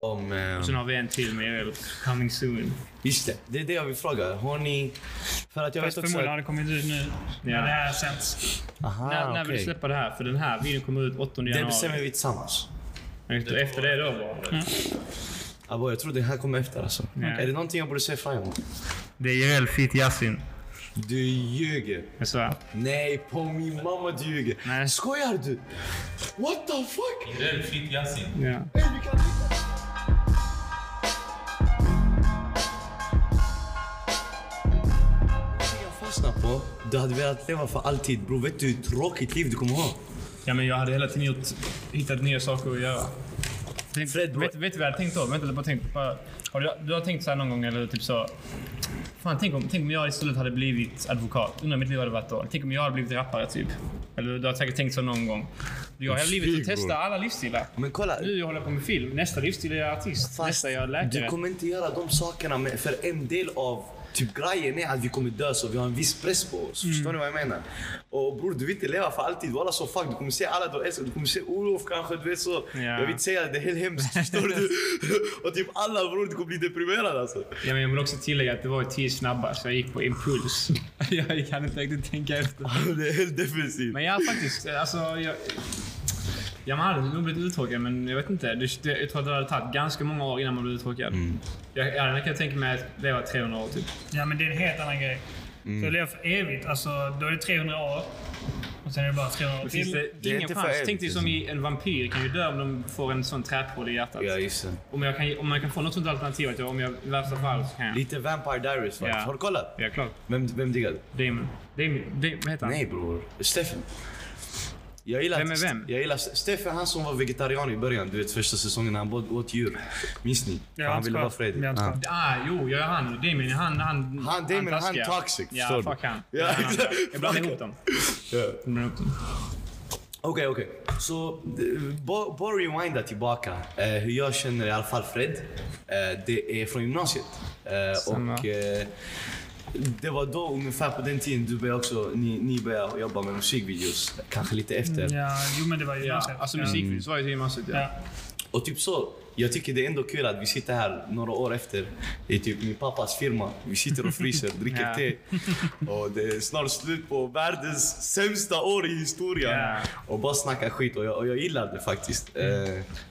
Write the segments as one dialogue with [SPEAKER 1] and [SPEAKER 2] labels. [SPEAKER 1] om... eh,
[SPEAKER 2] Och sen har vi en till med Coming Soon.
[SPEAKER 1] Just det, det är det jag vill fråga. Har ni... För att jag
[SPEAKER 2] Fast
[SPEAKER 1] vet också...
[SPEAKER 2] förmodligen har
[SPEAKER 1] att-
[SPEAKER 2] det kommit ut nu. När det här sänds.
[SPEAKER 1] Aha,
[SPEAKER 2] när när vill
[SPEAKER 1] Ah, okej.
[SPEAKER 2] du släppa det här? För den här videon kommer ut 8
[SPEAKER 1] Det
[SPEAKER 2] januari.
[SPEAKER 1] bestämmer vi tillsammans.
[SPEAKER 2] Efter- Efter det då bara. Ja.
[SPEAKER 1] Abo, jag tror det här kommer efter alltså.
[SPEAKER 2] Nej.
[SPEAKER 1] Är det någonting jag borde se fram emot?
[SPEAKER 2] Det är Jerel Fit Yasin.
[SPEAKER 1] Du ljuger.
[SPEAKER 2] Jag svär.
[SPEAKER 1] Nej, på min mamma du ljuger.
[SPEAKER 2] Nej.
[SPEAKER 1] Skojar du? What the fuck?
[SPEAKER 3] Rell Fit Yasin.
[SPEAKER 2] Ja.
[SPEAKER 1] Jag fastnar på. Du hade velat leva för alltid bror. Vet du hur tråkigt liv du kommer ha?
[SPEAKER 2] ja, men jag hade hela tiden gjort, hittat nya saker att göra. Tänk,
[SPEAKER 1] Fred,
[SPEAKER 2] vet, vet du vad jag hade tänkt då? Vänta, jag bara tänkt, bara, har du, du har tänkt så här någon gång eller typ så... Fan, tänk om, tänk om jag istället hade blivit advokat. Undrar om mitt liv hade varit då. Tänk om jag hade blivit rappare typ. Eller du har säkert tänkt så någon gång. Jag har hela livet att testa alla livsstilar.
[SPEAKER 1] Men kolla.
[SPEAKER 2] Nu jag håller på med film. Nästa livsstil är jag artist.
[SPEAKER 1] fast
[SPEAKER 2] Nästa är jag läkare.
[SPEAKER 1] Du kommer inte göra de sakerna med, för en del av typ grejen är att vi kommer dö så vi har en viss press på oss.
[SPEAKER 2] Mm.
[SPEAKER 1] Förstår ni vad jag menar? Och bror du vill inte leva för alltid. Walla så fuck. Du kommer se alla du älskar. Du kommer se Olof kanske. Du vet så. Jag vill inte säga det. Det är helt hemskt. Förstår du? Och typ alla bror du kommer bli deprimerad alltså.
[SPEAKER 2] Ja, men jag vill också tillägga att det var ju tio snabba, så jag gick på impuls. jag kan inte riktigt tänka efter.
[SPEAKER 1] Det är helt defensivt.
[SPEAKER 2] Men jag har faktiskt, alltså... Jag, ja, man hade nog blivit uttråkad, men jag vet inte. Det, det, jag tror att det hade tagit ganska många år innan man blev uttråkad.
[SPEAKER 1] Mm.
[SPEAKER 2] Jag, jag hade kunnat tänka mig att leva 300 år, typ.
[SPEAKER 4] Ja, men det är en helt annan grej. Så
[SPEAKER 1] Mm.
[SPEAKER 4] jag lever för evigt. Alltså, då är det 300 år. Och sen är det bara 300 år
[SPEAKER 2] Då finns
[SPEAKER 4] till.
[SPEAKER 2] det,
[SPEAKER 1] det är
[SPEAKER 2] ingen
[SPEAKER 1] inte för
[SPEAKER 2] chans.
[SPEAKER 1] evigt,
[SPEAKER 2] Tänk dig som i en vampyr kan ju dö om de får en sån träpål i hjärtat.
[SPEAKER 1] Ja, just det.
[SPEAKER 2] Om, jag kan, om man kan få något sånt alternativ, att jag, om jag i värsta fall så kan jag.
[SPEAKER 1] Lite Vampire Diaries faktiskt.
[SPEAKER 2] Ja.
[SPEAKER 1] Har du kollat?
[SPEAKER 2] Ja, klart.
[SPEAKER 1] Vem, vem diggar du?
[SPEAKER 2] Damon. Damon. Damon. Vad heter han?
[SPEAKER 1] Nej bror. Steffen. Jag gillar,
[SPEAKER 2] Vem är vem?
[SPEAKER 1] Jag gillar Steffen, han som var vegetarian i början. Du vet första säsongen när han både åt djur. Minns ni?
[SPEAKER 4] Ja,
[SPEAKER 1] han
[SPEAKER 4] han
[SPEAKER 1] ville
[SPEAKER 4] ska-
[SPEAKER 1] vara fredlig.
[SPEAKER 4] ja, han ska.
[SPEAKER 1] Ja.
[SPEAKER 2] Ah, jo, jag är han. Damien, han... Han,
[SPEAKER 1] Han, Damien, han
[SPEAKER 2] taskiga.
[SPEAKER 1] toxic, förstår
[SPEAKER 2] Ja,
[SPEAKER 1] du?
[SPEAKER 2] fuck han.
[SPEAKER 1] Ja,
[SPEAKER 2] Ja, han
[SPEAKER 1] exakt.
[SPEAKER 2] jag blandar ihop dem.
[SPEAKER 1] Ja.
[SPEAKER 2] Jag blandar ihop dem.
[SPEAKER 1] Okej, okej. Så, eh, bara- bara rewinda tillbaka. Eh, hur jag känner i alla fall Fred. Eh, det är från gymnasiet. Eh,
[SPEAKER 2] Samma.
[SPEAKER 1] och eh, det var då ungefär på den tiden du började också, ni, ni började jobba med musikvideos. Kanske lite efter.
[SPEAKER 4] Mm, Ja, jo, men det var ju
[SPEAKER 2] Ja,
[SPEAKER 4] gymnasiet.
[SPEAKER 2] alltså
[SPEAKER 4] Ja.
[SPEAKER 2] musikvideo, så var det ju gymnasiet. Ja.
[SPEAKER 4] Ja.
[SPEAKER 1] Och typ så. Jag tycker det är ändå kul att vi sitter här några år efter. Det är typ min pappas firma. Vi sitter och fryser, dricker
[SPEAKER 2] Ja.
[SPEAKER 1] te. Och det är snart slut på världens sämsta år i historien.
[SPEAKER 2] Ja. Mm.
[SPEAKER 1] Och bara snackar skit. Och jag, och jag gillar det faktiskt. Eh,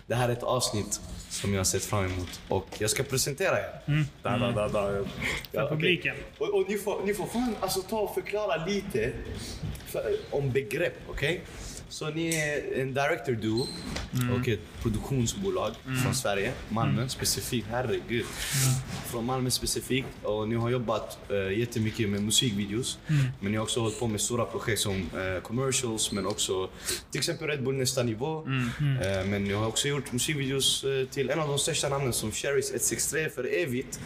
[SPEAKER 1] det här är ett avsnitt som jag har sett fram emot. Och jag ska presentera er.
[SPEAKER 2] Mm.
[SPEAKER 1] Da, da, da, da. Ja, okej.
[SPEAKER 4] publiken.
[SPEAKER 1] Och, och ni, får, ni får fan alltså, ta och förklara lite för, om begrepp, okej? Så ni är en director duo och ett produktionsbolag från Sverige, Malmö specifikt. Herregud. Från Malmö specifikt. Och ni har jobbat eh, jättemycket med musikvideos. Men ni har också hållit på med stora projekt som eh, commercials men också till exempel Red Bull Nästa Nivå. Eh, men ni har också gjort musikvideos eh, till en av de största namnen som Cherries 163 för evigt.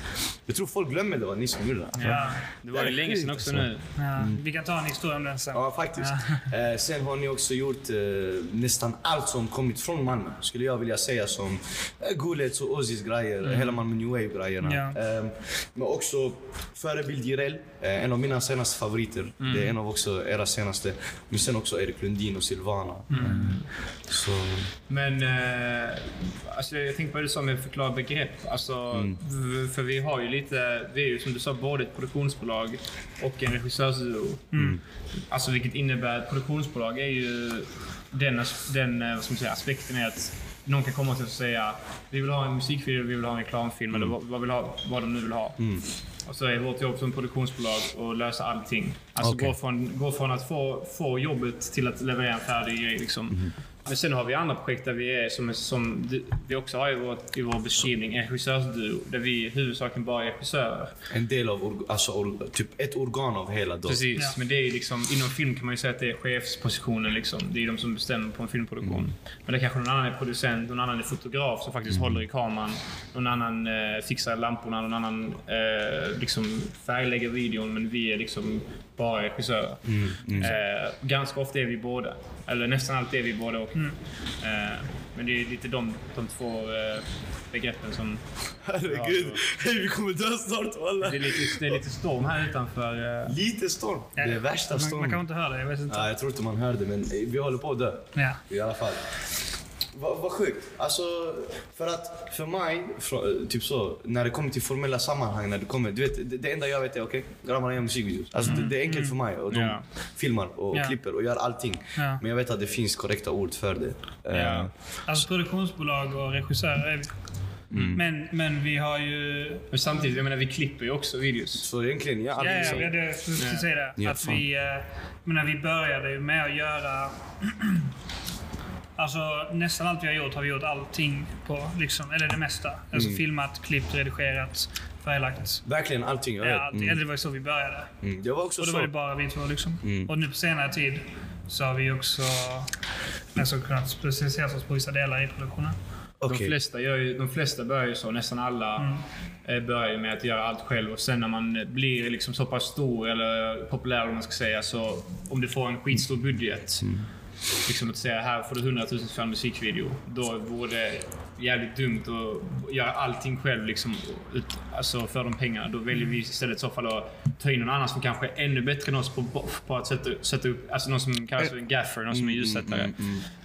[SPEAKER 1] Jag tror folk glömmer det var ni som gjorde det.
[SPEAKER 4] Ja.
[SPEAKER 2] Det var ju
[SPEAKER 1] Det är
[SPEAKER 2] länge sedan
[SPEAKER 1] sjukt,
[SPEAKER 2] också
[SPEAKER 1] alltså.
[SPEAKER 2] nu.
[SPEAKER 4] Ja. Vi kan ta en historia om den sen.
[SPEAKER 1] Ja, faktiskt. Eh, sen har ni också gjort eh, nästan allt som kommit från Malmö, skulle jag vilja säga. Som eh, Gulets och Ozis grejer, hela Malmö New Wave-grejerna.
[SPEAKER 4] Ja.
[SPEAKER 1] Eh, men också Förebild Jireel, eh, en av mina senaste favoriter. Det är en av också era senaste. Men sen också Erik Lundin och Silvana. Eh, Så,
[SPEAKER 2] Men eh, alltså, jag tänkte på det som med förklara begrepp. Alltså, v- För vi har ju lite, vi är ju som du sa både ett produktionsbolag och en regissörsduo. Alltså, vilket innebär att produktionsbolag är ju den, as- den eh, vad ska man säga, aspekten är att någon kan komma till oss och säga vi vill ha en musikvideo, vi vill ha en reklamfilm eller vad, vad, vill ha, vad de nu vill ha. Och så är vårt jobb som produktionsbolag att lösa allting. Alltså
[SPEAKER 1] Okej.
[SPEAKER 2] gå, från, gå från att få, få jobbet till att leverera en färdig grej. Liksom. Men sen har vi andra projekt där vi är som, som du- vi också har i, vårt, i vår beskrivning, en regissörsduo. Där vi huvudsakligen bara är regissörer.
[SPEAKER 1] en del av, org- alltså, or, typ ett organ av hela då.
[SPEAKER 2] Precis,
[SPEAKER 4] Ja.
[SPEAKER 2] men det är ju liksom, inom film kan man ju säga att det är chefspositionen. Liksom. Det är ju de som bestämmer på en filmproduktion. Men det kanske någon annan är producent, någon annan är fotograf som faktiskt håller i kameran. Någon annan eh, fixar lamporna, någon annan eh, liksom färglägger videon. Men vi är liksom bara regissörer. Eh, ganska ofta är vi båda. Eller nästan alltid är vi båda och. Eh, men det är lite de, de två eh, begreppen som...
[SPEAKER 1] Herregud, hej, vi kommer dö snart walla.
[SPEAKER 2] Det är lite, det är lite storm här utanför. Eh,
[SPEAKER 1] Lite storm. Det är värsta
[SPEAKER 4] alltså, man, man
[SPEAKER 1] stormen.
[SPEAKER 4] kan inte höra det. Jag vet inte.
[SPEAKER 1] Ja, jag tror inte man hör det men eh, vi håller på att dö.
[SPEAKER 4] Ja.
[SPEAKER 1] I alla fall. Vad vad sjukt. Alltså, för att för mig, frå- typ så, när det kommer till formella sammanhang, när det kommer, du vet, det, det enda jag vet är okej, grabbarna gör musikvideos. Alltså, det, det är enkelt för mig. Och de
[SPEAKER 2] Ja.
[SPEAKER 1] filmar och
[SPEAKER 4] Ja.
[SPEAKER 1] klipper och gör allting.
[SPEAKER 4] Ja.
[SPEAKER 1] Men jag vet att det finns korrekta ord för det. Eh,
[SPEAKER 2] Ja.
[SPEAKER 4] Alltså produktionsbolag och regissörer är vi.
[SPEAKER 1] Mm.
[SPEAKER 4] Men, men vi har ju...
[SPEAKER 2] Men samtidigt, jag menar vi klipper ju också videos.
[SPEAKER 1] Så egentligen, ja,
[SPEAKER 4] Ja,
[SPEAKER 1] allting
[SPEAKER 4] ja,
[SPEAKER 1] så.
[SPEAKER 4] ja, det, jag skulle säga det.
[SPEAKER 1] Ja,
[SPEAKER 4] att
[SPEAKER 1] fan.
[SPEAKER 4] vi, eh, jag menar, vi började ju med att göra... alltså nästan allt vi har gjort har vi gjort allting på. Liksom, eller det mesta. Alltså
[SPEAKER 1] Mm.
[SPEAKER 4] filmat, klippt, redigerat, färglagt.
[SPEAKER 1] Verkligen allting. Jag
[SPEAKER 4] Ja,
[SPEAKER 1] vet.
[SPEAKER 4] allting.
[SPEAKER 1] Mm.
[SPEAKER 4] Eller det var ju så vi började.
[SPEAKER 1] Mm. Jag var också
[SPEAKER 4] Och då
[SPEAKER 1] så. Mm.
[SPEAKER 4] var det bara vi två liksom. Och nu på senare tid så har vi också alltså, kunnat specialisera oss på vissa delar i produktionen.
[SPEAKER 2] De,
[SPEAKER 1] Okej.
[SPEAKER 2] flesta gör ju, de flesta börjar ju så. Nästan alla
[SPEAKER 1] Mm.
[SPEAKER 2] eh, börjar ju med att göra allt själv. Och sen när man eh, blir liksom så pass stor eller populär, eller vad man ska säga, så om du får en skitstor budget. Liksom att säga här får du 100 000 för en musikvideo. Då vore det jävligt dumt att göra allting själv liksom, ut, alltså för de pengarna. Då väljer
[SPEAKER 1] Mm.
[SPEAKER 2] vi istället i så fall att ta in någon annan som kanske är ännu bättre än oss på, på att sätta, sätta upp, alltså någon som kallas för en gaffer, någon som är ljussättare.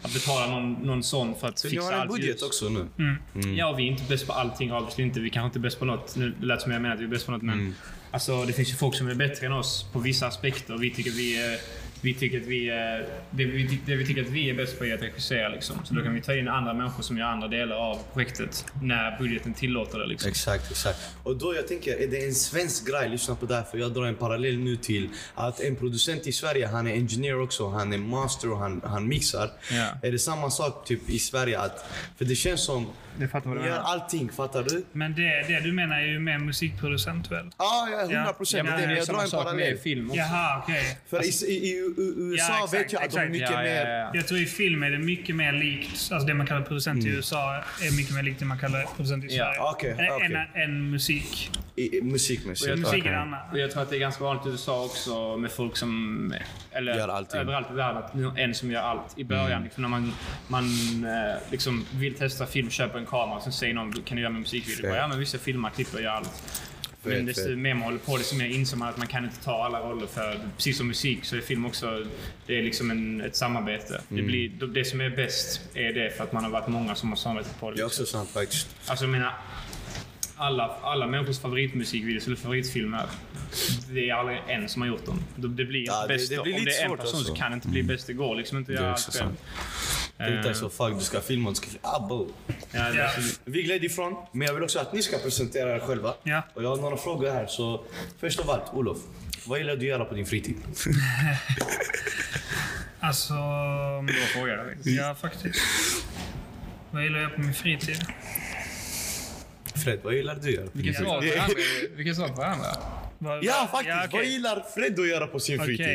[SPEAKER 2] Att betala någon, någon sån för att
[SPEAKER 1] Så ni
[SPEAKER 2] fixa
[SPEAKER 1] har en
[SPEAKER 2] allt
[SPEAKER 1] budget
[SPEAKER 2] ljus.
[SPEAKER 1] också nu?
[SPEAKER 2] Ja, vi är inte bäst på allting. Obviously inte. Vi kanske inte är bäst på något. Nu lät det som jag menar att vi är bäst på något, men alltså, det finns ju folk som är bättre än oss på vissa aspekter. Vi tycker vi är, vi tycker att vi är, det, vi, ty- det vi tycker att vi är bäst på är att regissera. Liksom. Så då kan vi ta in andra människor som gör andra delar av projektet när budgeten tillåter det. Liksom.
[SPEAKER 1] Exakt, exakt. Och då jag tänker, är det en svensk grej? Lyssna på det här, för jag drar en parallell nu till att en producent i Sverige, han är ingenjör också, han är master och han, han mixar.
[SPEAKER 2] Ja.
[SPEAKER 1] Är det samma sak typ i Sverige? Att, för det känns som,
[SPEAKER 2] Jag fattar vad
[SPEAKER 1] ni
[SPEAKER 2] du
[SPEAKER 1] gör
[SPEAKER 2] menar.
[SPEAKER 1] allting, fattar du?
[SPEAKER 4] Men det, det du menar är ju mer musikproducent väl?
[SPEAKER 1] Ah, ja, 100
[SPEAKER 2] Ja,
[SPEAKER 1] procent.
[SPEAKER 2] men det är ju
[SPEAKER 1] jag drar
[SPEAKER 2] samma
[SPEAKER 1] en
[SPEAKER 2] sak med Alltså-
[SPEAKER 1] parallell.
[SPEAKER 2] film också.
[SPEAKER 4] Jaha, okej.
[SPEAKER 1] För i, i, i U- U- USA
[SPEAKER 4] Ja, exakt,
[SPEAKER 1] vet jag att de är
[SPEAKER 4] exakt.
[SPEAKER 1] mycket
[SPEAKER 2] Ja, ja,
[SPEAKER 1] mer...
[SPEAKER 2] ja, ja.
[SPEAKER 4] Jag tror i film är det mycket mer likt, alltså det man kallar producent i USA är mycket mer likt det man kallar producent i
[SPEAKER 2] Ja,
[SPEAKER 4] Sverige.
[SPEAKER 1] Mm. Ah, okej,
[SPEAKER 4] Än-
[SPEAKER 1] okej.
[SPEAKER 4] än- Än musik.
[SPEAKER 1] I, i, musik, musik.
[SPEAKER 2] jag-
[SPEAKER 4] Musik är det
[SPEAKER 1] Okej.
[SPEAKER 4] annat.
[SPEAKER 2] Och jag tror att det är ganska vanligt i USA också med folk som... Eller
[SPEAKER 1] Gör allting.
[SPEAKER 2] överallt i världen. Att nå- en som gör allt. I början, liksom, när man, man eh, liksom vill testa film, köper en kamera. Sen säger någon, kan du göra min musikvideo?
[SPEAKER 1] Fett.
[SPEAKER 2] Bara, Ja, men visst, jag filmar, klipper och gör allt. Men
[SPEAKER 1] Fett,
[SPEAKER 2] desto
[SPEAKER 1] fett.
[SPEAKER 2] mer man håller på, desto mer inser man att man kan inte ta alla roller. För precis som musik så är film också det är liksom en, ett samarbete. Det, blir, det som är bäst är det för att man har varit många som har samarbetat på det.
[SPEAKER 1] Det är
[SPEAKER 2] liksom.
[SPEAKER 1] också sant faktiskt.
[SPEAKER 2] Alltså jag menar, alla, alla människors favoritmusikvideos eller favoritfilmer, det är aldrig en som har gjort dem. Det, det blir
[SPEAKER 1] Ja, det-
[SPEAKER 2] bäst.
[SPEAKER 1] det blir
[SPEAKER 2] Om
[SPEAKER 1] lite
[SPEAKER 2] det är en
[SPEAKER 1] svårt
[SPEAKER 2] person
[SPEAKER 1] alltså.
[SPEAKER 2] så kan det inte bli bäst. Det går liksom inte att
[SPEAKER 1] Det är
[SPEAKER 2] göra
[SPEAKER 1] också
[SPEAKER 2] allt själv.
[SPEAKER 1] sant. Tänk dig så, fuck du ska filma och du ska... Ah, bo.
[SPEAKER 2] Ja, det är
[SPEAKER 4] Ja.
[SPEAKER 2] så-
[SPEAKER 1] Vi gled ifrån, men jag vill också att ni ska presentera er själva.
[SPEAKER 4] Ja.
[SPEAKER 1] Och jag har några frågor här. Så först av allt, Olof. Vad gillar du att göra på din fritid?
[SPEAKER 4] Alltså...
[SPEAKER 2] Bra fråga. faktiskt.
[SPEAKER 1] Mm.
[SPEAKER 4] Ja, faktiskt. Vad gillar jag på min fritid?
[SPEAKER 1] Fred, vad gillar du att göra? på din
[SPEAKER 2] Vilken
[SPEAKER 1] fritid?
[SPEAKER 2] svar på varandra. Vilken svar på varandra.
[SPEAKER 4] Vad-
[SPEAKER 1] Ja, faktiskt.
[SPEAKER 4] okej.
[SPEAKER 1] Vad gillar Fred att göra på sin fritid?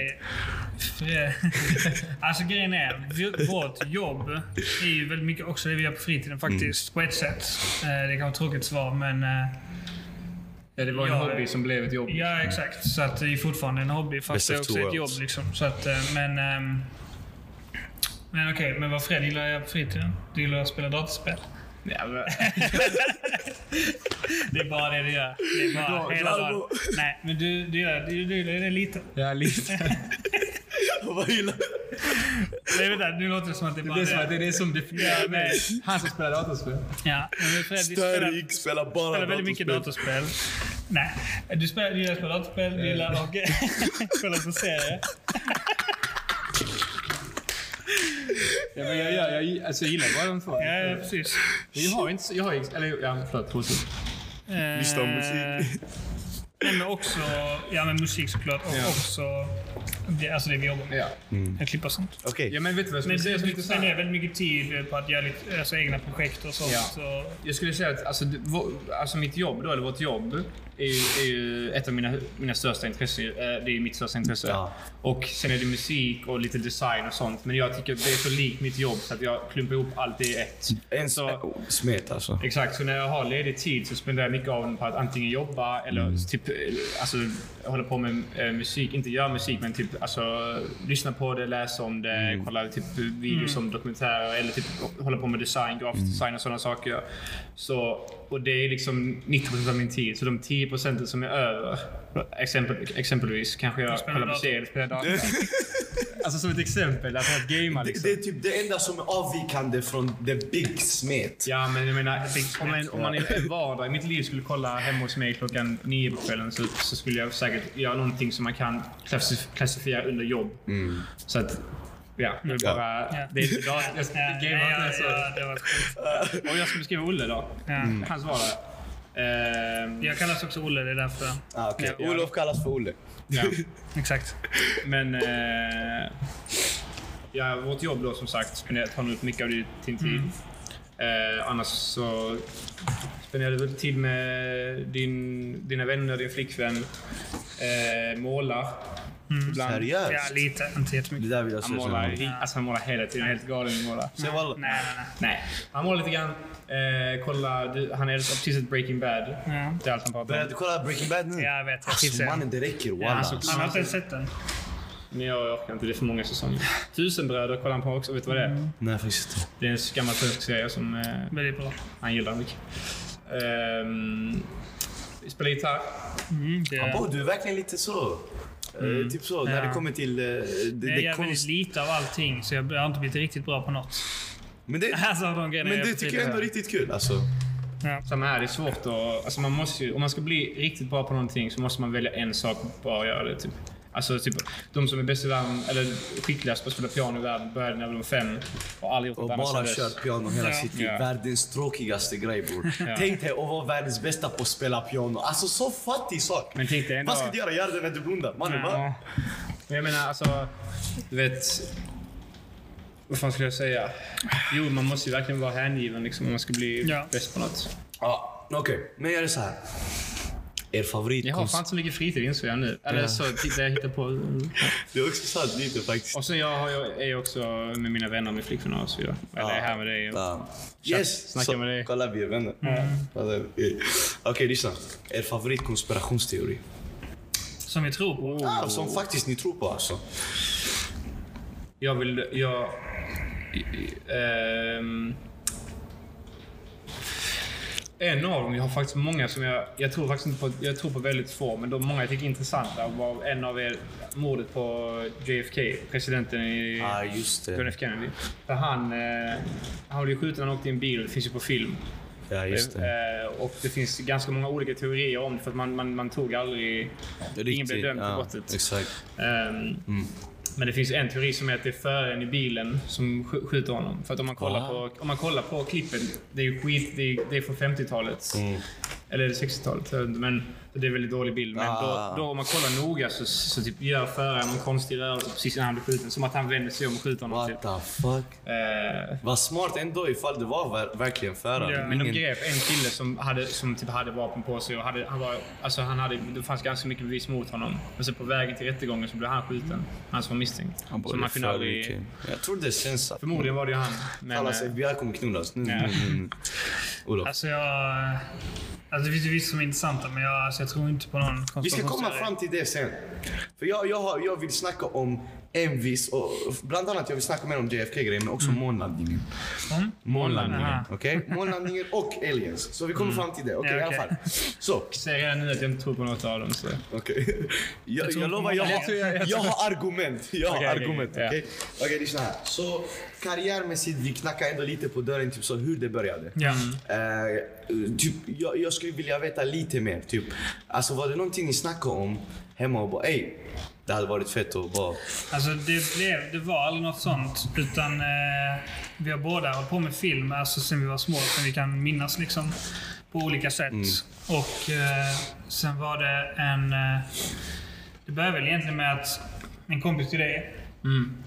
[SPEAKER 4] Okej. Fre- alltså grejen är, vi- vårt jobb är ju väldigt mycket också det vi gör på fritiden
[SPEAKER 1] Mm.
[SPEAKER 4] faktiskt. På ett sätt. Eh, Det kan vara ett tråkigt svar men... eh,
[SPEAKER 2] Ja, det var en
[SPEAKER 4] Ja,
[SPEAKER 2] hobby
[SPEAKER 4] det-
[SPEAKER 2] som blev ett jobb.
[SPEAKER 4] Ja, exakt. Så att det är fortfarande en hobby fast
[SPEAKER 1] Best
[SPEAKER 4] det är
[SPEAKER 1] of
[SPEAKER 4] också
[SPEAKER 1] two
[SPEAKER 4] ett jobb.
[SPEAKER 1] worlds.
[SPEAKER 4] Liksom. Så att, eh, men ehm, men okej, men vad Fred gillar jag på fritiden? Du gillar att spela dataspel.
[SPEAKER 2] Ja, men-
[SPEAKER 4] Det är bara det du gör. Det är bara
[SPEAKER 2] Då-
[SPEAKER 4] hela
[SPEAKER 2] då-
[SPEAKER 4] dagen. Nej, men du, du, gillar, du, du gillar det lite.
[SPEAKER 2] Ja, lite.
[SPEAKER 1] vad gillar
[SPEAKER 4] Nej, vänta, nu låter det som att det är bara
[SPEAKER 2] Det är som att det
[SPEAKER 4] det.
[SPEAKER 2] är det som definierar
[SPEAKER 4] Ja, men-
[SPEAKER 2] mig. Han som spelar datorspel.
[SPEAKER 4] Ja, men Fred, vi spelar,
[SPEAKER 1] Störig, spelar bara
[SPEAKER 4] spelar väldigt mycket datorspel. Nej, du, spelar, du gillar att spela datorspel, du gillar att kolla på serier.
[SPEAKER 2] Ja, men jag, jag, jag, alltså, jag gillar bara de två.
[SPEAKER 4] Ja, ja, precis.
[SPEAKER 2] Men Jag har inte... så- Jag har, eller, ja, förlåt. fortsätt.
[SPEAKER 1] Lyssna på musik.
[SPEAKER 4] Eh, Nej, men också ja, men musik såklart. Och
[SPEAKER 2] Ja.
[SPEAKER 4] också det, alltså det vi jobbar med.
[SPEAKER 2] Ja.
[SPEAKER 4] Att klippa och sånt.
[SPEAKER 1] Okej.
[SPEAKER 2] ja, men vet du vad jag
[SPEAKER 4] Men
[SPEAKER 2] skulle säga
[SPEAKER 4] det
[SPEAKER 2] som är intressant?
[SPEAKER 4] spenderar väldigt mycket tid på att göra lite, alltså, egna projekt och sånt.
[SPEAKER 2] Ja.
[SPEAKER 4] Så,
[SPEAKER 2] Jag skulle säga att alltså, det- vår- alltså mitt jobb då, eller vårt jobb, är ju, är ju ett av mina, mina största intressen. eh, Det är ju mitt största intresse.
[SPEAKER 1] Ja.
[SPEAKER 2] Och sen är det musik och lite design och sånt. Men jag tycker det är så likt mitt jobb så att jag klumpar ihop allt i ett.
[SPEAKER 1] En
[SPEAKER 2] så,
[SPEAKER 1] så... smet alltså.
[SPEAKER 2] Exakt, så när jag har ledig tid så spenderar jag mycket av den på att antingen jobba eller
[SPEAKER 1] Mm.
[SPEAKER 2] typ, eh, alltså, hålla på med eh, musik. Inte göra musik, men typ alltså, lyssna på det, läsa om det,
[SPEAKER 1] Mm.
[SPEAKER 2] kolla typ, videos om dokumentärer eller typ, hålla på med design,
[SPEAKER 1] Mm.
[SPEAKER 2] grafisk design och sådana saker. Så, och det är liksom 90% av min tid. Så de 10% som är över, exempel, exempelvis kanske jag
[SPEAKER 4] spelar
[SPEAKER 2] kollar på
[SPEAKER 4] dator.
[SPEAKER 2] serier, spelar dator. Alltså som ett exempel, att ha ett gamer
[SPEAKER 1] Det,
[SPEAKER 2] liksom.
[SPEAKER 1] det är typ det enda som är avvikande från the big smet.
[SPEAKER 2] Ja, men jag menar, om man, om man en vardag i mitt liv skulle kolla hemma hos mig klockan nio på kvällen så, så skulle jag säkert göra någonting som man kan klassif- klassificera under jobb. Så att, ja. Det är bara...
[SPEAKER 4] Ja.
[SPEAKER 2] Det är inte dat- jag,
[SPEAKER 4] Ja,
[SPEAKER 2] game
[SPEAKER 4] nej,
[SPEAKER 2] har
[SPEAKER 4] ja,
[SPEAKER 2] inte så.
[SPEAKER 4] ja, det var sjukt.
[SPEAKER 2] Om jag skulle beskriva Olle då.
[SPEAKER 4] Ja.
[SPEAKER 2] Hans vardag. Ehm,
[SPEAKER 4] Jag kallas också Olle, det är därför.
[SPEAKER 1] Ah, okay.
[SPEAKER 2] Ja.
[SPEAKER 1] Olof kallas för Olle.
[SPEAKER 4] Mm.
[SPEAKER 2] ja.
[SPEAKER 4] Exakt.
[SPEAKER 2] Men... Eh, ja, vårt jobb då som sagt spenderar- tar nog upp mycket av din din tid. Eh, annars så spenderar du väl tid med din, dina vänner, din flickvän. Eh, målar.
[SPEAKER 1] Mm.
[SPEAKER 2] Ibland.
[SPEAKER 1] Seriöst?
[SPEAKER 4] Ja, lite. Inte
[SPEAKER 1] Det
[SPEAKER 4] jättemycket.
[SPEAKER 1] där vill jag
[SPEAKER 2] Han
[SPEAKER 1] se.
[SPEAKER 2] målar,
[SPEAKER 1] sen.
[SPEAKER 2] he- alltså han målar hela tiden, helt galen i att måla.
[SPEAKER 1] Se vad...
[SPEAKER 4] Nej, nej, nej.
[SPEAKER 2] Nej, han målar lite grann. Eh, kolla, du, han är precis ett Breaking Bad.
[SPEAKER 4] Ja.
[SPEAKER 2] Det är allt han pratar
[SPEAKER 1] Börjar
[SPEAKER 2] om.
[SPEAKER 1] du kolla Breaking Bad nu?
[SPEAKER 4] Ja, jag vet. Jag
[SPEAKER 1] Alltså
[SPEAKER 4] tipsar.
[SPEAKER 1] mannen, det räcker
[SPEAKER 2] Typ Ja,
[SPEAKER 1] walla.
[SPEAKER 2] alltså,
[SPEAKER 4] Han har inte ens sett den.
[SPEAKER 2] Men jag orkar inte, det är för många säsonger. Tusenbröder kollar han på också, vet du vad det är?
[SPEAKER 1] Nej, faktiskt inte.
[SPEAKER 2] Det är en gammal svensk serie som eh,
[SPEAKER 4] Väldigt bra.
[SPEAKER 2] han gillar mycket. Ehm, vi spelar gitarr.
[SPEAKER 4] Mm, det
[SPEAKER 1] Abo, du är verkligen lite så. Eh,
[SPEAKER 2] Mm.
[SPEAKER 1] typ så, när det kommer till eh, det,
[SPEAKER 4] jag
[SPEAKER 1] det
[SPEAKER 4] gör väldigt
[SPEAKER 1] konst...
[SPEAKER 4] lite av allting, så jag har inte blivit riktigt bra på något.
[SPEAKER 1] Men det,
[SPEAKER 4] Alltså, av de grejerna
[SPEAKER 1] men
[SPEAKER 4] jag typ
[SPEAKER 1] det
[SPEAKER 4] gjort
[SPEAKER 1] tycker jag ändå är
[SPEAKER 4] tidigare.
[SPEAKER 1] riktigt kul alltså.
[SPEAKER 2] Samma här, det är svårt att... Alltså man måste ju, om man ska bli riktigt bra på någonting så måste man välja en sak och bara göra det. Typ. Alltså typ, de som är bäst i världen, eller skickligast på att spela piano i världen började när de var fem och aldrig gjort
[SPEAKER 1] Och
[SPEAKER 2] något annat
[SPEAKER 1] bara
[SPEAKER 2] sedan dess.
[SPEAKER 1] kört piano hela
[SPEAKER 4] Ja.
[SPEAKER 1] sitt liv.
[SPEAKER 2] Ja.
[SPEAKER 1] Världens tråkigaste grej bror. Tänk dig att vara världens bästa på att spela piano. Alltså så fattig sak.
[SPEAKER 2] Men tänk dig ändå...
[SPEAKER 1] Vad ska du göra? Gör det när du blundar. Mannen va?
[SPEAKER 2] Ja. Men jag menar alltså, du vet... Vad fan skulle jag säga? Jo, man måste ju verkligen vara hängiven liksom, om man ska bli
[SPEAKER 4] Ja.
[SPEAKER 2] bäst på något.
[SPEAKER 1] Ja, okej. Men gör det så här. Er
[SPEAKER 2] Jag har
[SPEAKER 1] favoritkonst...
[SPEAKER 2] fan inte så mycket fritid insåg jag nu. Eller så det jag hittar på.
[SPEAKER 1] Det är också sant lite faktiskt.
[SPEAKER 2] Och sen jag, har, jag är ju också med mina vänner, min flickvän och så vidare. Eller är här med dig.
[SPEAKER 1] Ja. Yes!
[SPEAKER 2] snacka
[SPEAKER 1] så,
[SPEAKER 2] med dig.
[SPEAKER 1] Kolla, vi är vänner. Alltså, eh, Okej, lyssna. Er favoritkonspirationsteori?
[SPEAKER 4] Som vi tror på.
[SPEAKER 1] Ah, som faktiskt ni tror på alltså.
[SPEAKER 2] Jag vill... Jag... ehm, en av dem, jag har faktiskt många som jag... Jag tror faktiskt inte på... Jag tror på väldigt få, men de många jag tycker är typ intressanta var en av er mordet på JFK, presidenten i...
[SPEAKER 1] Ja, ah, just
[SPEAKER 2] John
[SPEAKER 1] det.
[SPEAKER 2] F Kennedy. För han, eh, han blev skjuten när han åkte i en bil. Det finns ju på film.
[SPEAKER 1] Ja, just det.
[SPEAKER 2] Eh, och det finns ganska många olika teorier om det för att man, man, man tog aldrig... ingen blev dömd för
[SPEAKER 1] ja, Mm.
[SPEAKER 2] brottet.
[SPEAKER 1] Exakt.
[SPEAKER 2] Ehm, Men det finns en teori som är att det är föraren i bilen som sk- skjuter honom. För att om man kollar,
[SPEAKER 1] Wow.
[SPEAKER 2] på, om man kollar på klippet, det är ju skit, det är, det är från 50-talet.
[SPEAKER 1] Mm.
[SPEAKER 2] Eller är det 60-talet? Jag vet inte, Men det är en väldigt dålig bild. Men
[SPEAKER 1] Ah.
[SPEAKER 2] då, då om man kollar noga så, så typ gör föraren någon konstig rörelse precis innan han blir skjuten. Som att han vänder sig om och skjuter honom. Typ.
[SPEAKER 1] What the fuck?
[SPEAKER 2] Eh,
[SPEAKER 1] Vad smart ändå ifall det var ver- verkligen föraren.
[SPEAKER 4] Ja,
[SPEAKER 2] Men de
[SPEAKER 1] Ingen-
[SPEAKER 2] grep en kille som, hade, som typ hade vapen på sig och hade, han var, alltså han hade, det fanns ganska mycket bevis mot honom. Men sen på vägen till rättegången så blev han skjuten. Han som var misstänkt.
[SPEAKER 1] Han
[SPEAKER 2] så
[SPEAKER 1] borde
[SPEAKER 2] man kunde
[SPEAKER 1] föra
[SPEAKER 2] aldrig,
[SPEAKER 1] ut- Jag tror det är sensat.
[SPEAKER 2] förmodligen var det ju han. Men,
[SPEAKER 1] Allas
[SPEAKER 2] eh,
[SPEAKER 1] FBI kommer knullas. Nu,
[SPEAKER 2] Ja.
[SPEAKER 1] nu, nu, nu. Olof.
[SPEAKER 4] Alltså jag... Alltså det finns ju vissa som är intressanta, men jag, alltså, jag tror inte på någon
[SPEAKER 1] Vi ska komma
[SPEAKER 4] konspirationsteori.
[SPEAKER 1] fram till det sen. För jag, jag, har, jag vill snacka om en viss, och bland annat jag vill snacka mer om JFK-grejen men också månlandningen.
[SPEAKER 4] Mm.
[SPEAKER 1] Månlandningen,
[SPEAKER 4] Aha.
[SPEAKER 1] okej? Månlandningen och aliens. Så vi kommer fram till det, okej
[SPEAKER 4] Ja,
[SPEAKER 1] i alla
[SPEAKER 4] okej.
[SPEAKER 1] fall. Så,
[SPEAKER 2] jag säger redan nu att jag inte tror på något av dem. Så.
[SPEAKER 1] okej. Jag,
[SPEAKER 4] tror
[SPEAKER 1] jag
[SPEAKER 4] på
[SPEAKER 1] lovar, jag
[SPEAKER 4] månlandningen.
[SPEAKER 1] har, jag har argument. Jag har
[SPEAKER 2] Okej, okej,
[SPEAKER 1] argument,
[SPEAKER 2] ja.
[SPEAKER 1] okej? Okej, lyssna här. Så karriärmässigt, vi knackar ändå lite på dörren, typ så hur det började.
[SPEAKER 4] Ja.
[SPEAKER 1] Eh, typ, jag, jag skulle vilja veta lite mer. Typ. Alltså, var det någonting ni snackade om hemma och bara ey, det hade varit fett att bara...
[SPEAKER 4] Alltså det, blev, det var aldrig något sånt. Utan eh, vi har båda hållit på med film alltså, sen vi var små. Som vi kan minnas liksom. På olika sätt.
[SPEAKER 1] Mm.
[SPEAKER 4] Och eh, sen var det en... Eh, det började väl egentligen med att en kompis till dig,
[SPEAKER 2] Mm.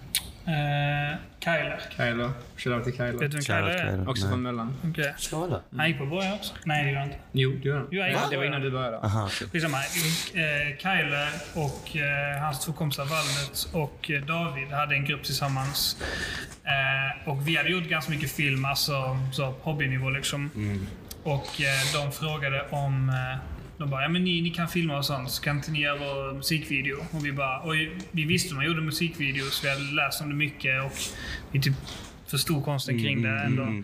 [SPEAKER 4] eh, Kyler.
[SPEAKER 2] Kyler. Shoutout till Kyler.
[SPEAKER 4] Vet du vem Kyler är?
[SPEAKER 2] Också från Möllan.
[SPEAKER 4] Okej.
[SPEAKER 1] Kolla.
[SPEAKER 4] Han gick på borgen också? Nej, det gjorde han inte.
[SPEAKER 2] Jo, det gör han.
[SPEAKER 4] Jo, jag gör
[SPEAKER 2] Va? Det var
[SPEAKER 4] det.
[SPEAKER 2] innan du började.
[SPEAKER 1] Aha, okej.
[SPEAKER 4] Skitsamma. Eh, Kyler och eh, hans två kompisar Valmet och eh, David hade en grupp tillsammans. Eh, och vi hade gjort ganska mycket film, alltså så på hobbynivå liksom. Och eh, de frågade om... Eh, de bara, ja men ni, ni kan filma och sånt, så kan inte ni göra vår musikvideo? Och vi bara, oj, vi visste man gjorde musikvideos, vi hade läst om det mycket och vi typ förstod konsten kring det ändå.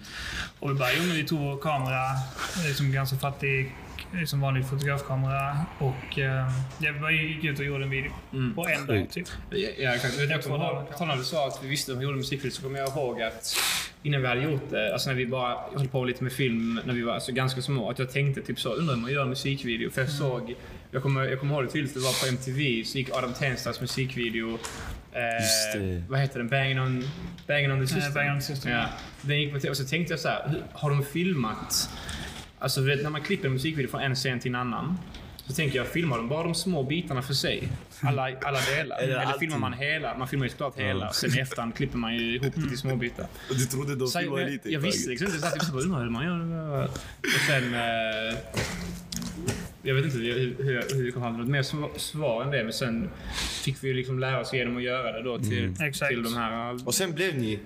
[SPEAKER 4] Och vi bara, jo men vi tog vår kamera, liksom ganska fattig liksom vanlig fotografkamera och eh, jag bara gick ut och gjorde en video.
[SPEAKER 2] Mm,
[SPEAKER 4] På en dag
[SPEAKER 1] Sjukt.
[SPEAKER 4] typ.
[SPEAKER 2] Ja, ja, exakt. Men Jag kommer
[SPEAKER 4] Två
[SPEAKER 2] ihåg,
[SPEAKER 4] dagar.
[SPEAKER 2] på tal om du sa att vi visste att de gjorde musikvideo, så kommer jag ihåg att innan vi hade gjort det, alltså när vi bara höll på lite med film när vi var alltså ganska små, att jag tänkte typ så, undrar hur man gör en musikvideo? För jag
[SPEAKER 4] Mm.
[SPEAKER 2] såg, jag kommer, jag kommer ihåg det tydligt, det var på MTV, så gick Adam Tenstars musikvideo eh,
[SPEAKER 1] Just det.
[SPEAKER 2] Vad heter den? Banging on, banging on the system.
[SPEAKER 4] Banging on the System,
[SPEAKER 2] Ja. Den gick på tv och så tänkte jag så här, hur- har de filmat Alltså du vet, när man klipper en musikvideo från en scen till en annan. Så tänker jag, filmar de bara de små bitarna för sig? Alla, alla delar?
[SPEAKER 1] Eller
[SPEAKER 2] Eller,
[SPEAKER 1] allting.
[SPEAKER 2] filmar man hela? Man filmar ju såklart hela. Sen i efterhand klipper man ju ihop det till små bitar.
[SPEAKER 1] Och du trodde de
[SPEAKER 2] Så jag,
[SPEAKER 1] filmade
[SPEAKER 2] jag,
[SPEAKER 1] lite?
[SPEAKER 2] jag visste liksom inte. Så jag typ så bara, undrar hur man gör. Och sen... Eh, jag vet inte hur, hur, jag- hur vi kom fram till något mer sva- svar än det. Men sen fick vi ju liksom lära oss genom att göra det då till,
[SPEAKER 1] Mm.
[SPEAKER 4] Exakt.
[SPEAKER 2] till de här...
[SPEAKER 1] Och sen blev ni...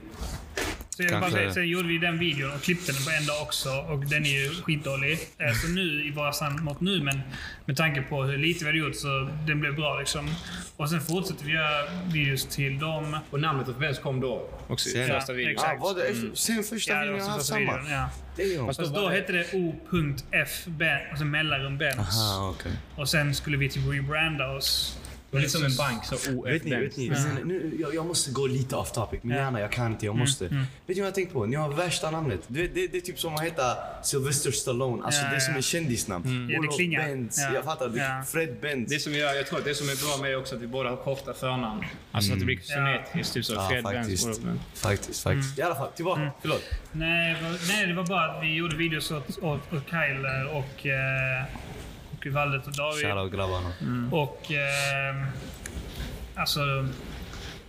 [SPEAKER 1] Ah,
[SPEAKER 4] Så jag vill bara
[SPEAKER 1] Kanske.
[SPEAKER 4] säga, sen gjorde vi den videon och klippte den på en dag också och den är ju skitdålig. Eh, Så nu, i våra mot nu, men med tanke på hur lite vi hade gjort så den blev bra liksom. Och sen fortsätter vi göra videos till dem.
[SPEAKER 2] Och namnet och Vens kom då. Också i
[SPEAKER 1] Sen-
[SPEAKER 2] första
[SPEAKER 4] Ja,
[SPEAKER 2] videon.
[SPEAKER 1] Ah,
[SPEAKER 4] Exakt.
[SPEAKER 1] var det efter, sen första
[SPEAKER 4] Ja, det var
[SPEAKER 1] videon
[SPEAKER 4] så
[SPEAKER 1] han
[SPEAKER 4] första
[SPEAKER 1] samma?
[SPEAKER 4] videon. Ja.
[SPEAKER 1] Damn.
[SPEAKER 4] Fast
[SPEAKER 2] då
[SPEAKER 4] då
[SPEAKER 2] var det-
[SPEAKER 4] hette det O.F. Ben- och sen mellanrum Benz.
[SPEAKER 1] Ah, okej.
[SPEAKER 4] Och sen skulle vi typ rebranda oss.
[SPEAKER 2] Det var lite som en bank, så OF
[SPEAKER 1] Vet ni, vet ni, sen, nu, jag, jag måste gå lite off topic. Min hjärna, jag kan
[SPEAKER 4] Mm,
[SPEAKER 1] inte, jag måste. Vet ni vad jag tänkt på? Ni har värsta namnet. Du vet, det, det är typ som att heta Sylvester Stallone. Alltså
[SPEAKER 4] Ja,
[SPEAKER 1] det är som
[SPEAKER 4] ja. Mm.
[SPEAKER 1] ett kändisnamn.
[SPEAKER 4] Ja, det
[SPEAKER 1] Olof
[SPEAKER 4] klingar.
[SPEAKER 1] Benz.
[SPEAKER 4] Ja.
[SPEAKER 1] Jag fattar. Det,
[SPEAKER 4] Ja.
[SPEAKER 1] Fred Benz.
[SPEAKER 2] Det som jag, jag tror att det som är bra med det också att vi båda har korta förnamn. Alltså att det blir symmetriskt. Typ så.
[SPEAKER 1] Mm. Ja,
[SPEAKER 2] Fred Mm. Benz.
[SPEAKER 1] faktiskt.
[SPEAKER 2] Olof Benz.
[SPEAKER 1] Faktiskt, faktiskt. I alla fall, tillbaka. Förlåt.
[SPEAKER 4] Nej, det var- nej, det var bara att vi gjorde videos åt, åt, åt Kyle och, eh, och Valdet och David.
[SPEAKER 1] Shoutout grabbarna.
[SPEAKER 2] Mm.
[SPEAKER 4] Och... Eh, alltså...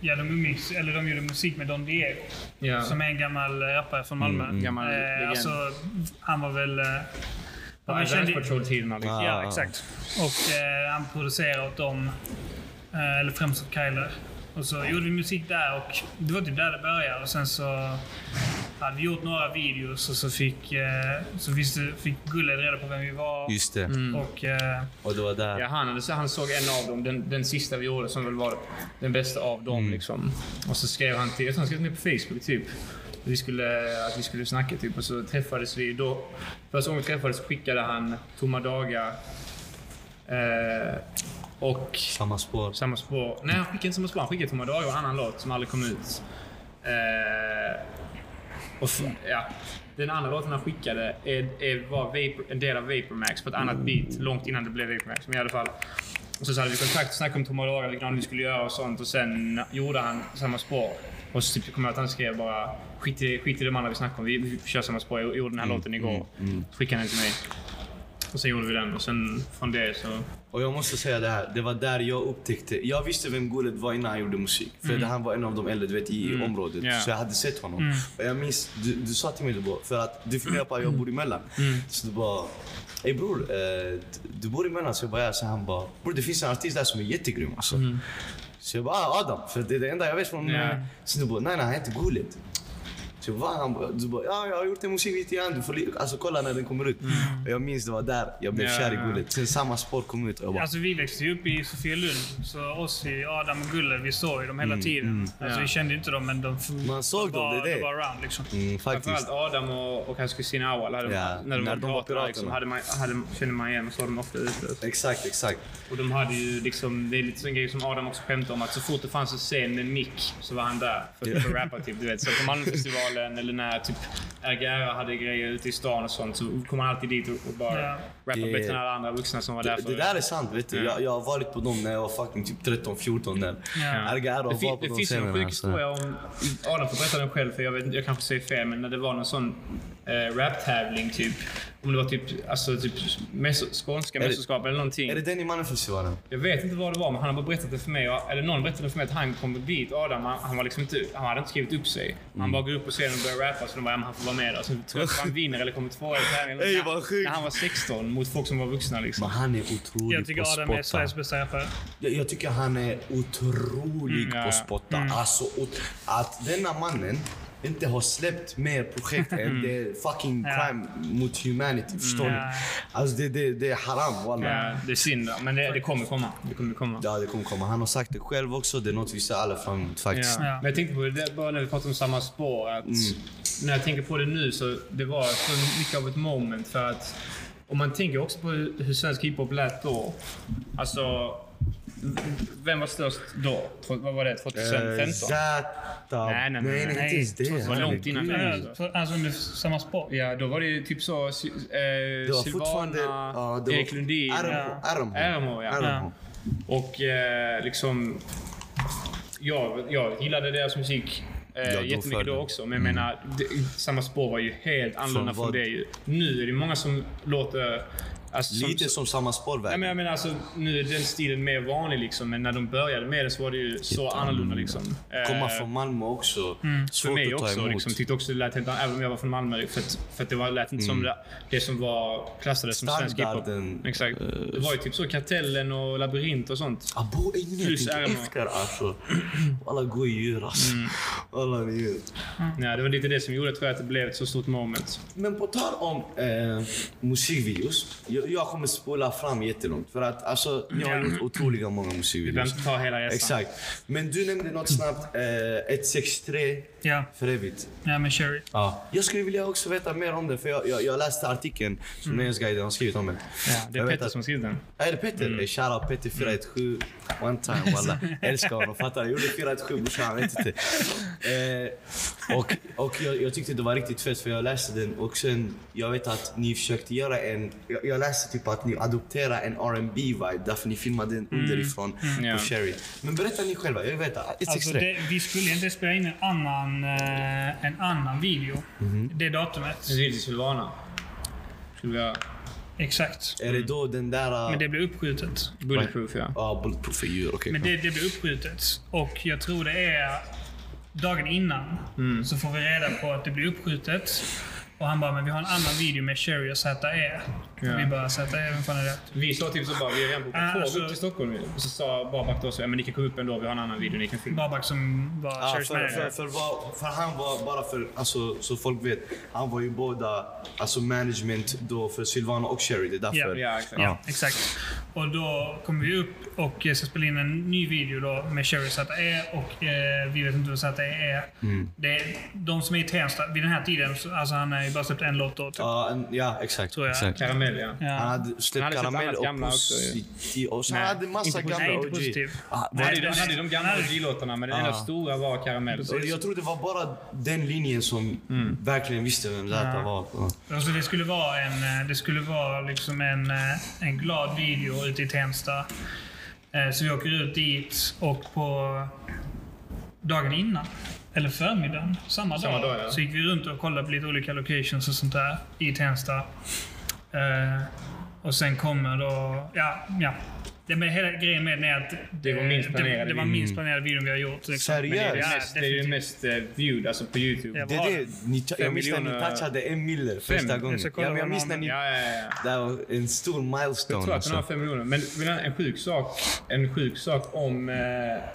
[SPEAKER 4] Ja, de, umgicks, eller de gjorde musik med Don Diego.
[SPEAKER 2] Ja.
[SPEAKER 4] Som är en gammal eh, rappare från Malmö.
[SPEAKER 2] Gammal
[SPEAKER 4] eh,
[SPEAKER 2] legend.
[SPEAKER 4] alltså, han var väl... Eh,
[SPEAKER 2] På
[SPEAKER 4] han var
[SPEAKER 2] Advance
[SPEAKER 4] känd,
[SPEAKER 2] Patrol-tiderna. Liksom.
[SPEAKER 1] Ah.
[SPEAKER 4] ja, exakt. Och eh, han producerade åt dem. Eh, eller främst åt Kyler. Och så gjorde vi musik där och det var typ där det började. Och sen så hade vi gjort några videos och så fick, eh, så visste, fick Gulled reda på vem vi var.
[SPEAKER 1] Just det.
[SPEAKER 4] Och... Eh,
[SPEAKER 1] Och det var där.
[SPEAKER 2] Ja, han, hade- så han såg en av dem, den, den sista vi gjorde, som väl var den bästa av dem.
[SPEAKER 1] Mm.
[SPEAKER 2] Liksom. Och så skrev han till, jag tror han skrev till mig på Facebook typ. Vi skulle, att vi skulle snacka typ och så träffades vi då. Första gången vi träffades skickade han Tomma dagar. Eh, och
[SPEAKER 1] Samma spår.
[SPEAKER 2] Samma spår. Nej, han skickade inte samma spår. Han skickade Tomma Dagar och en annan låt som aldrig kom ut. Eh, och f- ja. Den andra låten han skickade är, är, var Vapor, en del av Vapormax på ett annat beat långt innan det blev Vapormax. Men i alla fall. Och så, så hade vi kontakt och snackade om Tomma Dagar, vilken vi skulle göra och sånt. Och sen gjorde han samma spår. Och så typ kom jag att han skrev bara skit i, skit i de andra vi snackade om. Vi, vi kör samma spår. Jag gjorde den här låten igår. Skickade den till mig. Och sen gjorde vi den och sen från det så...
[SPEAKER 1] Och jag måste säga det här, det var där jag upptäckte. Jag visste vem Gullet var innan han gjorde musik. För han var en av de äldre du vet, i området.
[SPEAKER 2] Mm. Ja. Mm.
[SPEAKER 1] Så jag hade sett honom. Och jag minns, du, du sa till mig det bara, för att du funderar på att jag
[SPEAKER 2] Mm.
[SPEAKER 1] bor emellan. Så du bara, ey bror, eh, du- du bor emellan. Så jag bara, ja. Så han bara, bror det finns en artist där som är jättegrym alltså. Så jag bara, ah, Adam, för det är det enda jag vet från...
[SPEAKER 2] Mm. Ja.
[SPEAKER 1] Så du bara, nej nej han heter Gullet. Så jag bara, va? Han bara, du bara, ja jag har gjort en musikvideo till han. Du får li- alltså kolla när den kommer ut. Och jag minns det var där jag blev
[SPEAKER 2] Mm. Ja,
[SPEAKER 1] kär i
[SPEAKER 2] ja.
[SPEAKER 1] Gullet. Sen samma spår kom ut och jag bara,
[SPEAKER 4] Alltså vi växte ju upp i Sofielund, så oss i Adam och Gulle, vi såg ju dem
[SPEAKER 1] Mm,
[SPEAKER 4] hela tiden. alltså
[SPEAKER 2] Ja.
[SPEAKER 4] vi kände ju inte dem, men de,
[SPEAKER 1] Man såg
[SPEAKER 4] de,
[SPEAKER 1] dem,
[SPEAKER 4] var,
[SPEAKER 1] det är
[SPEAKER 4] de
[SPEAKER 1] det.
[SPEAKER 4] var around liksom.
[SPEAKER 1] Mm, faktiskt.
[SPEAKER 2] Framförallt Adam och, och hans kusin Awal. Hade,
[SPEAKER 1] Ja,
[SPEAKER 2] när de var pirater liksom,
[SPEAKER 1] piraterna.
[SPEAKER 2] hade man, hade, kände man igen och såg dem ofta ute.
[SPEAKER 1] Exakt, exakt.
[SPEAKER 2] Och de hade ju liksom, det är lite sån grej som Adam också skämtade om. Att så fort det fanns en scen med en mick så var han där för att rappa. Typ, du vet. Så på Malmöfestivalen eller när typ Agera hade grejer ute i stan och sånt så kom han alltid dit och, och bara
[SPEAKER 4] Ja.
[SPEAKER 2] rappa
[SPEAKER 1] Det-
[SPEAKER 2] bättre än alla andra vuxna som var där
[SPEAKER 1] Det,
[SPEAKER 2] förut.
[SPEAKER 1] det där är sant, vet du.
[SPEAKER 2] Ja.
[SPEAKER 1] Jag, jag har varit på dem när jag var fucking typ 13, 14 där.
[SPEAKER 4] Ja.
[SPEAKER 1] Argaro
[SPEAKER 2] Det,
[SPEAKER 1] var
[SPEAKER 2] fin-
[SPEAKER 1] på
[SPEAKER 2] det
[SPEAKER 1] de
[SPEAKER 2] finns ju en sjuk
[SPEAKER 1] scenerna. alltså. så-
[SPEAKER 2] historia om... Adam får berätta den själv, för jag, vet, jag kanske säger fel, men när det var någon sån eh, rap-tävling typ. Om det var typ, alltså, typ mässo- skånska
[SPEAKER 1] det-
[SPEAKER 2] mästerskap eller någonting.
[SPEAKER 1] Är det den i Mannefestivalen?
[SPEAKER 2] Jag vet inte vad det var, men han har bara berättat det för mig. och- Eller någon berättade för mig att han kom dit, Adam, han, han var liksom inte, han hade inte skrivit upp sig.
[SPEAKER 1] Mm.
[SPEAKER 2] Han bara går upp på scenen och börjar rappa, så de bara, ja, men han får vara med där. Så tror jag att han vinner eller kommer tvåa i tävlingen.
[SPEAKER 1] Ey,
[SPEAKER 2] När-
[SPEAKER 1] vad sjukt.
[SPEAKER 2] När han var 16 mot folk som var vuxna
[SPEAKER 1] Men
[SPEAKER 2] liksom.
[SPEAKER 1] han är otrolig
[SPEAKER 4] Jag tycker
[SPEAKER 1] på
[SPEAKER 4] Adam är
[SPEAKER 1] att spotta.
[SPEAKER 4] Sveriges bästa rappare.
[SPEAKER 1] Jag, jag tycker han är otrolig
[SPEAKER 2] Mm, ja,
[SPEAKER 1] på
[SPEAKER 2] ja.
[SPEAKER 1] att spotta. Alltså, ot- att denna mannen inte har släppt mer projekt
[SPEAKER 2] Mm.
[SPEAKER 1] än det är fucking
[SPEAKER 4] Ja.
[SPEAKER 1] crime mot humanity. Förstår
[SPEAKER 4] Ja.
[SPEAKER 1] ni? Alltså det, det, det är haram wallah.
[SPEAKER 2] Ja, det är synd, men det, det kommer komma. Det kommer komma.
[SPEAKER 1] Ja, det kommer komma. Han har sagt det själv också. Det är något vi ser alla fram emot faktiskt.
[SPEAKER 2] Ja. Men jag tänkte på det, det, bara när vi pratade om samma
[SPEAKER 1] Mm.
[SPEAKER 2] spår, att när jag tänker på det nu så det var så mycket av ett moment för att Och man tänker också på hur hur svensk hiphop lät då. Alltså, vem var störst då? Tro- Vad var det? 2015?
[SPEAKER 1] Eh, Zäta.
[SPEAKER 2] Nej, nej,
[SPEAKER 1] nej,
[SPEAKER 2] nej, nej.
[SPEAKER 1] inte ens det.
[SPEAKER 2] Det var långt innan
[SPEAKER 1] Herregud.
[SPEAKER 2] det.
[SPEAKER 4] Ja, för- Alltså under samma sport.
[SPEAKER 2] Ja, då var det ju typ så sy- eh,
[SPEAKER 1] Det var fortfarande...
[SPEAKER 2] Silvana,
[SPEAKER 1] ja, det var-
[SPEAKER 2] Erik Lundin.
[SPEAKER 1] Armo. Armo.
[SPEAKER 2] Ärmo, ja.
[SPEAKER 1] Armo.
[SPEAKER 2] Och eh, liksom... Jag, jag gillade deras musik eh,
[SPEAKER 1] Ja, då
[SPEAKER 2] jättemycket
[SPEAKER 1] följde. Mm.
[SPEAKER 2] då också. Men jag menar, det, samma spår var ju helt annorlunda från
[SPEAKER 1] vad?
[SPEAKER 2] det ju. Nu är det många som låter... Alltså, som-
[SPEAKER 1] Lite som samma
[SPEAKER 2] Nej,
[SPEAKER 1] spårväg.
[SPEAKER 2] men jag menar alltså, nu är den stilen mer vanlig liksom, men när de började med det så var det ju så annorlunda liksom. Eh, mm.
[SPEAKER 1] Komma från Malmö också.
[SPEAKER 2] för
[SPEAKER 1] Svårt
[SPEAKER 2] mig
[SPEAKER 1] att ta
[SPEAKER 2] också.
[SPEAKER 1] emot.
[SPEAKER 2] Liksom, tyckte också det lät helt annorlunda, även om jag var från Malmö. För att, för att det var, lät inte som det, det som var klassades som svensk hiphop.
[SPEAKER 1] Mm. Standarden, eh,
[SPEAKER 2] Exakt. det var ju typ så Kartellen och Labyrint och sånt.
[SPEAKER 1] Abo är inget
[SPEAKER 2] Plus
[SPEAKER 1] inte
[SPEAKER 2] Armo. Mm.
[SPEAKER 1] älskar alltså. Alla går djur alltså. Alla djur.
[SPEAKER 2] Nej, det var lite det som gjorde tror jag, att det blev ett så stort moment.
[SPEAKER 1] Men på tal om eh, musikvideos. Jag, jag kommer spola fram jättelångt. För att alltså, ni har gjort otroliga många
[SPEAKER 2] Vi
[SPEAKER 1] musikvideos.
[SPEAKER 2] behöver inte ta hela resan.
[SPEAKER 1] Exakt. Men du nämnde något snabbt. Eh, 163
[SPEAKER 4] Ja,
[SPEAKER 1] för evigt.
[SPEAKER 4] ja men Cherry.
[SPEAKER 1] Ja. Jag skulle vilja också veta mer om det. För jag, jag, jag läste artikeln som Nöjesguiden har skrivit om det.
[SPEAKER 2] Ja, det
[SPEAKER 1] Jag
[SPEAKER 2] är
[SPEAKER 1] vet
[SPEAKER 2] Petter
[SPEAKER 1] att-
[SPEAKER 2] som har skrivit den.
[SPEAKER 1] Är det Petter? Mm. Shoutout Petter 417. One time walla. Älskar honom. Fattar du? Gjorde 417 brorsan. Han vet inte. Eh, och och jag, jag tyckte det var riktigt fett för jag läste den och sen jag vet att ni försökte göra en... Jag, jag läste typ att ni adopterade en rb vibe därför ni filmade den underifrån
[SPEAKER 2] Ja.
[SPEAKER 1] på Sherry. Men berätta ni själva. Jag vill veta. Ett
[SPEAKER 4] Alltså
[SPEAKER 1] extra.
[SPEAKER 4] det, vi skulle inte spela in en annan, eh, en annan video. Det datumet.
[SPEAKER 2] Cecilia Silvana. Skulle vi ha
[SPEAKER 4] Exakt.
[SPEAKER 1] Är det då den där...
[SPEAKER 4] Mm. Men det blev uppskjutet.
[SPEAKER 2] Bulletproof, ja.
[SPEAKER 1] Ja, bulletproof för djur. Okej.
[SPEAKER 4] Men det, det blev uppskjutet. Och jag tror det är dagen innan så får vi reda på att det blir uppskjutet. Och han bara, men vi har en annan video med Sherry och ZE.
[SPEAKER 2] Ja.
[SPEAKER 4] Och Vi bara, ZE, vem fan är det?
[SPEAKER 2] Vi sa typ så bara, vi är redan på
[SPEAKER 4] Ah,
[SPEAKER 2] tåg
[SPEAKER 4] alltså-
[SPEAKER 2] upp till Stockholm. ju. Och så sa Babak då så, ja men ni kan komma upp ändå, vi har en annan video ni kan filma.
[SPEAKER 4] Babak som var
[SPEAKER 1] Ja,
[SPEAKER 4] Sherrys
[SPEAKER 1] Ah, för, för,
[SPEAKER 4] manager.
[SPEAKER 1] för, vad, för han var, bara för, alltså, så folk vet, han var ju båda alltså management då för Silvana och Sherry. Det är därför.
[SPEAKER 4] Ja.
[SPEAKER 2] Ja, exakt.
[SPEAKER 4] Ja, exakt. Och då kommer vi upp och eh, ska spela in en ny video då med Cherry ZE och eh, vi vet inte vad ZE är. Det är. De som är i Tensta, vid den här tiden, så, alltså han har ju bara släppt en låt då. Typ.
[SPEAKER 1] Ja, en- ja, exakt.
[SPEAKER 4] Tror jag.
[SPEAKER 1] exakt.
[SPEAKER 2] Karamell, ja.
[SPEAKER 1] Han
[SPEAKER 4] Ja.
[SPEAKER 1] hade
[SPEAKER 2] Han
[SPEAKER 1] släppt
[SPEAKER 2] hade släppt
[SPEAKER 1] Karamell
[SPEAKER 2] annat
[SPEAKER 1] och
[SPEAKER 2] gamla också, ju.
[SPEAKER 1] Positiv. Och så
[SPEAKER 2] Nej,
[SPEAKER 1] han hade massa
[SPEAKER 2] inte
[SPEAKER 1] gamla
[SPEAKER 4] Nej, inte
[SPEAKER 1] OG.
[SPEAKER 4] positiv.
[SPEAKER 1] Ah,
[SPEAKER 2] Var det,
[SPEAKER 4] Nej,
[SPEAKER 2] de hade ju de gamla
[SPEAKER 4] nej.
[SPEAKER 2] OG-låtarna, men den enda
[SPEAKER 1] Ah.
[SPEAKER 2] stora var Karamell.
[SPEAKER 1] och jag tror det var bara den linjen som
[SPEAKER 2] Mm.
[SPEAKER 1] verkligen visste vem Zäta var. Ja.
[SPEAKER 4] Alltså det skulle vara en, eh, det skulle vara liksom en, eh, en glad video ute i Tensta. Eh, Så vi åker ut dit och på dagen innan, eller förmiddagen, samma,
[SPEAKER 2] Samma
[SPEAKER 4] dag,
[SPEAKER 2] dag, ja.
[SPEAKER 4] så gick vi runt och kollade på lite olika locations och sånt där i Tensta. Eh, Och sen kommer då, ja, ja. Det med hela grejen med den är att
[SPEAKER 2] Det var minst planerade
[SPEAKER 4] det, det var
[SPEAKER 2] videon.
[SPEAKER 4] minst planerade videon vi har gjort. liksom.
[SPEAKER 2] Men det är ju
[SPEAKER 1] Seriöst?
[SPEAKER 4] Ja,
[SPEAKER 2] mest, det är ju
[SPEAKER 4] definitivt.
[SPEAKER 2] mest eh, viewed alltså på YouTube.
[SPEAKER 4] Ja,
[SPEAKER 1] Det är det, ni, jag
[SPEAKER 2] Fem
[SPEAKER 1] minns när ni
[SPEAKER 2] miljoner-
[SPEAKER 1] touchade en mille första
[SPEAKER 2] Fem?
[SPEAKER 1] gången.
[SPEAKER 4] Jag ska kolla
[SPEAKER 1] Ja, men jag
[SPEAKER 4] vad
[SPEAKER 1] minns
[SPEAKER 4] man-
[SPEAKER 1] när ni...
[SPEAKER 2] Ja, ja, ja.
[SPEAKER 1] Det var en stor milestone.
[SPEAKER 2] Jag tror att den har
[SPEAKER 1] alltså.
[SPEAKER 2] fem miljoner. Men men en sjuk sak, en sjuk sak om eh,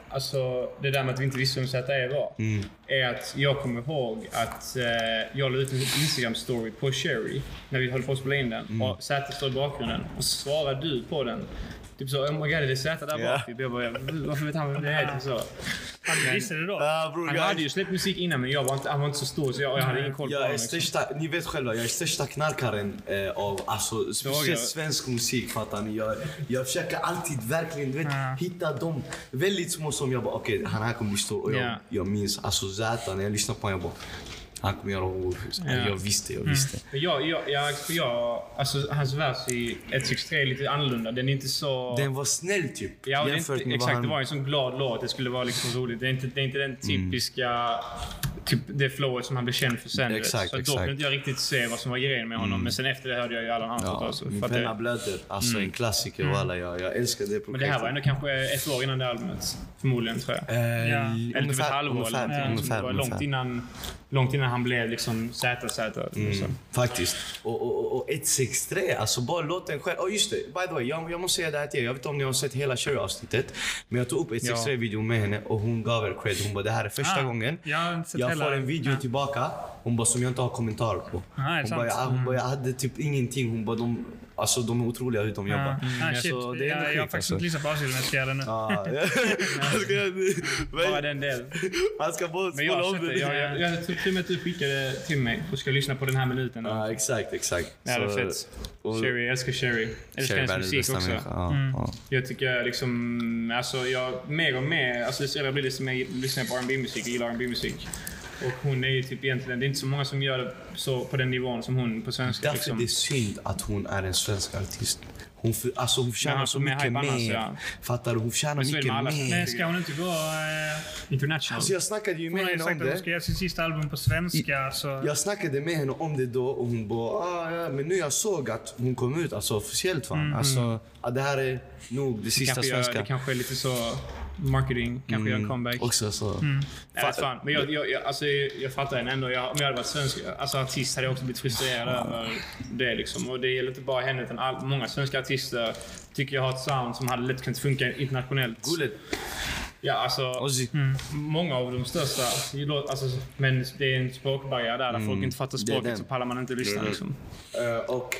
[SPEAKER 2] alltså, det där med att vi inte visste vem ZE var.
[SPEAKER 1] Mm.
[SPEAKER 2] Är att jag kommer ihåg att eh, jag la ut en Instagram-story på Sherry när vi höll på att spela in den.
[SPEAKER 1] Mm.
[SPEAKER 2] Och ZE står i bakgrunden och så svarar du på den. Typ så oh my god, är det ZE där
[SPEAKER 1] Ja.
[SPEAKER 2] bak? Typ, Jag bara, varför vet han vem det är? Typ så.
[SPEAKER 4] Han visste det då.
[SPEAKER 1] Ja, bror,
[SPEAKER 2] Han
[SPEAKER 1] jag-
[SPEAKER 2] hade ju släppt musik innan men jag var inte, han var inte så stor så jag, jag hade ingen koll på
[SPEAKER 1] Jag
[SPEAKER 2] honom.
[SPEAKER 1] är
[SPEAKER 2] liksom.
[SPEAKER 1] största, ni vet själva, jag är största knarkaren eh, av alltså,
[SPEAKER 2] Fråga.
[SPEAKER 1] speciellt svensk musik fattar ni. Jag, jag försöker alltid verkligen du vet,
[SPEAKER 4] Ja.
[SPEAKER 1] hitta dem väldigt små som jag bara okej han här kommer bli stor och jag,
[SPEAKER 2] Ja.
[SPEAKER 1] jag minns alltså Zäta när jag lyssnar på honom jag bara han kommer göra horhus.
[SPEAKER 2] Ja. Mm.
[SPEAKER 1] Jag visste, jag visste.
[SPEAKER 2] Men jag, jag, jag, för jag, alltså hans vers i 163 är lite annorlunda. Den är inte så...
[SPEAKER 1] Den var snäll typ
[SPEAKER 2] Ja, och det är
[SPEAKER 1] jämfört
[SPEAKER 2] inte,
[SPEAKER 1] med vad
[SPEAKER 2] exakt,
[SPEAKER 1] han... Mm.
[SPEAKER 2] det var en sån glad låt. Det skulle vara liksom roligt. Det är inte, det är inte den typiska... Typ det flowet som han blev känd för sen. du vet.
[SPEAKER 1] Exakt,
[SPEAKER 2] så att då
[SPEAKER 1] exakt. Mm.
[SPEAKER 2] kunde inte jag riktigt se vad som var grejen med honom. Men sen efter det hörde jag ju alla hans låtar.
[SPEAKER 1] ja,
[SPEAKER 2] också.
[SPEAKER 1] min
[SPEAKER 2] För att
[SPEAKER 1] penna
[SPEAKER 2] det-
[SPEAKER 1] blöder. Alltså
[SPEAKER 2] Mm.
[SPEAKER 1] en klassiker walla. Jag, jag älskar det projektet.
[SPEAKER 2] Men det här var ändå kanske ett år innan det albumet. Förmodligen, tror jag.
[SPEAKER 1] Eh,
[SPEAKER 4] Ja.
[SPEAKER 2] Eller typ ett
[SPEAKER 1] ungefär-
[SPEAKER 2] halvår.
[SPEAKER 1] ungefär,
[SPEAKER 2] eller någonting.
[SPEAKER 1] ungefär,
[SPEAKER 2] det var
[SPEAKER 1] ungefär.
[SPEAKER 2] långt innan, långt innan han blev liksom ZZ.
[SPEAKER 1] Mm.
[SPEAKER 2] så.
[SPEAKER 1] Faktiskt. Och, och, och- och 163, alltså bara låt den själv. Oh, just det, by the way, jag, jag måste säga det här till er. Jag vet inte om ni har sett hela Cherry-avsnittet. Men jag tog upp 163-videon med henne och hon gav er cred. Hon bara, det här är första
[SPEAKER 4] Ah,
[SPEAKER 1] gången
[SPEAKER 4] jag har inte sett
[SPEAKER 1] jag
[SPEAKER 4] hela-
[SPEAKER 1] får en video
[SPEAKER 4] ja.
[SPEAKER 2] Ah,
[SPEAKER 1] tillbaka. Hon bara, som jag inte har kommentarer på.
[SPEAKER 4] är
[SPEAKER 1] hon,
[SPEAKER 4] sant.
[SPEAKER 2] Mm.
[SPEAKER 1] bara, jag, hon bara, jag hade typ ingenting. Hon bara, de, Alltså de är otroliga hur de jobbar.
[SPEAKER 2] mm.
[SPEAKER 4] Ah, shit.
[SPEAKER 1] Så det är ändå
[SPEAKER 4] jag, jag har
[SPEAKER 1] sjukt,
[SPEAKER 4] faktiskt
[SPEAKER 1] alltså.
[SPEAKER 4] inte lyssnat på avsnittet, men jag ska göra det nu.
[SPEAKER 1] Ah, ja. Man ska-
[SPEAKER 2] Bara
[SPEAKER 1] men-
[SPEAKER 2] den delen.
[SPEAKER 1] Man ska bara
[SPEAKER 2] Men jag
[SPEAKER 1] spola
[SPEAKER 2] har
[SPEAKER 1] om
[SPEAKER 2] sett det. Jag,
[SPEAKER 1] det.
[SPEAKER 2] jag, jag tror till och med att du skickade till mig och ska lyssna på den här minuten. Ja,
[SPEAKER 1] Ja, exakt, exakt.
[SPEAKER 2] det är
[SPEAKER 1] Så-
[SPEAKER 2] fett.
[SPEAKER 1] och-
[SPEAKER 2] Sherry, jag älskar Sherry. Älskar
[SPEAKER 1] Cherry Bell
[SPEAKER 2] hennes
[SPEAKER 1] är
[SPEAKER 2] musik
[SPEAKER 1] bästa
[SPEAKER 2] också. Mm.
[SPEAKER 1] människa. Ja, ja.
[SPEAKER 2] Jag tycker liksom, alltså jag, mer och mer, alltså desto äldre jag blir desto mer lyssnar jag på R&B musik och gillar R&B musik Och hon är ju typ egentligen, det är inte så många som gör det så på den nivån som hon på svenska.
[SPEAKER 1] Därför
[SPEAKER 2] Liksom.
[SPEAKER 1] det är synd att hon är en svensk artist. Hon, för, alltså hon förtjänar
[SPEAKER 2] Ja,
[SPEAKER 1] så
[SPEAKER 2] med
[SPEAKER 1] mycket
[SPEAKER 2] hype
[SPEAKER 1] mer.
[SPEAKER 2] annars, alltså, ja.
[SPEAKER 1] Fattar du? Hon förtjänar
[SPEAKER 2] Men så är det
[SPEAKER 1] mycket
[SPEAKER 2] med alla.
[SPEAKER 1] mer.
[SPEAKER 4] Men ska hon inte gå... Eh,
[SPEAKER 2] International.
[SPEAKER 1] Alltså jag snackade ju
[SPEAKER 4] hon
[SPEAKER 1] med
[SPEAKER 4] har ju
[SPEAKER 1] henne om
[SPEAKER 4] sagt att hon
[SPEAKER 1] det.
[SPEAKER 4] ska göra sitt sista album på svenska. Så.
[SPEAKER 1] Jag snackade med henne om det då och hon bara ah, ja, men nu jag såg att hon kom ut alltså officiellt fan. Alltså, ah, det här är nog det sista
[SPEAKER 2] Mm, kanske gör, det
[SPEAKER 1] svenska. Mm.
[SPEAKER 2] kanske är lite så marketing, kanske gör en comeback. Mm.
[SPEAKER 1] Också så.
[SPEAKER 2] Jag vet fan. Men jag, jag, jag, alltså, jag fattar henne ändå. Jag, om jag hade varit svensk alltså, artist hade jag också blivit frustrerad över det. Liksom. Och det gäller inte bara henne, utan all, många svenska artister tycker jag har ett sound som hade lätt kunnat funka internationellt.
[SPEAKER 1] Gullet.
[SPEAKER 2] Ja, alltså,
[SPEAKER 1] Ozzy.
[SPEAKER 2] många av de största. det låter- Alltså, men det är en språkbarriär där, där folk inte fattar
[SPEAKER 1] Mm. det är den.
[SPEAKER 2] språket så pallar man inte lyssna.
[SPEAKER 1] Mm.
[SPEAKER 2] Liksom.
[SPEAKER 1] Eh, och...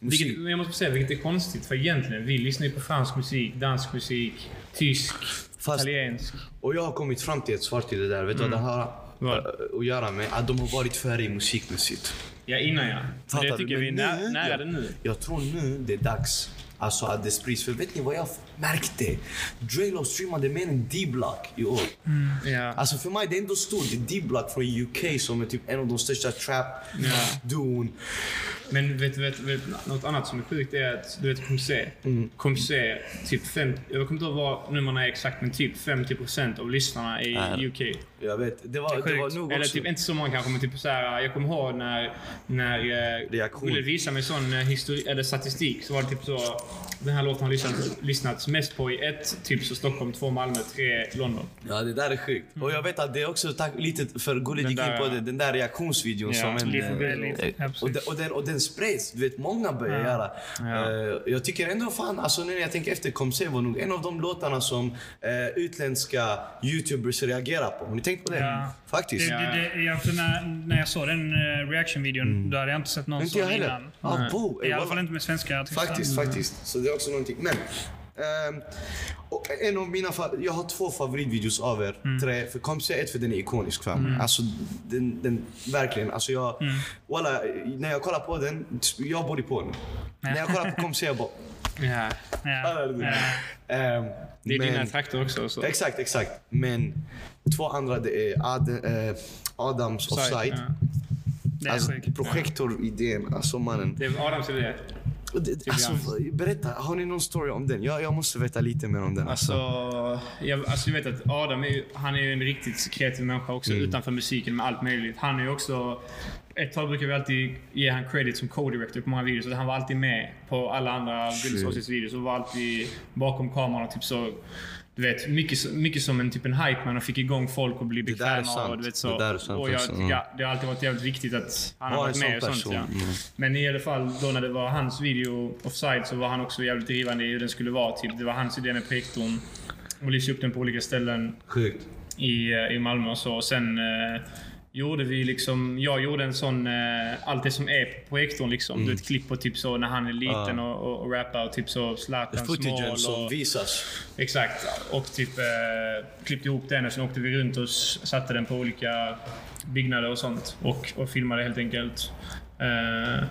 [SPEAKER 2] Vilket,
[SPEAKER 1] Musik.
[SPEAKER 2] men jag måste säga, vilket är konstigt, för egentligen, vi lyssnar ju på fransk musik, dansk musik, tysk,
[SPEAKER 1] Fast,
[SPEAKER 2] italiensk.
[SPEAKER 1] och jag har kommit fram till ett svar till det där. Vet du vad det har
[SPEAKER 2] Mm. Vad?
[SPEAKER 1] eh, att göra med? Att de har varit före i musikmässigt.
[SPEAKER 2] Ja, innan ja. Men
[SPEAKER 1] Fattar
[SPEAKER 2] det
[SPEAKER 1] du?
[SPEAKER 2] tycker vi är
[SPEAKER 1] Men
[SPEAKER 2] nä-
[SPEAKER 1] nu-
[SPEAKER 2] nära
[SPEAKER 1] ja.
[SPEAKER 2] det nu.
[SPEAKER 1] Jag tror nu det är dags alltså att det sprids. För vet ni vad jag märkte? Drelo streamade mer än D-Block i år.
[SPEAKER 2] Ja.
[SPEAKER 1] Alltså för mig det är ändå stort. Det är D-Block från UK som är typ en av de största trap-duon.
[SPEAKER 2] Men vet du vet, vet, något annat som är sjukt är att du vet Comsé.
[SPEAKER 1] Mm.
[SPEAKER 2] Comsé, typ fem, jag kommer inte ihåg vad numren är exakt men typ 50% av lyssnarna i
[SPEAKER 1] Är-
[SPEAKER 2] UK.
[SPEAKER 1] Jag vet, det var, det,
[SPEAKER 4] sjukt.
[SPEAKER 1] var nog
[SPEAKER 2] Eller
[SPEAKER 1] också.
[SPEAKER 2] typ inte så många kanske men typ så här, jag kommer ihåg när, när eh,
[SPEAKER 1] Reaktion.
[SPEAKER 2] Olle visade mig sån eh, histori- eller statistik så var det typ så den här låten har lyssnats, lyssnats mest på i ett, typ så Stockholm, två Malmö, tre London.
[SPEAKER 1] Ja det där är sjukt. Och jag vet att det är också tack, lite för Gulli
[SPEAKER 2] Den
[SPEAKER 1] gick in
[SPEAKER 2] där-
[SPEAKER 1] på det, den där reaktionsvideon
[SPEAKER 2] Ja,
[SPEAKER 1] som en...
[SPEAKER 2] Liv
[SPEAKER 1] eh,
[SPEAKER 2] Forell.
[SPEAKER 4] Väldigt, ja, precis.
[SPEAKER 1] Och den, och, den, och den spreds. Du vet, många började göra. Eh, jag tycker ändå fan, alltså nu när jag tänker efter, Comsé var nog en av de låtarna som eh, utländska youtubers reagerar på. Har ni tänkt på det?
[SPEAKER 4] Ja.
[SPEAKER 1] Faktiskt.
[SPEAKER 4] Det, det, det, jag, för när, när jag såg den eh, reaction-videon, då hade jag inte sett någon
[SPEAKER 1] Mm. Inte jag
[SPEAKER 4] sån
[SPEAKER 1] heller.
[SPEAKER 4] innan.
[SPEAKER 1] Ah, bo,
[SPEAKER 4] I
[SPEAKER 1] eh,
[SPEAKER 4] alla
[SPEAKER 1] wallah.
[SPEAKER 4] fall inte med svenska artister.
[SPEAKER 1] Faktiskt,
[SPEAKER 2] Mm.
[SPEAKER 1] faktiskt. Så det är också någonting. Men, ehm, och en av mina fa- jag har två favoritvideos av er.
[SPEAKER 2] Mm.
[SPEAKER 1] Tre. För Kompisar ett för den är ikonisk för mig. Alltså, den, den, verkligen. Alltså jag,
[SPEAKER 2] Mm.
[SPEAKER 1] walla, när jag kollar på den, jag bor i Polen. När jag kollar på Kompisar, jag bara... "Äh,
[SPEAKER 2] Ja.
[SPEAKER 4] Ja. Ja.
[SPEAKER 1] Ehm,
[SPEAKER 2] Det är dina
[SPEAKER 1] men-
[SPEAKER 2] trakter också. Så.
[SPEAKER 1] Exakt, exakt. Men två andra, det är Ad, eh, Adams
[SPEAKER 2] Offside,
[SPEAKER 1] Offside.
[SPEAKER 2] ja.
[SPEAKER 4] Det är
[SPEAKER 1] Alltså,
[SPEAKER 4] sjukt.
[SPEAKER 1] projektoridén, alltså mannen.
[SPEAKER 2] Det är Adams idé.
[SPEAKER 1] Och det- Alltså, berätta, har ni någon story om den? Jag, jag måste veta lite mer om den.
[SPEAKER 2] Alltså, jag, alltså jag vet att Adam är, ju- han är ju en riktigt kreativ människa också
[SPEAKER 1] Mm.
[SPEAKER 2] utanför musiken med allt möjligt. Han är ju också... Ett tag brukar vi alltid ge han credit som co-director på många videos. Så han var alltid med på alla andra Guldsausits videos och var alltid bakom kameran och typ så... Du vet, mycket, så- mycket som en, typ en hype man och fick igång folk och bli
[SPEAKER 1] där är
[SPEAKER 2] bekväma.
[SPEAKER 1] sant.
[SPEAKER 2] Och, du vet, så.
[SPEAKER 1] Det där är sant
[SPEAKER 2] och jag,
[SPEAKER 1] också, mm.
[SPEAKER 2] ja, det har alltid varit jävligt viktigt att han
[SPEAKER 1] Ja,
[SPEAKER 2] har
[SPEAKER 1] en
[SPEAKER 2] varit
[SPEAKER 1] sån
[SPEAKER 2] med och sånt.
[SPEAKER 1] person,
[SPEAKER 2] Ja.
[SPEAKER 1] mm.
[SPEAKER 2] Men i alla fall då när det var hans video offside så var han också jävligt drivande i hur den skulle vara. Typ. Det var hans idé med projektorn. Och lyfte upp den på olika ställen
[SPEAKER 1] Sjukt.
[SPEAKER 2] i, eh, i Malmö och så. Och sen eh, gjorde vi liksom... Jag gjorde en sån... Eh, allt det som är på projektorn liksom. Du
[SPEAKER 1] Mm.
[SPEAKER 2] vet klipp på typ så när han är liten och, och, och rappar och typ så Zlatan
[SPEAKER 1] Footagen
[SPEAKER 2] smal
[SPEAKER 1] som
[SPEAKER 2] och... liksom-
[SPEAKER 1] visas.
[SPEAKER 2] Exakt. Och typ eh, klippte ihop den och sen åkte vi runt och s- satte den på olika byggnader och sånt. Och, och filmade helt enkelt. Eh,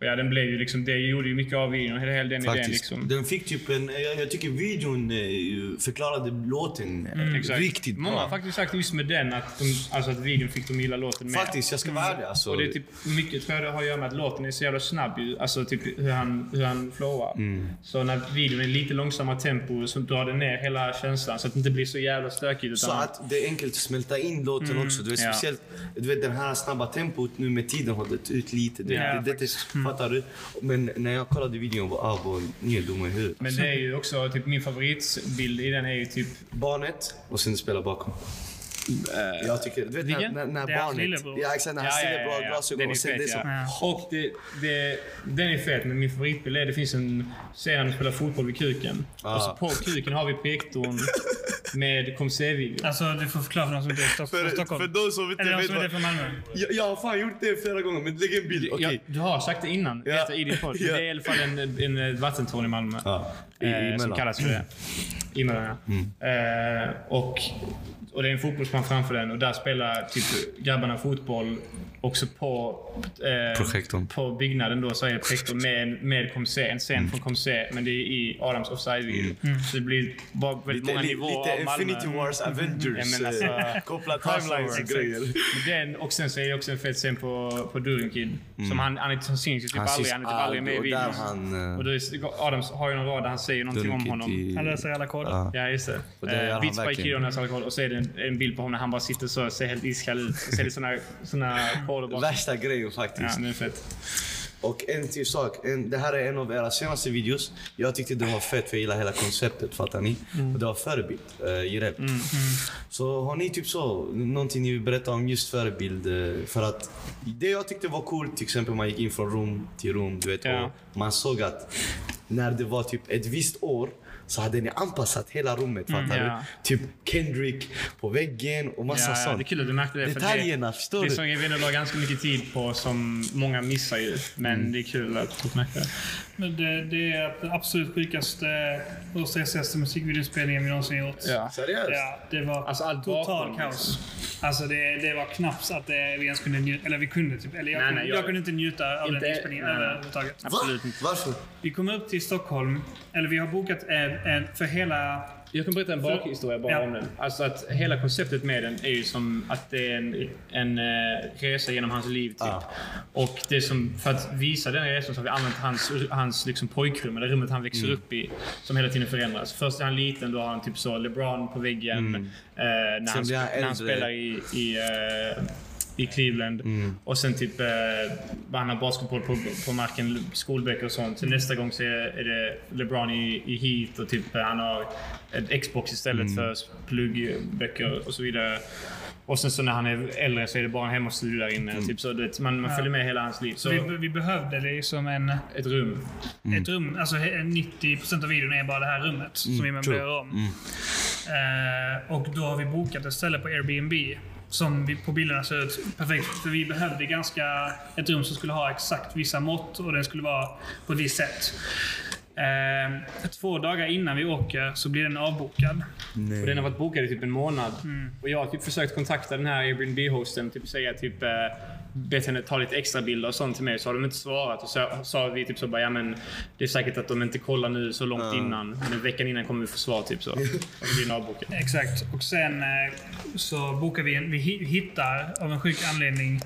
[SPEAKER 2] och ja, den blev ju liksom, det gjorde ju mycket av videon. Hela, hela den idén
[SPEAKER 1] Faktiskt.
[SPEAKER 2] liksom.
[SPEAKER 1] Den fick typ en... Jag, jag tycker videon eh, förklarade låten eh,
[SPEAKER 2] Mm, Exakt.
[SPEAKER 1] riktigt bra.
[SPEAKER 2] Många har faktiskt sagt just med den att, de, alltså att videon fick de gilla låten mer.
[SPEAKER 1] Faktiskt, jag ska vara ärlig. Alltså.
[SPEAKER 2] Och det är typ mycket tror jag det har att göra med att låten är så jävla snabb ju. Alltså typ hur han, hur han flowar.
[SPEAKER 1] Mm.
[SPEAKER 2] Så när videon är lite långsammare tempo så drar den ner hela känslan så att det inte blir så jävla stökigt.
[SPEAKER 1] Så
[SPEAKER 2] Utan
[SPEAKER 1] att det är enkelt att smälta in låten också. Du vet,
[SPEAKER 2] Mm, ja.
[SPEAKER 1] speciellt du vet, den här snabba tempot nu med tiden har dött ut lite. Det,
[SPEAKER 2] Ja,
[SPEAKER 1] det, det,
[SPEAKER 2] faktiskt. Mm.
[SPEAKER 1] Fattar du? Men när jag kollade videon var Abo helt dum i huvudet.
[SPEAKER 2] Men det är ju också typ min favoritbild i den är ju typ...
[SPEAKER 1] barnet och sen spela bakom. Eh, jag tycker, du vet när,
[SPEAKER 2] vilken?
[SPEAKER 1] när, när
[SPEAKER 4] Det är hans
[SPEAKER 1] barnet...
[SPEAKER 4] lillebror.
[SPEAKER 1] Ja exakt, när hans lillebror har
[SPEAKER 2] Den
[SPEAKER 1] glasögon
[SPEAKER 2] är
[SPEAKER 1] och sen
[SPEAKER 2] fet,
[SPEAKER 1] det som...
[SPEAKER 2] ja. Och det, det, den är fet, men min favoritbild är det finns en scen där de spelar fotboll vid kuken.
[SPEAKER 1] Ah.
[SPEAKER 2] Och så på kuken har vi projektorn med kom se-video.
[SPEAKER 4] Alltså, du får förklara för någon som inte är i Stock- från
[SPEAKER 1] För, för
[SPEAKER 4] Stockholm.
[SPEAKER 1] de som inte
[SPEAKER 4] Eller någon
[SPEAKER 1] vet
[SPEAKER 4] som inte
[SPEAKER 1] vad...
[SPEAKER 4] är från Malmö.
[SPEAKER 1] Jag, jag har fan gjort det flera gånger, men lägg en bild. Okej.
[SPEAKER 2] Ja, du har sagt det innan,
[SPEAKER 1] Ja.
[SPEAKER 2] vet jag, i din podd.
[SPEAKER 1] Ja.
[SPEAKER 2] Det är i alla fall en, en, vattentorn i Malmö.
[SPEAKER 1] Ja, i- i
[SPEAKER 2] eh, som
[SPEAKER 1] Möllan.
[SPEAKER 2] kallas för det. I Möllan, ja.
[SPEAKER 1] Mm.
[SPEAKER 2] eh, och, och det är en fotbollsplan framför den och där spelar typ grabbarna fotboll. Också på, eh,
[SPEAKER 1] Projektorn.
[SPEAKER 2] på byggnaden då så är det projektor med, med Comse, en scen
[SPEAKER 1] Mm.
[SPEAKER 2] från Comse, men det är i Adams offside-video. Så det blir bara väldigt
[SPEAKER 1] Lite,
[SPEAKER 2] många
[SPEAKER 1] li,
[SPEAKER 2] nivåer
[SPEAKER 1] lite
[SPEAKER 2] av Malmö. Mm.
[SPEAKER 1] Infinity Wars
[SPEAKER 2] Ja,
[SPEAKER 1] Avengers.
[SPEAKER 2] men alltså,
[SPEAKER 1] eh, Koppla timelines och
[SPEAKER 2] exakt.
[SPEAKER 1] grejer.
[SPEAKER 2] Den och sen så är det också en fet scen på, på Durinkid.
[SPEAKER 1] Mm.
[SPEAKER 2] Som han, han, är- han syns ju typ aldrig. Han är typ aldrig med i
[SPEAKER 1] och där
[SPEAKER 2] videon.
[SPEAKER 1] han... eh,
[SPEAKER 2] Och då är, Adams har ju någon rad där han säger någonting om
[SPEAKER 1] dunkit
[SPEAKER 2] honom.
[SPEAKER 1] i-
[SPEAKER 4] Han läser alla koder.
[SPEAKER 1] Mm. Ja.
[SPEAKER 2] Ja, just det.
[SPEAKER 1] Och det gör
[SPEAKER 2] Eh,
[SPEAKER 1] han
[SPEAKER 2] Vits by
[SPEAKER 1] verkligen.
[SPEAKER 2] Kironas alkohol och så är det en, en bild på honom när han bara sitter så och ser helt iskall ut. Och så är det såna, såna koder bara.
[SPEAKER 1] Värsta grejen
[SPEAKER 2] Ja,
[SPEAKER 1] faktiskt.
[SPEAKER 2] det är fett.
[SPEAKER 1] Och en till sak. En, det här är en av era senaste videos. Jag tyckte den var fett för jag gillar hela konceptet, fattar ni?
[SPEAKER 2] Mm.
[SPEAKER 1] Och Det var förebild, eh, Jireel. Så har ni typ så, någonting ni vill berätta om just förebild? eh, För att det jag tyckte var coolt, till exempel man gick in från rum till rum, du vet.
[SPEAKER 2] Ja.
[SPEAKER 1] Och man såg att när det var typ ett visst år så hade ni anpassat hela rummet, fattar
[SPEAKER 2] Mm, ja.
[SPEAKER 1] du? Typ Kendrick på väggen och massa
[SPEAKER 2] Ja, ja, det är
[SPEAKER 1] sånt.
[SPEAKER 2] kul att du märkte det. för
[SPEAKER 1] Detaljerna,
[SPEAKER 2] det,
[SPEAKER 1] förstår
[SPEAKER 2] det är
[SPEAKER 1] du?
[SPEAKER 2] som jag vet la ganska mycket tid på som många missar ju. Men
[SPEAKER 1] Mm.
[SPEAKER 2] det är kul att folk märker det.
[SPEAKER 4] Men det, det är det absolut sjukaste och stressigaste musikvideospelningen vi någonsin gjort.
[SPEAKER 2] Ja.
[SPEAKER 1] Seriöst?
[SPEAKER 4] Ja, det var
[SPEAKER 2] Alltså, allt
[SPEAKER 4] total
[SPEAKER 2] bakom, liksom.
[SPEAKER 4] kaos. Alltså det, det var knappt så att det, vi ens kunde njuta. Eller vi kunde typ. Eller jag,
[SPEAKER 2] Nej,
[SPEAKER 4] kunde,
[SPEAKER 2] nej,
[SPEAKER 4] jag,
[SPEAKER 2] jag-
[SPEAKER 4] kunde inte njuta av
[SPEAKER 2] Inte-
[SPEAKER 4] den inspelningen
[SPEAKER 2] nej, nej.
[SPEAKER 4] överhuvudtaget.
[SPEAKER 2] Absolut inte.
[SPEAKER 1] Varför?
[SPEAKER 4] Vi kom upp till Stockholm. Eller vi har bokat en, en för hela...
[SPEAKER 2] Jag kan berätta en bakhistoria bara
[SPEAKER 4] Ja.
[SPEAKER 2] om den. Alltså att hela konceptet med den är ju som att det är en, en eh, resa genom hans liv. Typ.
[SPEAKER 1] Ja.
[SPEAKER 2] Och det är som, för att visa den resan så har vi använt hans, hans liksom pojkrum, eller rummet han växer upp i, som hela tiden förändras. Först är han liten, då har han typ så LeBron på väggen. Eh, när, han,
[SPEAKER 1] blir han
[SPEAKER 2] sp- när han
[SPEAKER 1] äldre.
[SPEAKER 2] spelar i, i, eh, i Cleveland.
[SPEAKER 1] Mm.
[SPEAKER 2] Och sen typ eh, han har basketboll på, på marken, skolböcker och sånt. Sen nästa gång så är, är det LeBron i, i Heat och typ eh, han har ett Xbox istället
[SPEAKER 1] Mm.
[SPEAKER 2] för pluggböcker och så vidare. Och sen så när han är äldre så är det bara en hemmastudio där
[SPEAKER 1] Mm.
[SPEAKER 2] inne. Typ så, det, man man följer med hela hans liv. Så,
[SPEAKER 4] Vi, vi behövde liksom en,
[SPEAKER 2] ett rum.
[SPEAKER 4] ett rum. Alltså he- 90% av videon är bara det här rummet som vi
[SPEAKER 1] true.
[SPEAKER 4] möblerar om. Eh, och då har vi bokat ett ställe på Airbnb. Som vi, på bilderna ser ut perfekt. För vi behövde ganska ett rum som skulle ha exakt vissa mått och den skulle vara på ett visst sätt. Eh, två dagar innan vi åker så blir den avbokad.
[SPEAKER 2] Och den har varit bokad i typ en månad. Och jag har typ försökt kontakta den här Airbnb-hosten typ säga typ eh, bett henne ta lite extra bilder och sånt till mig så har de inte svarat. Och så sa vi typ så bara, ja men det är säkert att de inte kollar nu så långt innan. Men veckan innan kommer vi få svar typ så. Och så blir den avbokad.
[SPEAKER 4] Exakt. Och sen eh, så bokar vi en, vi hi- hittar av en sjuk anledning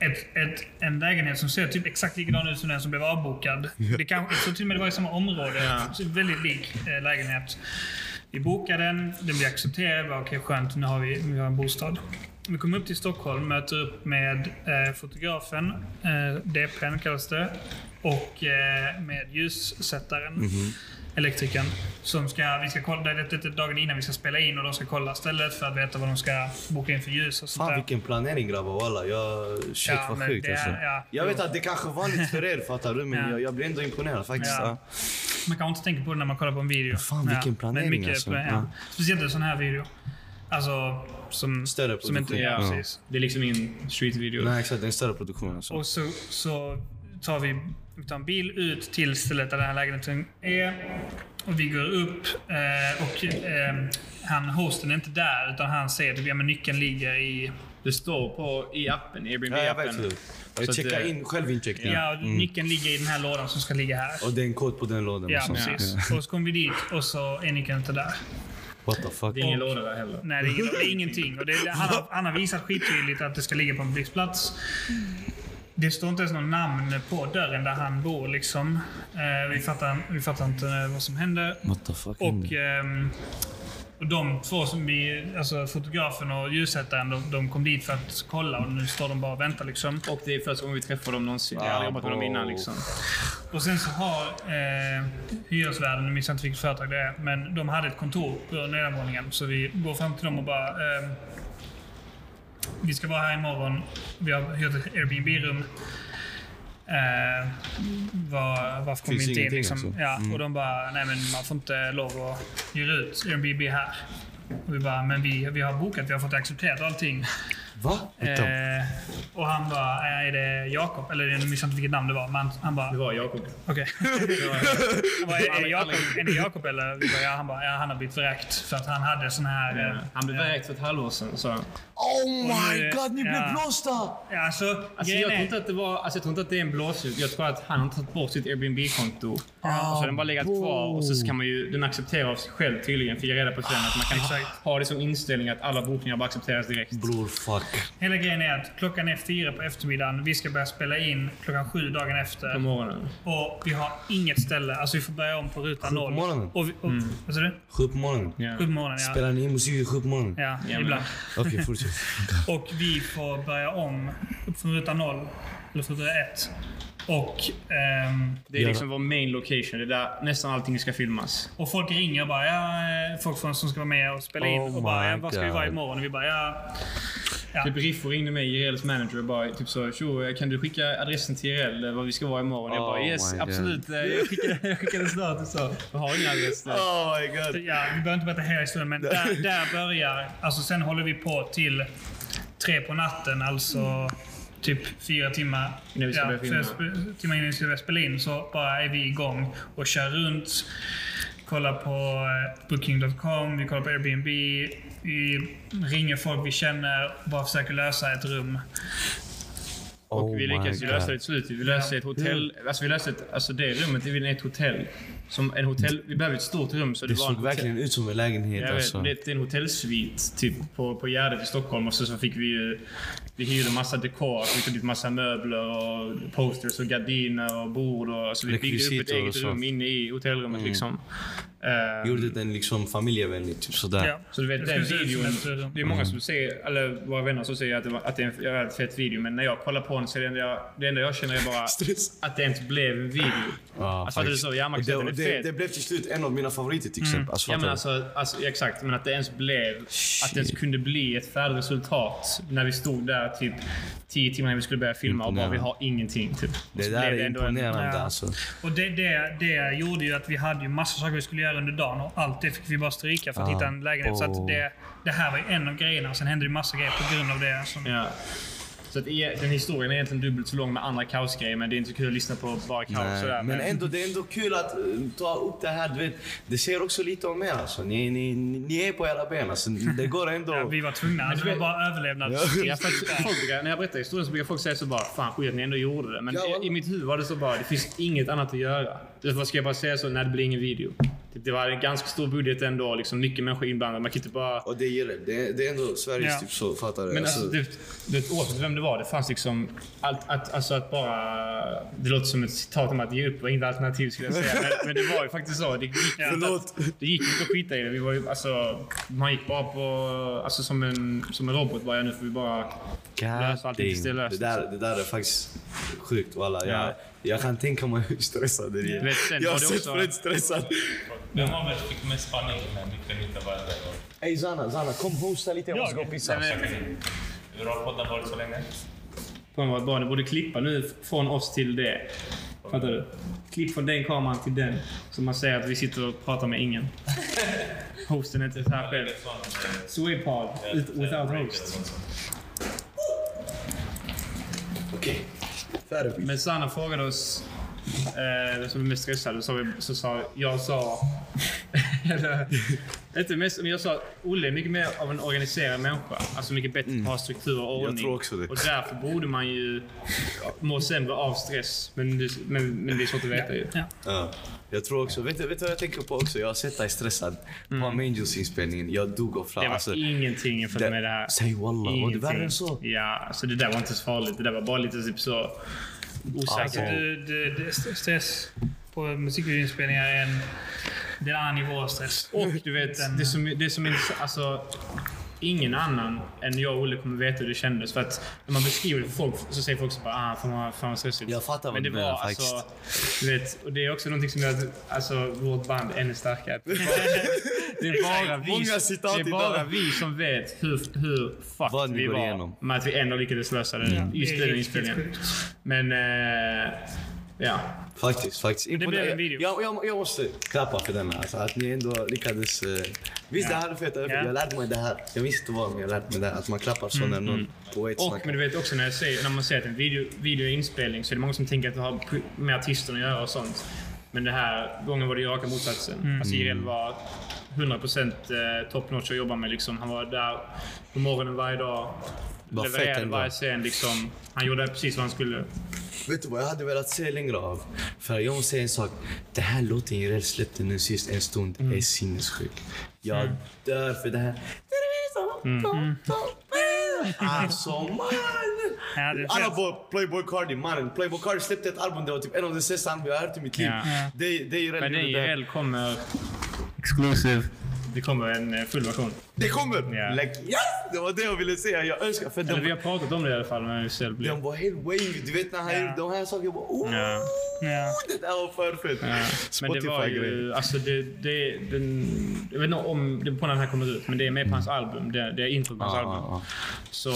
[SPEAKER 4] ett, ett, en lägenhet som ser typ exakt likadan ut som den som blev avbokad. Det kanske, jag tror till och med det var i samma område. Så Väldigt lik eh, lägenhet. Vi bokar den, den blir accepterad. Vi bara, Okej, skönt. Nu har vi, vi har en bostad. Vi kommer upp till Stockholm, möter upp med eh, fotografen, eh, DPn kallas det, och eh, med ljussättaren,
[SPEAKER 1] Mhm.
[SPEAKER 4] elektrikern. Som ska, vi ska kolla, det är lite dagen innan vi ska spela in och de ska kolla stället för att veta vad de ska boka in för ljus och sånt
[SPEAKER 1] Fan
[SPEAKER 4] där.
[SPEAKER 1] vilken planering grabbar walla. Jag, shit
[SPEAKER 4] Ja,
[SPEAKER 1] vad
[SPEAKER 4] men
[SPEAKER 1] sjukt
[SPEAKER 4] det är-
[SPEAKER 1] alltså.
[SPEAKER 4] ja.
[SPEAKER 1] Jag vet att det kanske är vanligt för er fattar du men
[SPEAKER 4] Ja.
[SPEAKER 1] jag, jag blir ändå imponerad faktiskt.
[SPEAKER 4] Ja.
[SPEAKER 1] Ja.
[SPEAKER 4] Man kan inte tänka på det när man kollar på en video.
[SPEAKER 1] Fan, vilken planering
[SPEAKER 4] men mycket
[SPEAKER 1] alltså.
[SPEAKER 4] plan- ja.
[SPEAKER 1] Ja.
[SPEAKER 4] Speciellt en sån här video. Alltså, som...
[SPEAKER 1] Större
[SPEAKER 4] som inte,
[SPEAKER 1] produktion.
[SPEAKER 4] ja,
[SPEAKER 1] Ja.
[SPEAKER 4] precis.
[SPEAKER 2] Det är liksom ingen streetvideo.
[SPEAKER 1] Nej exakt, det är en större produktion alltså.
[SPEAKER 4] Och så, så tar vi vi tar en bil ut till stället där den här lägenheten är. Och vi går upp eh, och ehm, han, hosten är inte där utan han säger att ja, men nyckeln ligger i...
[SPEAKER 2] Det står på i appen,
[SPEAKER 1] ja, jag vet
[SPEAKER 2] Airbnb-appen.
[SPEAKER 1] hur. Jag
[SPEAKER 2] Så att,
[SPEAKER 1] checkar
[SPEAKER 2] eh,
[SPEAKER 1] in självincheckning.
[SPEAKER 4] Ja, nyckeln ligger i den här lådan som ska ligga här.
[SPEAKER 1] Mm. Och det är en kod på den lådan. liksom.
[SPEAKER 4] Ja,
[SPEAKER 1] och sånt.
[SPEAKER 4] precis. Och så kommer vi dit och så är nyckeln inte där.
[SPEAKER 1] What the fuck.
[SPEAKER 2] det är ingen låda där heller.
[SPEAKER 4] Nej, det är, ingen, det är ingenting. Och det, det- han, har, han har visat skittydligt att det ska ligga på en viss plats. Det står inte ens något namn på dörren där han bor. Liksom. Eh, vi, fattar, vi fattar inte eh, vad som händer.
[SPEAKER 1] What the fuck.
[SPEAKER 4] Och, ehm, och de två som vi, alltså fotografen och ljussättaren, de, de kom dit för att kolla och nu står de bara och väntar liksom.
[SPEAKER 2] Och det är första gången vi träffar dem någonsin. Jag har aldrig jobbat med dem innan liksom.
[SPEAKER 4] Och sen så har eh, hyresvärden, nu minns jag inte vilket företag det är, men de hade ett kontor på nedanvåningen. Så vi går fram till dem och bara ehm, Vi ska vara här imorgon. Vi har hyrt ett Airbnb-rum. Eh, var, varför kom
[SPEAKER 1] Finns
[SPEAKER 2] alltså.
[SPEAKER 4] vi inte in?
[SPEAKER 2] Mm.
[SPEAKER 1] ingenting
[SPEAKER 4] Liksom?
[SPEAKER 1] alltså?
[SPEAKER 4] Ja, Och de bara, nej men man får inte lov att hyra ut Airbnb här. Och vi bara, men vi, vi har bokat, vi har fått accepterat allting.
[SPEAKER 1] Va?
[SPEAKER 4] Eh, och han bara, "Eh, är det Jakob? Eller jag minns inte vilket namn det var. Men han bara,
[SPEAKER 2] Det var Jakob.
[SPEAKER 4] okej. Han bara, är, det Jakob- är det Jakob eller? Vi bara, ja, han bara, ja, han har blivit vräkt. För att han hade sån här... eh,
[SPEAKER 2] Han blev vräkt för ett halvår sedan, sa han.
[SPEAKER 1] Oh my
[SPEAKER 4] nu-
[SPEAKER 1] god, ni blev
[SPEAKER 4] ja.
[SPEAKER 1] blåsta!
[SPEAKER 4] Ja, alltså,
[SPEAKER 2] Alltså,
[SPEAKER 4] grejen
[SPEAKER 2] jag, tror
[SPEAKER 4] är-
[SPEAKER 2] inte att det var, alltså, jag tror inte att det är en blåsljud. Jag tror att han har tagit bort sitt Airbnb-konto. Och så har den bara legat kvar och så kan man ju, den acceptera av sig själv tydligen. Fick jag reda på sen att man kan ha,
[SPEAKER 4] Exakt.
[SPEAKER 2] ha det som inställning att alla bokningar bara accepteras direkt.
[SPEAKER 1] Bror, fuck.
[SPEAKER 4] Hela grejen är att klockan är fyra på eftermiddagen. Vi ska börja spela in klockan sju dagen
[SPEAKER 2] På
[SPEAKER 4] efter.
[SPEAKER 2] morgonen.
[SPEAKER 4] Och vi har inget ställe. Alltså vi får börja om på ruta
[SPEAKER 1] Sju på
[SPEAKER 4] noll.
[SPEAKER 1] morgonen?
[SPEAKER 4] Och vi, och, Vad sa du?
[SPEAKER 1] Sju på morgonen.
[SPEAKER 2] Mm. Ja.
[SPEAKER 4] Sju på morgonen, ja.
[SPEAKER 1] Spelar ni in musik i sju på morgonen?
[SPEAKER 4] Ja,
[SPEAKER 2] men-
[SPEAKER 4] ibland.
[SPEAKER 1] Okej, fortsätt.
[SPEAKER 4] Och vi får börja om upp från ruta noll. Eller från ruta ett. Och, ehm,
[SPEAKER 2] Det är
[SPEAKER 1] Ja.
[SPEAKER 2] liksom vår main location. Det är där nästan allting ska filmas.
[SPEAKER 4] och folk ringer och bara, ja, eh, folk från, som ska vara med och spela in.
[SPEAKER 1] Oh
[SPEAKER 4] Och bara, ja,
[SPEAKER 1] my
[SPEAKER 4] vad ska vi vara
[SPEAKER 1] God.
[SPEAKER 4] imorgon? Och vi bara, ja. Ja.
[SPEAKER 2] Typ Riffo ringde mig, IRLs manager, och bara typ så “Tjo, kan du skicka adressen till IRL, eh, var vi ska vara imorgon?” Jag bara
[SPEAKER 1] Oh
[SPEAKER 2] “Yes,
[SPEAKER 1] my God."
[SPEAKER 2] absolut, eh, jag skickar, jag skickar det snart” och så. “Jag har ingen adress där.”
[SPEAKER 1] Oh my god.
[SPEAKER 4] Ja, vi behöver inte berätta hela historien, men där, där börjar... Alltså sen håller vi på till tre på natten, alltså typ fyra timmar
[SPEAKER 2] Innan vi ska börja filma.
[SPEAKER 4] fyra sp- timmar innan vi ska börja spela in. Så bara är vi igång och kör runt. Kollar på eh, Booking.com, vi kollar på Airbnb. Vi ringer folk vi känner och bara försöker lösa ett rum.
[SPEAKER 1] Oh
[SPEAKER 2] Och vi lyckades ju
[SPEAKER 1] my
[SPEAKER 2] lösa det
[SPEAKER 1] God.
[SPEAKER 2] till slut. Vi löste ett hotell. Alltså vi löste ett, alltså det rummet, det är ett hotell. Som en hotell. Vi behövde ett stort rum så det,
[SPEAKER 1] Det
[SPEAKER 2] var en
[SPEAKER 1] såg
[SPEAKER 2] hotell.
[SPEAKER 1] verkligen ut som en lägenhet
[SPEAKER 2] Jag vet,
[SPEAKER 1] alltså.
[SPEAKER 2] det blev en hotellsvit typ på, på Gärdet i Stockholm och så, så fick vi ju... Vi hyrde massa dekor, vi tog dit massa möbler och posters och gardiner och bord och... Så vi byggde upp ett
[SPEAKER 1] Rekvisiter och
[SPEAKER 2] eget
[SPEAKER 1] sånt.
[SPEAKER 2] rum inne i hotellrummet liksom. Eh,
[SPEAKER 1] Gjorde den liksom familjevänlig, typ sådär.
[SPEAKER 4] Ja.
[SPEAKER 2] så du vet
[SPEAKER 4] Det
[SPEAKER 2] den
[SPEAKER 4] skulle se ut som
[SPEAKER 2] videon.
[SPEAKER 4] ett rum.
[SPEAKER 2] Det är många
[SPEAKER 1] Mm.
[SPEAKER 2] som säger, eller våra vänner som säger att det, var, att det är en en jävligt fet video. Men när jag kollar på den så är det enda jag, det enda jag känner är bara
[SPEAKER 1] Stress.
[SPEAKER 2] att det ens blev en video.
[SPEAKER 1] Ja,
[SPEAKER 2] alltså fattar du
[SPEAKER 1] faktiskt.
[SPEAKER 2] så? Ja, man
[SPEAKER 1] Och
[SPEAKER 2] kan säga att
[SPEAKER 1] det,
[SPEAKER 2] den är
[SPEAKER 1] det,
[SPEAKER 2] fet.
[SPEAKER 1] det blev till slut en av mina favoriter till exempel. Alltså,
[SPEAKER 2] ja men
[SPEAKER 1] fattar du?
[SPEAKER 2] alltså, alltså, ja, exakt. Men att det ens blev, att
[SPEAKER 1] Shit.
[SPEAKER 2] det ens kunde bli ett färdigt resultat. När vi stod där typ 10 timmar innan vi skulle börja filma och bara vi har ingenting. Typ. Och
[SPEAKER 1] det
[SPEAKER 2] så
[SPEAKER 1] där
[SPEAKER 2] blev
[SPEAKER 1] är
[SPEAKER 2] ändå en-
[SPEAKER 1] imponerande
[SPEAKER 4] Ja.
[SPEAKER 1] alltså.
[SPEAKER 4] Och det, det, det gjorde ju att vi hade ju massa saker vi skulle göra under dagen och allt det fick vi bara stryka för att
[SPEAKER 1] Ah.
[SPEAKER 4] hitta en lägenhet. Så
[SPEAKER 1] Oh.
[SPEAKER 4] att det, det här var ju en av grejerna. Sen hände det ju massa grejer på grund av det. Som,
[SPEAKER 2] Ja. Så att, e- den historien är egentligen dubbelt så lång med andra kaosgrejer men det är inte så kul att lyssna på bara kaos.
[SPEAKER 1] Nej,
[SPEAKER 2] sådär.
[SPEAKER 1] men ändå, det är ändå kul att eh, ta upp det här. Du vet, det säger också lite om er alltså. Ni, ni, ni är på era ben alltså. Det går ändå...
[SPEAKER 4] ja, vi var tvungna. Alltså, det var bara överlevnad.
[SPEAKER 2] Ja, för att folk brukar, när jag berättar historien så brukar folk säga så bara Fan skit att ni ändå gjorde det. Men
[SPEAKER 1] Ja, va?
[SPEAKER 2] i, i mitt huvud var det så bara Det finns inget annat att göra. Därför ska jag bara säga så? när det blir ingen video. Typ, det var en ganska stor budget ändå. Liksom, mycket människor inblandade. Man kan inte bara...
[SPEAKER 1] Och det gillar jag. det. Det är ändå Sveriges
[SPEAKER 4] Ja.
[SPEAKER 1] typ så, fattar du?
[SPEAKER 2] Men
[SPEAKER 1] Alltså,
[SPEAKER 2] alltså, det, det, oavsett vem det var, det fanns liksom... Allt, att, alltså att bara... Det låter som ett citat om att ge upp var inget alternativ skulle jag säga. Men, men det var ju faktiskt så. Det gick, inte
[SPEAKER 1] Förlåt.
[SPEAKER 2] Att, det gick inte att skita i det. Vi var ju, alltså, man gick bara på... Alltså, som, en, som en robot bara, ja, nu får vi bara... lösa allting tills det är löst.
[SPEAKER 1] det, där, det där är faktiskt sjukt walla. Jag,
[SPEAKER 2] Ja.
[SPEAKER 1] jag kan tänka mig hur stressad det är.
[SPEAKER 2] Vet, sen
[SPEAKER 1] jag har
[SPEAKER 2] var det
[SPEAKER 1] sett
[SPEAKER 2] också-
[SPEAKER 1] Fred stressad.
[SPEAKER 3] Vem av er fick mest panik när ni kunde inte vara där?
[SPEAKER 1] Ey Zana, Zana kom hosta lite. Jag måste gå och pissa.
[SPEAKER 2] Nej, men-
[SPEAKER 3] Hur har podden varit så länge?
[SPEAKER 2] Fan vad bra, ni borde klippa nu från oss till det. Fattar du? Klipp från den kameran till den. Så man ser att vi sitter och pratar med ingen. Hosten är inte här själv.
[SPEAKER 3] eh,
[SPEAKER 2] Swepod, ut- without host.
[SPEAKER 1] Okej. Färdig.
[SPEAKER 2] Men Sanna frågade oss eh, vem som är mest stressad. Så, vi, så sa jag sa... eller, inte mest, men jag sa Olle är mycket mer av en organiserad människa. Alltså mycket bättre på att ha struktur och ordning.
[SPEAKER 1] Mm. tror också det.
[SPEAKER 2] Och därför borde man ju må sämre av stress. Men, det- men, men det är svårt att veta ju.
[SPEAKER 4] Ja.
[SPEAKER 1] Ja. Jag tror också, vet du vet du vad jag tänker på också? Jag har sett dig stressad
[SPEAKER 4] Hmm.
[SPEAKER 1] på Amangels inspelningen. Jag dog av flamm.
[SPEAKER 2] Det var
[SPEAKER 1] Alltså,
[SPEAKER 2] ingenting jämfört
[SPEAKER 1] det-
[SPEAKER 2] med det här.
[SPEAKER 1] Säg wallah, var det
[SPEAKER 2] Ingenting.
[SPEAKER 1] värre än så?
[SPEAKER 2] Ja, alltså det där var inte så farligt. Det där var bara lite typ så
[SPEAKER 4] Alltså,
[SPEAKER 2] osäkert.
[SPEAKER 4] det, det, det, stress på musikvideoinspelningar är en... Det är en annan nivå av stress.
[SPEAKER 2] Och du vet, det som, det som är intressant, alltså Ingen annan än jag och Olle kommer veta hur det kändes. För att när man beskriver det för folk så säger folk så bara ah, fan vad, fan vad stressigt.
[SPEAKER 1] Jag fattar vad
[SPEAKER 2] Men det
[SPEAKER 1] du menar,
[SPEAKER 2] var alltså, du vet, och det är också någonting som gör att alltså, vårt band är ännu starkare. Det är bara, det är bara, vi,
[SPEAKER 1] Många citat
[SPEAKER 2] det är bara
[SPEAKER 1] idag.
[SPEAKER 2] vi som vet hur, hur
[SPEAKER 1] Vad
[SPEAKER 2] fucked
[SPEAKER 1] ni
[SPEAKER 2] vi
[SPEAKER 1] går
[SPEAKER 2] var.
[SPEAKER 1] igenom.
[SPEAKER 2] Men att vi ändå lyckades lösa det. Just
[SPEAKER 4] Det är
[SPEAKER 2] den
[SPEAKER 4] riktigt
[SPEAKER 2] inspelningen.
[SPEAKER 4] sjukt.
[SPEAKER 2] Men eh, ja,
[SPEAKER 1] Faktiskt, faktiskt.
[SPEAKER 4] blev
[SPEAKER 1] Imponer-
[SPEAKER 4] en video.
[SPEAKER 1] Jag, jag, jag måste klappa för den här. Alltså, att ni ändå lyckades. Eh, visst, det här är fett. Jag
[SPEAKER 4] Ja. Hmm,
[SPEAKER 1] jag lärde mig det här. Jag visste inte vad men jag lärde mig det här. Att man klappar så när någon på ett
[SPEAKER 2] Och, men
[SPEAKER 1] snackar.
[SPEAKER 2] du vet också när, jag säger, när man säger att en video, video är inspelning så är det många som tänker att det har p- med artisten att göra och sånt. Men den här gången var det ju raka motsatsen. Alltså Jireel var 100% eh, top notch att jobba med. Liksom. Han var där på morgonen varje dag.
[SPEAKER 1] Bara fett
[SPEAKER 2] Levererade
[SPEAKER 1] ändå.
[SPEAKER 2] varje scen. Liksom. Han gjorde precis vad han skulle.
[SPEAKER 1] Vet du vad jag hade velat se längre av? För jag måste säga en sak. Den här låten Jireel släppte nu sist, en stund,
[SPEAKER 2] Mm.
[SPEAKER 1] är sinnessjuk. Jag dör för det här.
[SPEAKER 2] Mm,
[SPEAKER 1] Alltså mannen!
[SPEAKER 4] Ja, det är
[SPEAKER 1] Alla
[SPEAKER 4] fett.
[SPEAKER 1] bara Playboy Cardi, mannen. Playboy Cardi släppte ett album, det var typ en av de sämsta album jag har hört i mitt liv.
[SPEAKER 2] Ja.
[SPEAKER 4] Ja.
[SPEAKER 1] Det, det är Jireel
[SPEAKER 2] Men
[SPEAKER 1] gjorde där.
[SPEAKER 2] Jireel kommer... Exclusive. Det kommer en eh, full version.
[SPEAKER 1] Det kommer!
[SPEAKER 2] Ja.
[SPEAKER 1] Like, yes! Det var det jag ville säga. Jag önskar. För
[SPEAKER 2] Eller vi
[SPEAKER 1] den,
[SPEAKER 2] har pratat om det i alla fall. Men Jireel blir...
[SPEAKER 1] den var helt wavy. Du vet när han
[SPEAKER 4] Ja.
[SPEAKER 1] gjorde de här sakerna. Jag bara oh,
[SPEAKER 2] Ja.
[SPEAKER 4] Ja.
[SPEAKER 1] det där var för fett.
[SPEAKER 2] Ja. Men det var
[SPEAKER 1] Spotify-grej.
[SPEAKER 2] ju, alltså det, det, den, jag vet inte om den på när den här kommer ut, men det är med på hans album. Det, det är intro på hans
[SPEAKER 1] Ja,
[SPEAKER 2] album.
[SPEAKER 1] ja, ja.
[SPEAKER 2] Så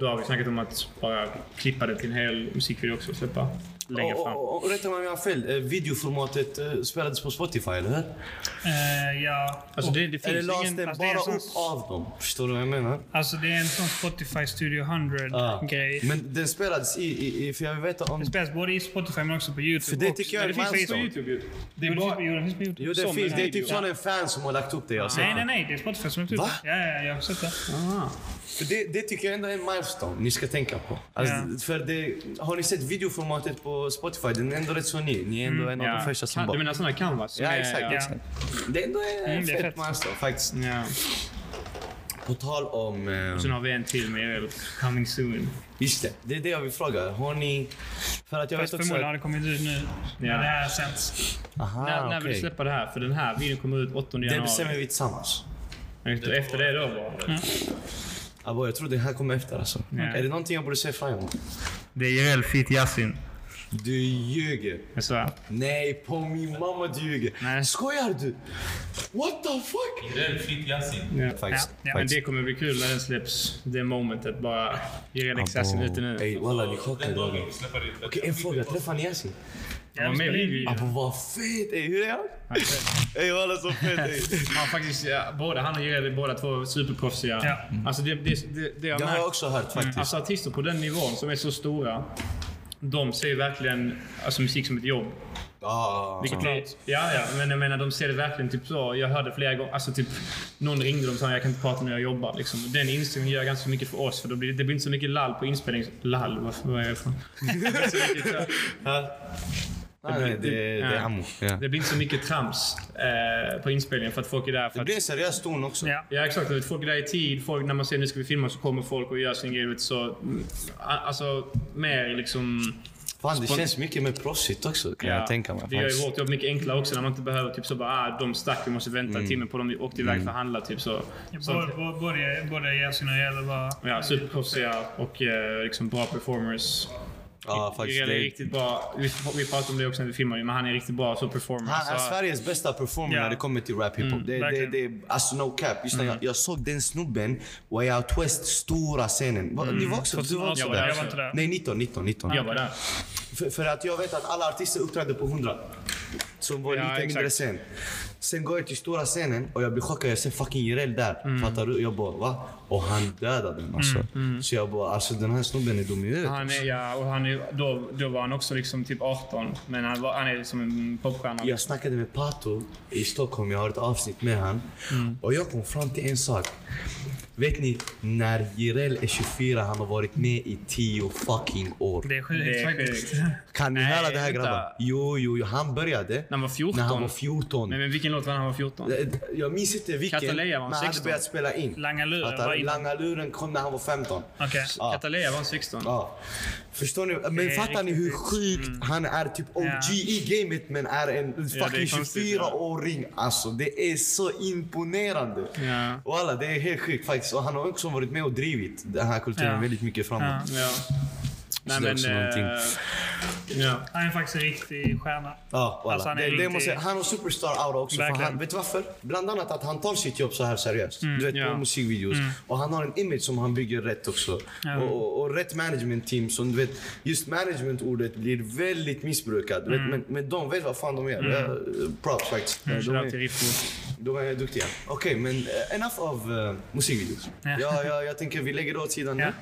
[SPEAKER 2] då har vi snackat om att bara klippa det till en hel musikvideo också och släppa längre
[SPEAKER 1] Och-
[SPEAKER 2] fram.
[SPEAKER 1] och- och- och Rätta mig om jag har fel. eh, Videoformatet eh, spelades på Spotify, eller hur?
[SPEAKER 4] Eh, ja.
[SPEAKER 2] Alltså
[SPEAKER 4] Och-
[SPEAKER 2] det, det
[SPEAKER 1] Eller
[SPEAKER 2] finns
[SPEAKER 1] lades
[SPEAKER 2] ingen...
[SPEAKER 1] den
[SPEAKER 4] alltså, det är
[SPEAKER 1] bara
[SPEAKER 4] som-
[SPEAKER 1] upp av dem? Förstår du vad jag menar?
[SPEAKER 4] Alltså det är en sån Spotify Studio
[SPEAKER 1] Ja.
[SPEAKER 4] 100-grej.
[SPEAKER 1] Ah. Men den spelades i, i, i... För jag vill veta om...
[SPEAKER 4] Det spelas både i Spotify men också på YouTube.
[SPEAKER 1] För det
[SPEAKER 4] också.
[SPEAKER 1] tycker jag
[SPEAKER 4] Men
[SPEAKER 1] är
[SPEAKER 4] det finns på
[SPEAKER 1] milestone.
[SPEAKER 4] YouTube.
[SPEAKER 2] Youtube Det
[SPEAKER 4] Jo,
[SPEAKER 2] är
[SPEAKER 4] det finns på-
[SPEAKER 2] bara...
[SPEAKER 4] jo, det finns på YouTube.
[SPEAKER 1] Jo, det
[SPEAKER 2] som
[SPEAKER 1] finns.
[SPEAKER 2] en
[SPEAKER 1] Det är
[SPEAKER 2] video.
[SPEAKER 1] typ sån en fan som har lagt upp det. Jag har sett
[SPEAKER 4] Nej, nej,
[SPEAKER 1] det.
[SPEAKER 4] nej. Det är Spotify som har gjort
[SPEAKER 1] Va?
[SPEAKER 4] det. Ja, ja, jag har sett det.
[SPEAKER 2] Ah.
[SPEAKER 1] För det, det tycker jag ändå är en milestone ni ska tänka på. Alltså,
[SPEAKER 4] Ja.
[SPEAKER 1] för det, har ni sett videoformatet på Spotify? Den är ändå rätt så ny. Ni är ändå en av de
[SPEAKER 2] Ja.
[SPEAKER 1] första som
[SPEAKER 2] Kan- Du
[SPEAKER 1] bara...
[SPEAKER 2] menar sådana canvas? som
[SPEAKER 1] Ja,
[SPEAKER 2] är-
[SPEAKER 1] exakt.
[SPEAKER 2] ja.
[SPEAKER 1] exakt. Det är ändå en
[SPEAKER 4] Mm, det är
[SPEAKER 1] fett,
[SPEAKER 4] fett.
[SPEAKER 1] milestone faktiskt.
[SPEAKER 2] Ja.
[SPEAKER 1] På tal om... Eh,
[SPEAKER 2] Sen har vi en till med Joel. Coming soon.
[SPEAKER 1] just det, det är det jag vill fråga. Har ni... För att jag
[SPEAKER 4] Fast
[SPEAKER 1] vet också...
[SPEAKER 4] förmodligen har
[SPEAKER 1] Att,
[SPEAKER 4] det kommit ut nu. När
[SPEAKER 2] Ja.
[SPEAKER 4] det här sänds.
[SPEAKER 1] aha,
[SPEAKER 2] när när vill
[SPEAKER 1] Ah, okej.
[SPEAKER 2] du släppa det här? För den här videon kommer ut 8
[SPEAKER 1] Det bestämmer
[SPEAKER 2] januari.
[SPEAKER 1] vi tillsammans.
[SPEAKER 2] Och Efter det då bara.
[SPEAKER 1] Abow, jag tror det här kommer efter alltså. Är det någonting jag borde se fram emot?
[SPEAKER 2] Det är Joel feat Yasin.
[SPEAKER 1] Du ljuger.
[SPEAKER 2] Jag svär.
[SPEAKER 1] Nej, på min mamma du ljuger.
[SPEAKER 2] Nej.
[SPEAKER 1] Skojar du? What the fuck?
[SPEAKER 3] Irel Fit Yasin.
[SPEAKER 2] Ja.
[SPEAKER 1] Faktiskt.
[SPEAKER 4] Ja, ja,
[SPEAKER 2] Men
[SPEAKER 1] faktiskt.
[SPEAKER 2] det kommer bli kul när den släpps. Det momentet bara. Jireel X Yasin ute nu.
[SPEAKER 1] Ey walla, ni chockade
[SPEAKER 3] Den
[SPEAKER 1] dagen.
[SPEAKER 3] dagen vi släpper det.
[SPEAKER 1] Okej, en fråga. Träffar ni Yasin?
[SPEAKER 2] Han var med i videon.
[SPEAKER 1] Abow, vad fett! Ey, hur är han? Ey walla, så fett! ey.
[SPEAKER 2] Han faktiskt, ja, både han och Jireel är båda två superproffsiga.
[SPEAKER 4] Ja.
[SPEAKER 2] Alltså det, det, det, det jag
[SPEAKER 1] Det har
[SPEAKER 2] märkt-
[SPEAKER 1] jag också hört faktiskt.
[SPEAKER 2] Alltså artister på den nivån som är så stora. De ser ju verkligen alltså, musik som ett jobb.
[SPEAKER 1] Ah.
[SPEAKER 2] Vilket är, ja, ja, men jag menar de ser det verkligen typ så. Jag hörde flera gånger, alltså typ någon ringde dem och sa jag kan inte prata när jag jobbar. Liksom. Och Den inställningen gör ganska mycket för oss för då blir, det blir inte så mycket lall på inspelning. Lall, varför var jag från? Det blir inte så mycket så-
[SPEAKER 1] Nej, nej, det, det är
[SPEAKER 2] Ja.
[SPEAKER 1] Amo. Ja.
[SPEAKER 2] Det blir inte så mycket trams eh, på inspelningen för att folk är där för
[SPEAKER 1] Det
[SPEAKER 2] att
[SPEAKER 1] blir en seriös ton också.
[SPEAKER 4] Ja.
[SPEAKER 2] Ja exakt, Vet, folk är där i tid. Folk, när man säger nu ska vi filma så kommer folk och gör sin grej. vet, Så, mm, a- alltså mer liksom...
[SPEAKER 1] Fan, det känns mycket mer proffsigt också kan jag tänka mig.
[SPEAKER 2] Det gör ju
[SPEAKER 1] faktiskt.
[SPEAKER 2] vårt jobb mycket enklare också när man inte behöver typ så bara ah, de stack, vi måste vänta en
[SPEAKER 1] Mm.
[SPEAKER 2] timme på dem, vi åkte iväg för att handla. Typ så. Sånt.
[SPEAKER 4] Både- både- Både både Yasin och Jelle var...
[SPEAKER 2] Ja, superproffsiga och eh, liksom bra performers.
[SPEAKER 1] Ja, faktiskt.
[SPEAKER 2] Irel är
[SPEAKER 1] Det,
[SPEAKER 2] riktigt bra. Vi, vi pratade om det också när vi filmade, men han är riktigt bra som performer.
[SPEAKER 1] Han är
[SPEAKER 2] så-
[SPEAKER 1] Sveriges bästa performer
[SPEAKER 4] Ja.
[SPEAKER 1] när det kommer till rap
[SPEAKER 2] Mm,
[SPEAKER 1] hiphop. det, det, det,
[SPEAKER 4] verkligen.
[SPEAKER 1] alltså no cap. Just när jag, jag såg den snubben, Way Out West, stora scenen. Va- Ni var också, du var också
[SPEAKER 2] Mm. Jag var där.
[SPEAKER 1] där?
[SPEAKER 4] Jag var inte där.
[SPEAKER 1] Nej, 19, 19, 19.
[SPEAKER 2] jag var där.
[SPEAKER 1] För, för att jag vet att alla artister uppträdde på 100. Som var
[SPEAKER 2] Ja,
[SPEAKER 1] lite
[SPEAKER 2] exakt.
[SPEAKER 1] mindre scen. Sen går jag till stora scenen och jag blir chockad. Jag ser fucking Jireel där.
[SPEAKER 2] Mm.
[SPEAKER 1] Fattar du? Jag bara va? Och han dödade den alltså. Så jag bara alltså den här snubben är dum i huvudet.
[SPEAKER 2] Han är, ja, och han är, då, då var han också liksom typ 18, men han, var, han är som en popstjärna.
[SPEAKER 1] Jag snackade med Pato i Stockholm, jag har ett avsnitt med han. Och jag kom fram till en sak. Vet ni, när Jireel är 24, han har varit med i 10 fucking år.
[SPEAKER 4] Det är
[SPEAKER 2] Det
[SPEAKER 4] sjukt
[SPEAKER 2] är
[SPEAKER 4] faktiskt.
[SPEAKER 2] sjukt.
[SPEAKER 1] Kan ni
[SPEAKER 2] Nej,
[SPEAKER 1] höra det här
[SPEAKER 2] vänta.
[SPEAKER 1] grabbar? Jo, jo, jo. Han började när
[SPEAKER 2] han var 14.
[SPEAKER 1] han var 14.
[SPEAKER 2] Nej, men vilken låt var när han var 14?
[SPEAKER 1] Jag minns inte vilken,
[SPEAKER 2] Kataleja var han
[SPEAKER 1] men han hade
[SPEAKER 2] 16.
[SPEAKER 1] börjat spela in.
[SPEAKER 4] Langa Luren
[SPEAKER 1] Fattar
[SPEAKER 4] var
[SPEAKER 1] du?
[SPEAKER 4] innan.
[SPEAKER 1] Langa luren kom när han var 15.
[SPEAKER 4] Okej.
[SPEAKER 1] Ja.
[SPEAKER 2] Cataleya var han 16.
[SPEAKER 1] Ja. Förstår ni? Men
[SPEAKER 4] är
[SPEAKER 1] fattar ni hur
[SPEAKER 4] riktigt
[SPEAKER 1] sjukt han är typ OG i gamet men är en
[SPEAKER 2] Mm. Ja, det
[SPEAKER 1] fucking
[SPEAKER 2] är konstigt, ja.
[SPEAKER 1] 24-åring. Alltså det är så imponerande.
[SPEAKER 2] Ja.
[SPEAKER 1] Och alla, det är helt sjukt faktiskt. Och han har också varit med och drivit den här kulturen
[SPEAKER 4] Ja.
[SPEAKER 1] väldigt mycket framåt.
[SPEAKER 4] Ja.
[SPEAKER 2] Ja. Nej,
[SPEAKER 1] det är
[SPEAKER 2] men,
[SPEAKER 1] också
[SPEAKER 2] eh,
[SPEAKER 1] någonting.
[SPEAKER 2] Ja.
[SPEAKER 4] Han är faktiskt en riktig stjärna.
[SPEAKER 1] Ja, voilà.
[SPEAKER 4] Alltså, han
[SPEAKER 1] han,
[SPEAKER 4] är
[SPEAKER 1] det, det
[SPEAKER 4] riktigt-
[SPEAKER 1] måste, han har superstar-aura också. För
[SPEAKER 4] Verkligen. Mm,
[SPEAKER 1] han, vet du varför? Bland annat att han tar sitt jobb så här seriöst. du vet,
[SPEAKER 2] ja.
[SPEAKER 1] på musikvideos. Och han har en image som han bygger rätt också.
[SPEAKER 4] Ja.
[SPEAKER 1] Och, och, och rätt management-team. Som du vet, just management-ordet blir väldigt missbrukat. du Vet,
[SPEAKER 4] Mm.
[SPEAKER 1] men, men de vet vad fan de gör. Mm. props faktiskt. De,
[SPEAKER 2] Shoutout till
[SPEAKER 1] är,
[SPEAKER 2] Riffo.
[SPEAKER 1] de är duktiga. Okej, men eh, enough av eh, musikvideos.
[SPEAKER 4] Ja.
[SPEAKER 1] Ja. Ja, jag tänker vi lägger det åt sidan
[SPEAKER 4] Ja.
[SPEAKER 1] nu.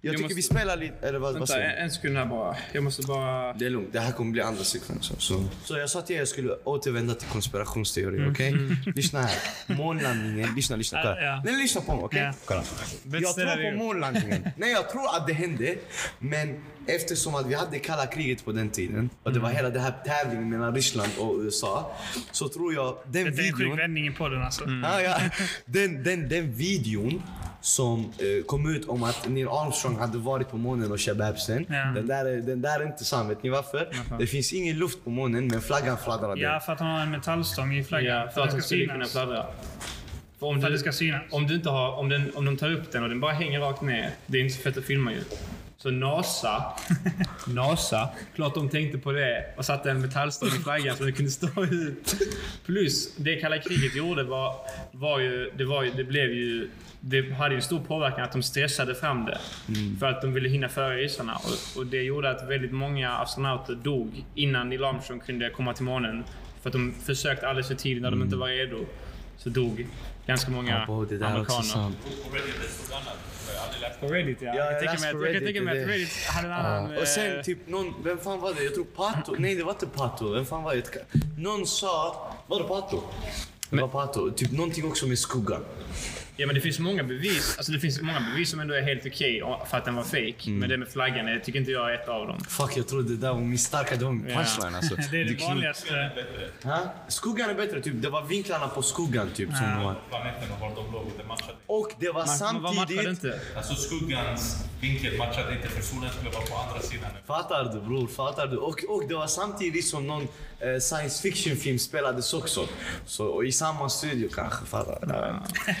[SPEAKER 1] Jag
[SPEAKER 2] Vi
[SPEAKER 1] tycker
[SPEAKER 2] måste-
[SPEAKER 1] vi spelar lite. Eller vad, vad
[SPEAKER 2] Vänta,
[SPEAKER 4] eh,
[SPEAKER 1] säger du?
[SPEAKER 2] en, en sekund här bara. Jag måste bara...
[SPEAKER 1] Det är lugnt, det här kommer bli andra sekvensen. Så. så jag sa till er att jag skulle återvända till konspirationsteorin,
[SPEAKER 4] Mm.
[SPEAKER 1] okej? Lyssna här. Månlandningen, lyssna, lyssna. Kolla.
[SPEAKER 4] Ja, ja.
[SPEAKER 1] Nej, lyssna på mig, okej?
[SPEAKER 4] Ja.
[SPEAKER 1] Kolla. Jag tror på månlandningen. Nej, jag tror att det hände. Men eftersom att vi hade kalla kriget på den tiden och det var
[SPEAKER 4] Mm.
[SPEAKER 1] hela den här tävlingen mellan Ryssland och USA. Så tror jag den
[SPEAKER 4] Det är en sjuk
[SPEAKER 1] videon...
[SPEAKER 4] vändning i podden alltså.
[SPEAKER 2] Mm.
[SPEAKER 1] Ja, ja. Den, den, den videon som eh, kom ut om att Neil Armstrong hade varit på månen och kebabsen.
[SPEAKER 4] Ja.
[SPEAKER 1] Den, där, är- den där är inte sann, vet ni varför? Det finns ingen luft på månen men flaggan fladdrade.
[SPEAKER 4] Ja, för att han har en metallstång i flaggan.
[SPEAKER 2] Ja, för att den skulle kunna
[SPEAKER 4] För
[SPEAKER 2] fladdra. För om,
[SPEAKER 4] att det
[SPEAKER 2] du,
[SPEAKER 4] ska synas.
[SPEAKER 2] om du inte har... Om, den, om de tar upp den och den bara hänger rakt ner. Det är inte så fett att filma ju. Så NASA, NASA, klart de tänkte på det och satte en metallstång i flaggan så den kunde stå ut. Plus, det kalla kriget gjorde var, var ju, det var ju, det blev ju, det hade ju stor påverkan att de stressade fram det. För att de ville hinna före ryssarna och, och det gjorde att väldigt många astronauter dog innan Neil Armstrong kunde komma till månen. För att de försökte alldeles för tidigt när de inte var redo. Så dog ganska många
[SPEAKER 1] Åh, det där är också
[SPEAKER 2] amerikaner.
[SPEAKER 1] sant.
[SPEAKER 3] Och Reddit är så annat. Jag har aldrig läst
[SPEAKER 2] På Reddit ja.
[SPEAKER 1] jag
[SPEAKER 2] jag, tänker
[SPEAKER 1] läste
[SPEAKER 2] mig
[SPEAKER 1] på
[SPEAKER 2] att, jag kan
[SPEAKER 1] Reddit,
[SPEAKER 2] tänka mig
[SPEAKER 1] det-
[SPEAKER 2] att Reddit hade en annan...
[SPEAKER 1] Ja. Och
[SPEAKER 2] eh,
[SPEAKER 1] sen typ någon, vem fan var det? Jag tror
[SPEAKER 4] Mm.
[SPEAKER 1] Pato. Nej det var inte Pato. Vem fan var det? Någon sa, var det Pato? Det var Pato. Typ någonting också med skuggan.
[SPEAKER 2] Ja men det finns många bevis, alltså det finns många bevis som ändå är helt okej för att den var fake.
[SPEAKER 1] Mm.
[SPEAKER 2] Men det med flaggan, jag tycker inte jag är ett av dem.
[SPEAKER 1] Fuck jag trodde det där var min starka, det var min punchline alltså.
[SPEAKER 4] Det
[SPEAKER 1] Du
[SPEAKER 4] är det
[SPEAKER 1] knod-
[SPEAKER 4] vanligaste.
[SPEAKER 1] Ha? Skuggan är bättre, typ. det var vinklarna på skuggan typ som
[SPEAKER 4] Ja.
[SPEAKER 1] var.
[SPEAKER 3] planeten och var de låg. Det matchade.
[SPEAKER 1] Och det var
[SPEAKER 2] Man, man matchade
[SPEAKER 1] samtidigt...
[SPEAKER 2] inte.
[SPEAKER 3] Alltså skuggans vinkel matchade inte för solen skulle vara på andra sidan.
[SPEAKER 1] Fattar du bror, fattar du? Och, och det var samtidigt som någon eh, science fiction film spelades också. Så och i samma studio kanske, fattar du?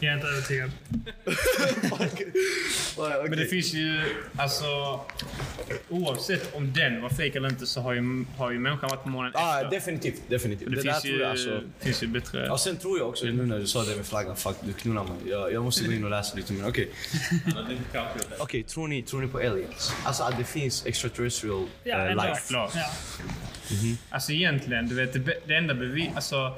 [SPEAKER 4] Jag är inte övertygad.
[SPEAKER 1] Ja, okej.
[SPEAKER 2] Men det finns ju, alltså oavsett om den var fake eller inte så har ju, har ju människan varit på månen
[SPEAKER 1] ah,
[SPEAKER 2] efter.
[SPEAKER 1] definitivt, definitivt.
[SPEAKER 2] Det,
[SPEAKER 1] Det, där
[SPEAKER 2] finns,
[SPEAKER 1] tror
[SPEAKER 2] ju,
[SPEAKER 1] jag alltså.
[SPEAKER 2] finns ju bättre...
[SPEAKER 1] Ja, sen tror jag också, nu när du sa det med flaggan, fuck du knullar mig. Jag, jag måste gå in och läsa lite mer. Okej,
[SPEAKER 3] Men Alltså, det kanske är det.
[SPEAKER 1] Okej, tror, ni, tror ni på aliens? Alltså att det finns extraterrestrial
[SPEAKER 4] Ja,
[SPEAKER 1] eh,
[SPEAKER 4] ändå.
[SPEAKER 1] life?
[SPEAKER 2] klart.
[SPEAKER 4] Ja.
[SPEAKER 2] Alltså egentligen, du vet, det, be- det enda bevis... Alltså,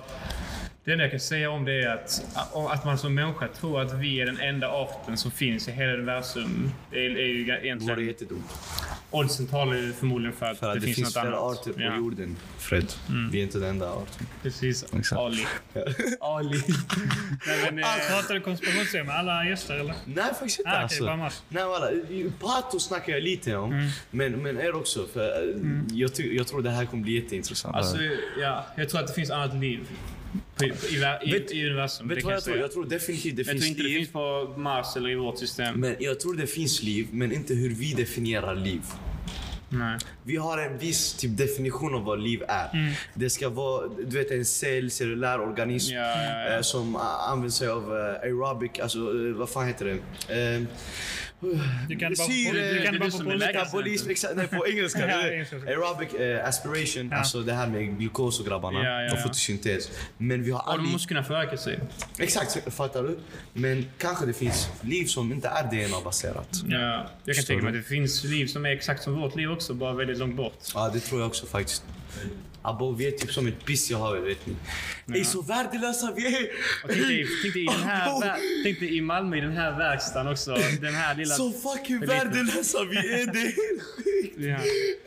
[SPEAKER 2] det enda jag kan säga om det är att, att man som människa tror att vi är den enda arten som finns i hela universum. Det är, är ju
[SPEAKER 1] Det vore
[SPEAKER 2] egentligen...
[SPEAKER 1] jättedumt.
[SPEAKER 2] Oddsen talar ju förmodligen för att,
[SPEAKER 1] För att
[SPEAKER 2] det, finns något
[SPEAKER 1] flera
[SPEAKER 2] annat.
[SPEAKER 1] arter på
[SPEAKER 2] ja, Mm.
[SPEAKER 1] jorden, Fred. Vi är inte den enda arten.
[SPEAKER 2] Precis.
[SPEAKER 1] Exakt.
[SPEAKER 2] Ali. Ali. Nej, men, eh,
[SPEAKER 4] Pratar du konspirationsteorier med alla gäster eller?
[SPEAKER 1] Nej, faktiskt inte.
[SPEAKER 4] Ah, okej,
[SPEAKER 1] alltså.
[SPEAKER 4] bara annars.
[SPEAKER 1] Nej, voilà. I- Pato snackar jag lite om,
[SPEAKER 2] Mm.
[SPEAKER 1] men, men er också. För eh, jag, ty- jag tror det här kommer bli jätteintressant.
[SPEAKER 2] Alltså, ja, jag tror att det finns annat liv på, i, i,
[SPEAKER 1] Vet-
[SPEAKER 2] i universum.
[SPEAKER 1] Vet du
[SPEAKER 2] det
[SPEAKER 1] vad
[SPEAKER 2] kan jag
[SPEAKER 1] jag tror?
[SPEAKER 2] säga.
[SPEAKER 1] Jag tror definitivt det
[SPEAKER 2] Jag
[SPEAKER 1] finns
[SPEAKER 2] tror inte det
[SPEAKER 1] liv.
[SPEAKER 2] finns på Mars eller i vårt system.
[SPEAKER 1] Men jag tror det finns liv, men inte hur vi definierar liv.
[SPEAKER 2] Nej.
[SPEAKER 1] Vi har en viss typ definition av vad liv är.
[SPEAKER 2] Mm.
[SPEAKER 1] Det ska vara du vet, en cell, cellulär organism
[SPEAKER 2] Ja, ja, ja.
[SPEAKER 1] eh, som eh, använder sig av eh, aerobic, alltså eh, vad fan heter det? Eh,
[SPEAKER 4] Du kan bara-
[SPEAKER 1] syre-
[SPEAKER 4] du kan
[SPEAKER 2] det är du
[SPEAKER 4] bara på
[SPEAKER 2] som är
[SPEAKER 4] polska.
[SPEAKER 2] läkare.
[SPEAKER 1] Metabolism, exakt. Nej, på engelska.
[SPEAKER 4] Ja,
[SPEAKER 1] det är
[SPEAKER 4] engelska.
[SPEAKER 1] Aerobic eh, aspiration, alltså det här med glukos och grabbarna.
[SPEAKER 2] Ja, ja,
[SPEAKER 1] och
[SPEAKER 2] ja.
[SPEAKER 1] fotosyntes. Men vi har
[SPEAKER 2] Och de
[SPEAKER 1] aldrig...
[SPEAKER 2] måste kunna föröka sig.
[SPEAKER 1] Exakt, fattar du? Men kanske det finns liv som inte är DNA-baserat.
[SPEAKER 2] Ja, jag kan
[SPEAKER 1] Förstår
[SPEAKER 2] tänka mig
[SPEAKER 1] du?
[SPEAKER 2] att det finns liv som är exakt som vårt liv också, bara väldigt långt bort.
[SPEAKER 1] Ja, det tror jag också faktiskt. Abo, vi är typ som ett piss jag har, vet ni. Ey, så värdelösa vi är!
[SPEAKER 2] Och tänk, dig, tänk, dig i den här, vär- tänk dig i Malmö i den här verkstaden också. Den här lilla...
[SPEAKER 1] Så fucking
[SPEAKER 2] För lite.
[SPEAKER 1] värdelösa vi är! Det är helt sjukt!
[SPEAKER 2] Ja.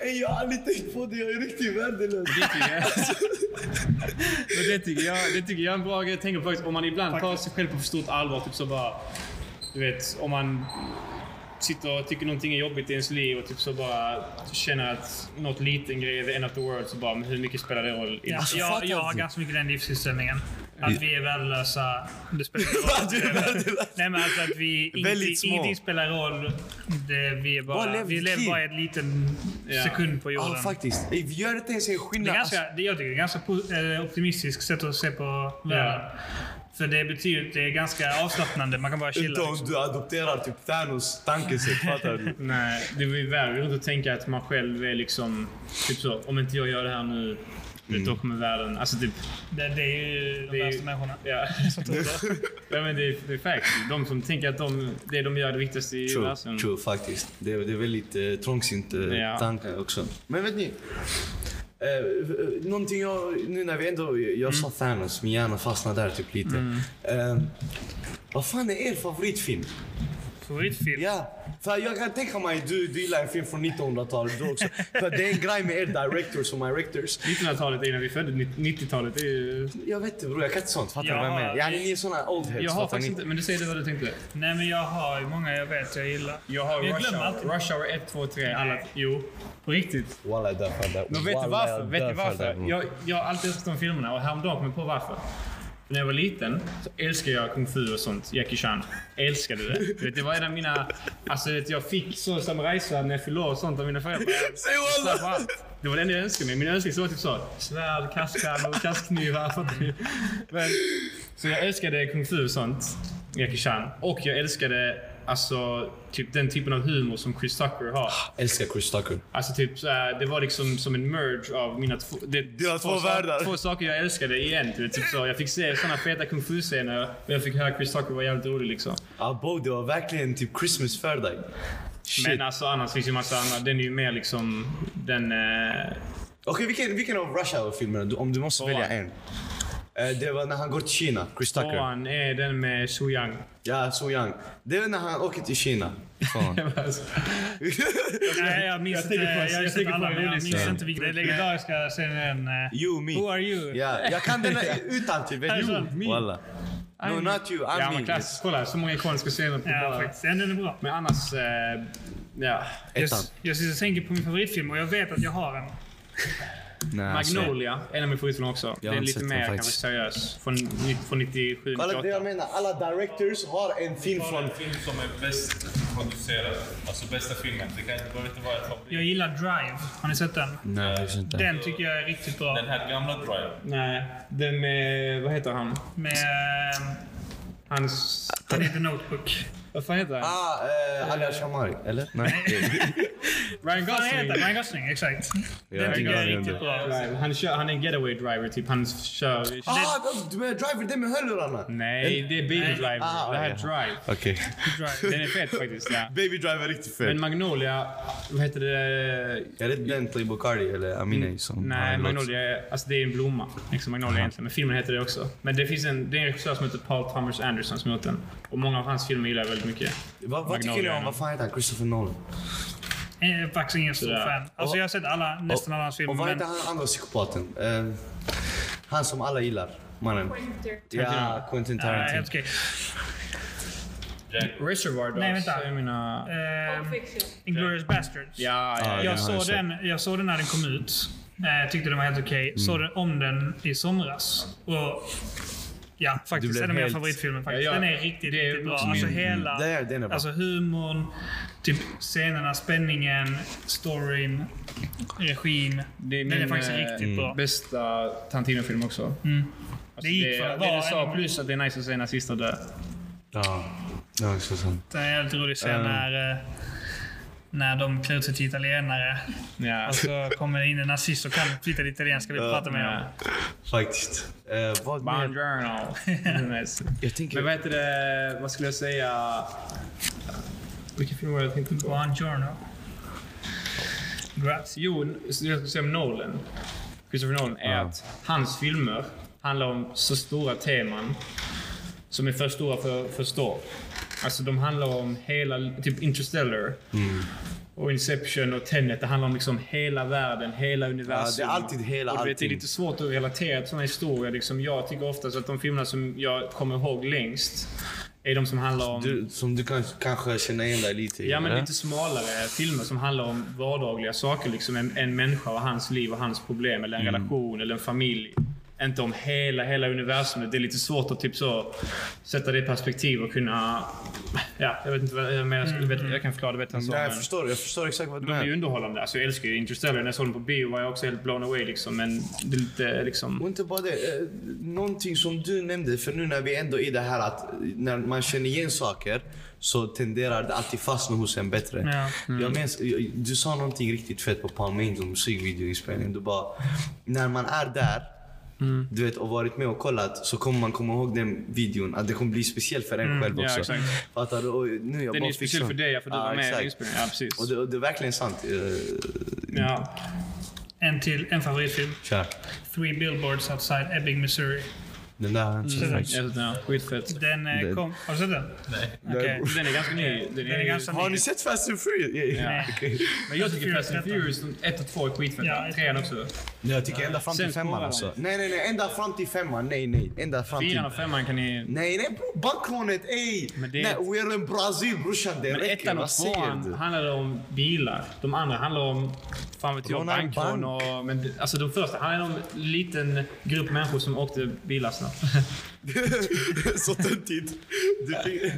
[SPEAKER 1] Ey, jag har aldrig tänkt på det. Jag är riktigt värdelös.
[SPEAKER 2] Det tycker jag. Men det tycker jag, det tycker jag är en bra grej. Jag tänker faktiskt om man ibland tar sig själv på för stort allvar. Typ så bara, du vet, om man sitter och tycker någonting är jobbigt i ens liv och typ så bara känner att något liten grej är the end of the world. Så bara, men hur mycket spelar det roll? i-
[SPEAKER 4] Ja,
[SPEAKER 1] Alltså,
[SPEAKER 4] jag,
[SPEAKER 1] fattar
[SPEAKER 4] jag
[SPEAKER 1] du?
[SPEAKER 4] har ganska mycket den livsinställningen. Att vi är värdelösa. Det spelar ingen roll.
[SPEAKER 1] Att vi är värdelösa.
[SPEAKER 4] Nej, men alltså att vi... Ingenting,
[SPEAKER 1] Väldigt små.
[SPEAKER 4] ingenting spelar roll. Det, vi är bara...
[SPEAKER 1] Bara lev
[SPEAKER 4] vi
[SPEAKER 1] ditt
[SPEAKER 4] lever
[SPEAKER 1] liv.
[SPEAKER 4] bara i en liten
[SPEAKER 2] Ja.
[SPEAKER 4] sekund på
[SPEAKER 1] Ja,
[SPEAKER 4] jorden.
[SPEAKER 1] faktiskt. Ey, vi gör inte ens en
[SPEAKER 4] det är
[SPEAKER 1] skillnad. Alltså,
[SPEAKER 4] ganska, det, jag tycker det är ganska po- eh, optimistiskt sätt att se på världen. För det betyder det är ganska avslappnande. Man kan bara chilla.
[SPEAKER 1] Inte om
[SPEAKER 4] Liksom.
[SPEAKER 1] du adopterar typ Thanos tankesätt, fattar du?
[SPEAKER 2] Nej, det är ju värre runt att tänka att man själv är liksom... Typ så, om inte jag gör det här nu, då kommer världen... Alltså typ...
[SPEAKER 4] Det, det är ju de
[SPEAKER 2] Det är ju-
[SPEAKER 4] värsta människorna.
[SPEAKER 2] Ja. ja men det är, det är facts. De som tänker att de, det de gör är det viktigaste i
[SPEAKER 1] True,
[SPEAKER 2] universum.
[SPEAKER 1] true faktiskt. Det är, det är väldigt eh, trångsynt eh,
[SPEAKER 2] Ja.
[SPEAKER 1] tanke också. Men vet ni? Eh, eh, någonting jag, nu när vi ändå, jag
[SPEAKER 2] Mm.
[SPEAKER 1] sa Thanos, min hjärna fastnade där typ lite. Eh, vad fan är er favoritfilm?
[SPEAKER 4] Favoritfilm?
[SPEAKER 1] Ja, för jag kan tänka mig du, du gillar en film från 1900-talet du också. för det är en grej med er directors och directors.
[SPEAKER 2] 1900-talet innan vi föddes, 90-talet är ju...
[SPEAKER 1] Jag vet inte bror, jag kan inte sånt. Fattar du
[SPEAKER 4] Jag
[SPEAKER 1] vad jag menar?
[SPEAKER 4] har-
[SPEAKER 1] Ja, ni är såna old heads.
[SPEAKER 2] Jag har
[SPEAKER 1] fattar
[SPEAKER 2] faktiskt
[SPEAKER 1] ni?
[SPEAKER 2] inte... Men du säger det vad du tänkte.
[SPEAKER 4] Nej, men jag har ju många jag vet jag gillar.
[SPEAKER 2] Jag har
[SPEAKER 4] jag
[SPEAKER 2] Rush
[SPEAKER 4] glömmer
[SPEAKER 2] Hour,
[SPEAKER 4] alltid.
[SPEAKER 2] Rush Hour 1, 2, 3. Alla, jo, på riktigt.
[SPEAKER 1] Wallah, jag dör för det.
[SPEAKER 2] Men vet du
[SPEAKER 1] Wallah, jag
[SPEAKER 2] varför? Vet
[SPEAKER 1] dör
[SPEAKER 2] du
[SPEAKER 1] för det,
[SPEAKER 2] varför?
[SPEAKER 1] bror.
[SPEAKER 2] Jag, jag har alltid älskat de filmerna och häromdagen kom jag på varför. För när jag var liten så älskade jag kung fu och sånt. Jackie Chan. Älskade det. Du vet, det var en av mina... Alltså vet, jag fick så samurajsvärd när jag fyllde år och sånt av mina föräldrar.
[SPEAKER 1] Säg wallah!
[SPEAKER 2] Slapp allt. Det var det enda jag önskade mig. Min önskelista var typ så. Svärd, kastkärnor, kastknivar. fattar du? Men, så jag älskade kung fu och sånt. Jackie Chan. Och jag älskade alltså, typ den typen av humor som Chris Tucker har.
[SPEAKER 1] Älskar Chris Tucker.
[SPEAKER 2] Alltså typ så här, det var liksom som en merge av mina två... Det, det
[SPEAKER 1] var två världar.
[SPEAKER 2] Två saker jag älskade igen. du vet, Typ så. Jag fick se såna feta kung fu-scener men jag fick höra Chris Tucker var jävligt rolig liksom.
[SPEAKER 1] Ja, Bo, det var verkligen typ Christmas för dig. Shit.
[SPEAKER 2] Men alltså annars finns ju massa andra. Den är ju mer liksom den... Eh,
[SPEAKER 1] Okej, vilken, vilken av Rush Hour-filmerna, du- om du måste välja en? Eh, Det var när han går till Kina, Chris Tucker.
[SPEAKER 2] tvåan är den med Su Yang.
[SPEAKER 1] Ja, So Young. Det var när han åker till Kina. Fan.
[SPEAKER 2] alltså,
[SPEAKER 4] Nej, jag minns
[SPEAKER 2] Jag
[SPEAKER 4] inte.
[SPEAKER 2] tänker på-
[SPEAKER 4] Jag har
[SPEAKER 2] jag
[SPEAKER 4] ju sett
[SPEAKER 2] tänker på
[SPEAKER 4] alla,
[SPEAKER 2] en
[SPEAKER 4] men jag
[SPEAKER 2] rolig
[SPEAKER 4] minns
[SPEAKER 2] scen.
[SPEAKER 4] inte vilken. Den legendariska scenen. eh,
[SPEAKER 1] You, me.
[SPEAKER 4] Who are you?
[SPEAKER 1] Ja, jag kan den här typ, utantill. Vet
[SPEAKER 4] Alltså,
[SPEAKER 1] du?
[SPEAKER 4] me.
[SPEAKER 1] Walla. No,
[SPEAKER 2] I'm-
[SPEAKER 1] not you. I'm
[SPEAKER 2] Ja men
[SPEAKER 1] me.
[SPEAKER 2] klass. Kolla så många ikoniska scener på
[SPEAKER 4] Ja,
[SPEAKER 2] bara...
[SPEAKER 4] faktiskt. Den den är bra.
[SPEAKER 2] Men annars... Eh, ja.
[SPEAKER 4] Jag,
[SPEAKER 1] Ettan.
[SPEAKER 4] jag sitter och tänker på min favoritfilm och jag vet att jag har en.
[SPEAKER 1] Nej, alltså.
[SPEAKER 2] Magnolia, en av mina favoritfilmer också.
[SPEAKER 1] Jag
[SPEAKER 2] Den
[SPEAKER 1] har
[SPEAKER 2] är
[SPEAKER 1] inte sett
[SPEAKER 2] lite
[SPEAKER 1] den
[SPEAKER 2] mer kanske
[SPEAKER 1] faktiskt.
[SPEAKER 2] seriös. Från, ni- från 97,
[SPEAKER 1] Kolla det
[SPEAKER 2] 98.
[SPEAKER 1] jag menar. Alla directors har en film
[SPEAKER 3] Kolla
[SPEAKER 1] från...
[SPEAKER 3] en film som är bäst producerad. Alltså bästa filmen. Det kan inte behöver inte vara ett favorit.
[SPEAKER 4] Jag gillar Drive. Har ni sett den?
[SPEAKER 1] Nej, jag vet inte.
[SPEAKER 4] Den tycker jag är riktigt bra.
[SPEAKER 3] Den här gamla Drive.
[SPEAKER 2] Nej, den med... Vad heter han?
[SPEAKER 4] Med... eh,
[SPEAKER 2] Hans...
[SPEAKER 4] Han heter Notebook.
[SPEAKER 2] Vad fan heter han?
[SPEAKER 1] Ah, eh, Ali Ashamari, eller? Nej.
[SPEAKER 2] Ryan
[SPEAKER 4] Vad heter han?
[SPEAKER 2] Gosling.
[SPEAKER 4] Ryan Gosling, exakt.
[SPEAKER 1] Jag
[SPEAKER 4] Den
[SPEAKER 1] har
[SPEAKER 4] tycker
[SPEAKER 1] ingen
[SPEAKER 4] Alltså, jag är
[SPEAKER 1] aning om
[SPEAKER 4] riktigt
[SPEAKER 1] det.
[SPEAKER 4] bra.
[SPEAKER 2] Drive. Han, kör, han är en getaway driver typ. Han kör...
[SPEAKER 1] Ah, du menar Driver, den med hörlurarna?
[SPEAKER 2] Nej, det är baby
[SPEAKER 4] Nej.
[SPEAKER 2] driver.
[SPEAKER 1] Ah,
[SPEAKER 2] det här är
[SPEAKER 1] ja.
[SPEAKER 2] drive.
[SPEAKER 1] Okej.
[SPEAKER 4] Drive.
[SPEAKER 2] Den är fet faktiskt. Ja.
[SPEAKER 1] Baby Driver är riktigt fet.
[SPEAKER 2] Men Magnolia... Vad heter det?
[SPEAKER 1] Är det den Playboy Cardi eller Amineh som har
[SPEAKER 2] Mm. Nej,
[SPEAKER 1] en låt?
[SPEAKER 2] Magnolia är, alltså det är en blomma. Liksom Magnolia egentligen. Men filmen heter det också. Men det finns en, det är en regissör som heter Paul Thomas Anderson som gjort den. Och många av hans filmer gillar jag väldigt mycket.
[SPEAKER 1] Vad, vad tycker
[SPEAKER 2] Magnolia
[SPEAKER 1] ni
[SPEAKER 2] är
[SPEAKER 1] om,
[SPEAKER 2] någon.
[SPEAKER 1] vad fan heter han, Christopher Nolan?
[SPEAKER 4] Jag Eh, är faktiskt ingen stor
[SPEAKER 2] Sådär.
[SPEAKER 4] fan. Alltså jag har sett alla, nästan alla hans
[SPEAKER 1] Och vad
[SPEAKER 4] filmer.
[SPEAKER 1] heter
[SPEAKER 4] Men
[SPEAKER 1] han andra psykopaten? Eh, han som alla gillar, mannen. Ja, Quentin
[SPEAKER 4] Ja,
[SPEAKER 1] Tarantino.
[SPEAKER 4] helt okej.
[SPEAKER 2] Reservoir Dogs.
[SPEAKER 4] Nej, vänta.
[SPEAKER 2] är mina...
[SPEAKER 4] Ehm, Inglourious Basterds.
[SPEAKER 2] Ja,
[SPEAKER 1] Ja,
[SPEAKER 2] ja,
[SPEAKER 1] den
[SPEAKER 2] ja.
[SPEAKER 4] Jag,
[SPEAKER 1] har jag
[SPEAKER 4] såg den, jag såg den när den kom ut. Eh, tyckte den var helt okej.
[SPEAKER 2] Mm.
[SPEAKER 4] Såg den om den i somras. Och ja, faktiskt
[SPEAKER 1] blev
[SPEAKER 4] en av mina
[SPEAKER 1] helt-
[SPEAKER 4] favoritfilmer. Faktiskt.
[SPEAKER 2] Ja, ja.
[SPEAKER 4] Den är riktigt,
[SPEAKER 2] Det är
[SPEAKER 4] riktigt bra.
[SPEAKER 2] också
[SPEAKER 4] Alltså
[SPEAKER 2] min-
[SPEAKER 4] hela...
[SPEAKER 1] Det är- den är bra.
[SPEAKER 4] Alltså humorn, typ scenerna, spänningen, storyn, regin.
[SPEAKER 2] Det är min
[SPEAKER 4] den är faktiskt
[SPEAKER 2] eh,
[SPEAKER 4] riktigt bra.
[SPEAKER 2] bästa Tarantino-film också. Alltså,
[SPEAKER 4] Det gick
[SPEAKER 2] det,
[SPEAKER 4] för att
[SPEAKER 2] det
[SPEAKER 4] vara
[SPEAKER 2] du sa,
[SPEAKER 4] en-
[SPEAKER 2] plus att det är nice att se nazister dö.
[SPEAKER 1] Ja, det är också sant.
[SPEAKER 4] Den är helt rolig scen
[SPEAKER 1] Eh.
[SPEAKER 4] när, eh, när de klär ut sig till italienare.
[SPEAKER 2] Ja.
[SPEAKER 4] Och så kommer det in en nazist och kan flytta till italienska. Vi prata med honom.
[SPEAKER 1] Faktiskt. Eh, vad mer?
[SPEAKER 2] Journal. Det är nice.
[SPEAKER 1] Jag tänker...
[SPEAKER 2] Men vad heter det, vad skulle jag säga? Vilken film var det jag tänkte på?
[SPEAKER 4] Buongiorno. Grazie.
[SPEAKER 2] Jo, jag skulle säga om Nolan. Christopher Nolan är
[SPEAKER 1] Ja.
[SPEAKER 2] att hans filmer handlar om så stora teman som är för stora för att förstå. Alltså de handlar om hela, typ Interstellar och Inception och Tenet. Det handlar om liksom hela världen, hela universum.
[SPEAKER 1] Ja, det är alltid hela
[SPEAKER 2] och du vet, Det är
[SPEAKER 1] allting.
[SPEAKER 2] lite svårt att relatera till sådana historier. Liksom, jag tycker oftast att de filmerna som jag kommer ihåg längst är de som handlar om
[SPEAKER 1] Du, som du kan, kanske känner igen dig lite i,
[SPEAKER 2] Ja, men
[SPEAKER 1] eller?
[SPEAKER 2] lite smalare filmer som handlar om
[SPEAKER 4] Mm.
[SPEAKER 2] vardagliga saker. Liksom en, en människa och hans liv och hans problem. Eller en relation eller en familj. inte om hela, hela universumet. Det är lite svårt att typ så sätta det i perspektiv och kunna... Ja, jag vet inte vad jag menar. Jag, vet, jag kan förklara det bättre än så.
[SPEAKER 1] Nej, jag
[SPEAKER 2] men-
[SPEAKER 1] förstår, jag förstår exakt vad du
[SPEAKER 2] de är ju
[SPEAKER 1] menar.
[SPEAKER 2] underhållande. Alltså, jag älskar ju Interstellar. När jag såg den på bio var jag också helt blown away. Liksom. Men det är lite
[SPEAKER 1] Och
[SPEAKER 2] liksom...
[SPEAKER 1] inte bara det, eh, någonting som du nämnde, för nu när vi ändå är i det här att när man känner igen saker så tenderar det alltid fastna hos en bättre.
[SPEAKER 4] Ja.
[SPEAKER 2] Mm.
[SPEAKER 1] Jag minns, jag- du sa någonting riktigt fett på Palm Angel musikvideoinspelningen. Du bara, när man är där
[SPEAKER 2] Mm.
[SPEAKER 1] Du vet, och varit med och kollat så kommer man komma ihåg den videon. Att det kommer bli speciell för en själv
[SPEAKER 2] Mm. ja,
[SPEAKER 1] också.
[SPEAKER 2] exakt.
[SPEAKER 1] Fattar du? Och nu jag
[SPEAKER 2] Den är
[SPEAKER 1] bara
[SPEAKER 2] ju
[SPEAKER 1] fick
[SPEAKER 2] speciell
[SPEAKER 1] sån-
[SPEAKER 2] för dig, ja, för du
[SPEAKER 1] Ja,
[SPEAKER 2] var med
[SPEAKER 1] exakt.
[SPEAKER 2] i inspelningen. Ja, precis.
[SPEAKER 1] Och det, och det är verkligen sant. Uh,
[SPEAKER 2] Ja.
[SPEAKER 4] En till, en favoritfilm.
[SPEAKER 1] kör.
[SPEAKER 4] Three Billboards Outside Ebbing, Missouri.
[SPEAKER 1] Den där har jag inte sett faktiskt.
[SPEAKER 2] Jag vet inte, Mm. ja, skitfett.
[SPEAKER 4] Den eh,
[SPEAKER 1] Den-
[SPEAKER 4] kom... Har du sett den? Nej.
[SPEAKER 2] Den är ganska ny. Den
[SPEAKER 4] Den är
[SPEAKER 2] ju-
[SPEAKER 4] ganska ny.
[SPEAKER 1] Har ni sett Fast and Furious? Ja.
[SPEAKER 4] Nej.
[SPEAKER 1] Okej.
[SPEAKER 2] Men jag tycker
[SPEAKER 4] Fast
[SPEAKER 2] Fast
[SPEAKER 4] and
[SPEAKER 2] and Furious 1 och 2 är skitfett.
[SPEAKER 4] Ja,
[SPEAKER 2] Trean också.
[SPEAKER 1] Nej, Jag tycker ända fram till
[SPEAKER 2] Sen spårar
[SPEAKER 1] femman
[SPEAKER 2] de.
[SPEAKER 1] alltså. Nej, nej, nej. Ända fram till femman. Nej, nej. Ända fram till...
[SPEAKER 2] Fyran och femman kan ni...
[SPEAKER 1] Nej, nej bro. Bankrånet, ey!
[SPEAKER 2] Men det-
[SPEAKER 1] Nej, we're in Brazil brorsan. Det
[SPEAKER 2] Men
[SPEAKER 1] räcker.
[SPEAKER 2] ettan
[SPEAKER 1] Vad
[SPEAKER 2] och
[SPEAKER 1] säger
[SPEAKER 2] tvåan
[SPEAKER 1] du?
[SPEAKER 2] handlade om bilar. De andra handlar om... Fan vet jag,
[SPEAKER 1] Råna en
[SPEAKER 2] bankrån och... Men det- alltså de första handlade om en liten grupp människor som åkte bilar snabbt.
[SPEAKER 1] Så töntigt. Det fick-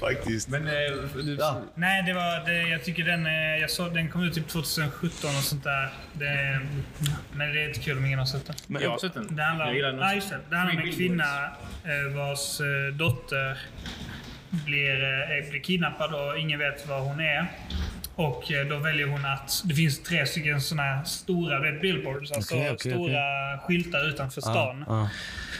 [SPEAKER 1] Faktiskt.
[SPEAKER 2] Men... eh, du-
[SPEAKER 1] Ja.
[SPEAKER 4] Nej, det var, det, jag tycker den, eh, jag såg, den kom ut typ 2017 och sånt där. Det, men det är inte kul om ingen har sett den.
[SPEAKER 1] Men,
[SPEAKER 2] jag har sett den.
[SPEAKER 4] Det handlar
[SPEAKER 2] jag gillar
[SPEAKER 4] om,
[SPEAKER 2] den
[SPEAKER 4] ah,
[SPEAKER 2] också.
[SPEAKER 4] just det, det handlar om en
[SPEAKER 2] Three
[SPEAKER 4] kvinna eh, vars eh, dotter blir, eh, blir kidnappad och ingen vet var hon är. Och eh, då väljer hon att... Det finns tre stycken såna här stora du vet, billboards. Alltså
[SPEAKER 1] Okej, okej,
[SPEAKER 4] stora skyltar utanför stan.
[SPEAKER 1] ah.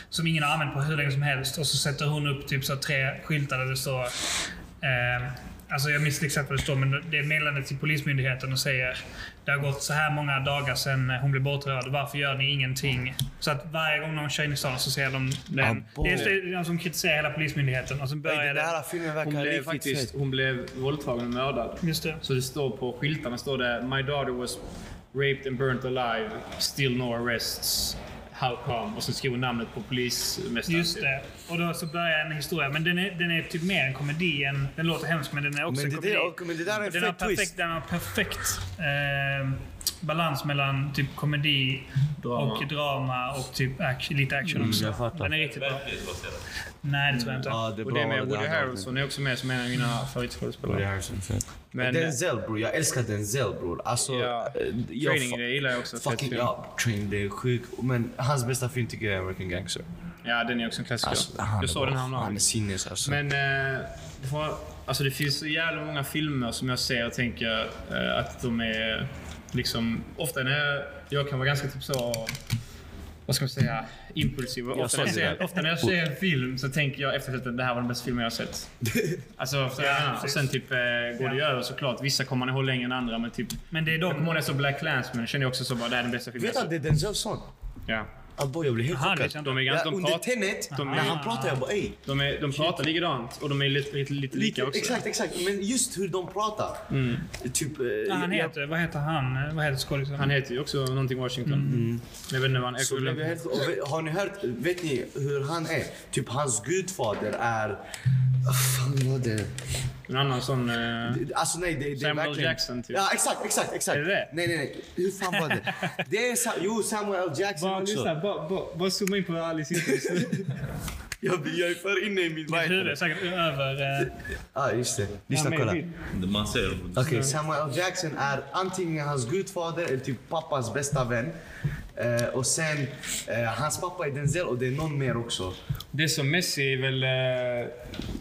[SPEAKER 4] Som ingen har använt på hur länge som helst. Och så sätter hon upp typ så här tre skyltar där det står... Eh, Alltså jag minns inte exakt vad det står, men det är meddelandet till Polismyndigheten och säger det har gått så här många dagar sedan hon blev bortrövad. Varför gör ni ingenting? Så att varje gång någon kör in i stan så ser de den.
[SPEAKER 1] Ah, boy.
[SPEAKER 4] Dels det är de som kritiserar hela Polismyndigheten och sen
[SPEAKER 1] Ey,
[SPEAKER 4] börjar
[SPEAKER 1] Den
[SPEAKER 4] det.
[SPEAKER 1] här filmen
[SPEAKER 2] Hon
[SPEAKER 1] verkar
[SPEAKER 2] blev
[SPEAKER 1] riktigt
[SPEAKER 2] faktiskt
[SPEAKER 1] fet.
[SPEAKER 2] hon blev våldtagen och mördad.
[SPEAKER 4] Just det.
[SPEAKER 2] Så det står på skyltarna står det My daughter was raped and burnt alive. Still no arrests. How come? Och sen skriver hon namnet på polismästaren. typ.
[SPEAKER 4] Just det. Och då så börjar en historia. Men den är, den är typ mer en komedi än... Den låter hemskt men den är också
[SPEAKER 1] Men det,
[SPEAKER 4] en komedi.
[SPEAKER 1] där, och, men det där är en
[SPEAKER 4] Den har
[SPEAKER 1] fet twist.
[SPEAKER 4] perfekt, den har perfekt eh, balans mellan typ komedi
[SPEAKER 2] Drama. Mm,
[SPEAKER 4] och drama och typ action, lite action också.
[SPEAKER 1] jag fattar.
[SPEAKER 4] Den är riktigt bra.
[SPEAKER 3] Verklighetsbaserat.
[SPEAKER 4] Nej, det tror jag inte.
[SPEAKER 1] Ja, det Mm. är
[SPEAKER 2] Och
[SPEAKER 1] bra.
[SPEAKER 2] det är med Woody
[SPEAKER 1] där.
[SPEAKER 2] Harrelson är också med som en av mina
[SPEAKER 1] Woody
[SPEAKER 2] favoritskådespelare.
[SPEAKER 1] Harrelson, fett.
[SPEAKER 2] Men eh,
[SPEAKER 1] Denzel bror, jag älskar Denzel bror. Alltså,
[SPEAKER 2] ja,
[SPEAKER 1] eh, jag
[SPEAKER 2] Training
[SPEAKER 1] fa-
[SPEAKER 2] Day gillar jag också. fett
[SPEAKER 1] Fucking
[SPEAKER 2] film.
[SPEAKER 1] ja, Training Day är sjuk. Men hans bästa film tycker jag är American Gangster.
[SPEAKER 2] Ja, den är också en klassiker.
[SPEAKER 1] Alltså, han är
[SPEAKER 2] jag såg
[SPEAKER 1] bara-
[SPEAKER 2] den häromdagen.
[SPEAKER 1] Han är sinnes alltså.
[SPEAKER 2] Men eh, det, var, alltså det finns så jävla många filmer som jag ser och tänker eh, att de är liksom... Ofta när jag, jag kan vara ganska typ så... Vad ska man säga? Impulsiv. Och Ofta,
[SPEAKER 1] sa
[SPEAKER 2] när jag
[SPEAKER 1] det
[SPEAKER 2] ser,
[SPEAKER 1] där.
[SPEAKER 2] ofta när jag ser en film så tänker jag efter att det här var den bästa filmen jag har sett. Alltså, förstår du vad jag menar? och sen typ eh, går det ju över såklart. Vissa kommer man ihåg längre än andra men typ...
[SPEAKER 4] Men det är
[SPEAKER 2] Jag kommer ihåg
[SPEAKER 4] de.
[SPEAKER 2] när jag såg Black Clansman men kände jag också så bara det här är den bästa
[SPEAKER 1] Du
[SPEAKER 2] filmen
[SPEAKER 1] vet
[SPEAKER 2] jag
[SPEAKER 1] att
[SPEAKER 2] har
[SPEAKER 1] det är Denzels son?
[SPEAKER 2] sett. Ja.
[SPEAKER 1] Ah, boy, jag blev helt
[SPEAKER 4] Aha, det
[SPEAKER 1] chockad.
[SPEAKER 4] kände
[SPEAKER 2] De är
[SPEAKER 1] Ja,
[SPEAKER 2] ganska... De,
[SPEAKER 1] under
[SPEAKER 2] prat,
[SPEAKER 1] Tenet,
[SPEAKER 2] de är-
[SPEAKER 1] när han pratar jag bara ey.
[SPEAKER 2] de, är, de pratar likadant och de är lite, lite, lite
[SPEAKER 1] Lite,
[SPEAKER 2] lika också. Mm.
[SPEAKER 1] exakt, exakt. Men just hur de pratar. Typ... eh,
[SPEAKER 4] Ja, han
[SPEAKER 1] jag-
[SPEAKER 4] heter, vad heter han? Eh, Vad heter skådisen?
[SPEAKER 2] Han heter ju också någonting Washington. Men jag vet inte vad han
[SPEAKER 1] Så blev jag
[SPEAKER 2] är.
[SPEAKER 1] helt, och vet- har ni hört, vet ni hur han är? Typ hans gudfader är... Vad fan var det?
[SPEAKER 2] En annan sån... eh,
[SPEAKER 1] Alltså nej, det, det är
[SPEAKER 2] Samuel
[SPEAKER 1] verkligen...
[SPEAKER 2] Jackson, typ.
[SPEAKER 1] Ja, exakt, exakt, exakt.
[SPEAKER 2] Är det det?
[SPEAKER 1] Nej, nej, nej. Hur fan var det? Det är Sa- jo, Samuel L. Jackson
[SPEAKER 2] Bara
[SPEAKER 1] också.
[SPEAKER 2] lyssna, bara, bara, bara zooma in på Alice Interest nu.
[SPEAKER 1] Jag, jag är för inne i min... Vad heter
[SPEAKER 4] Huvud är
[SPEAKER 1] det?
[SPEAKER 4] säkert över... eh,
[SPEAKER 1] Ja, just det. Lyssna,
[SPEAKER 2] Han är
[SPEAKER 1] kolla.
[SPEAKER 2] vild.
[SPEAKER 3] Man ser.
[SPEAKER 1] Okej, Samuel L. Jackson är antingen hans gudfader eller typ pappas bästa vän. Eh, och sen, eh, hans pappa är Denzel och det är någon mer också.
[SPEAKER 2] Det som Messi är väl... eh,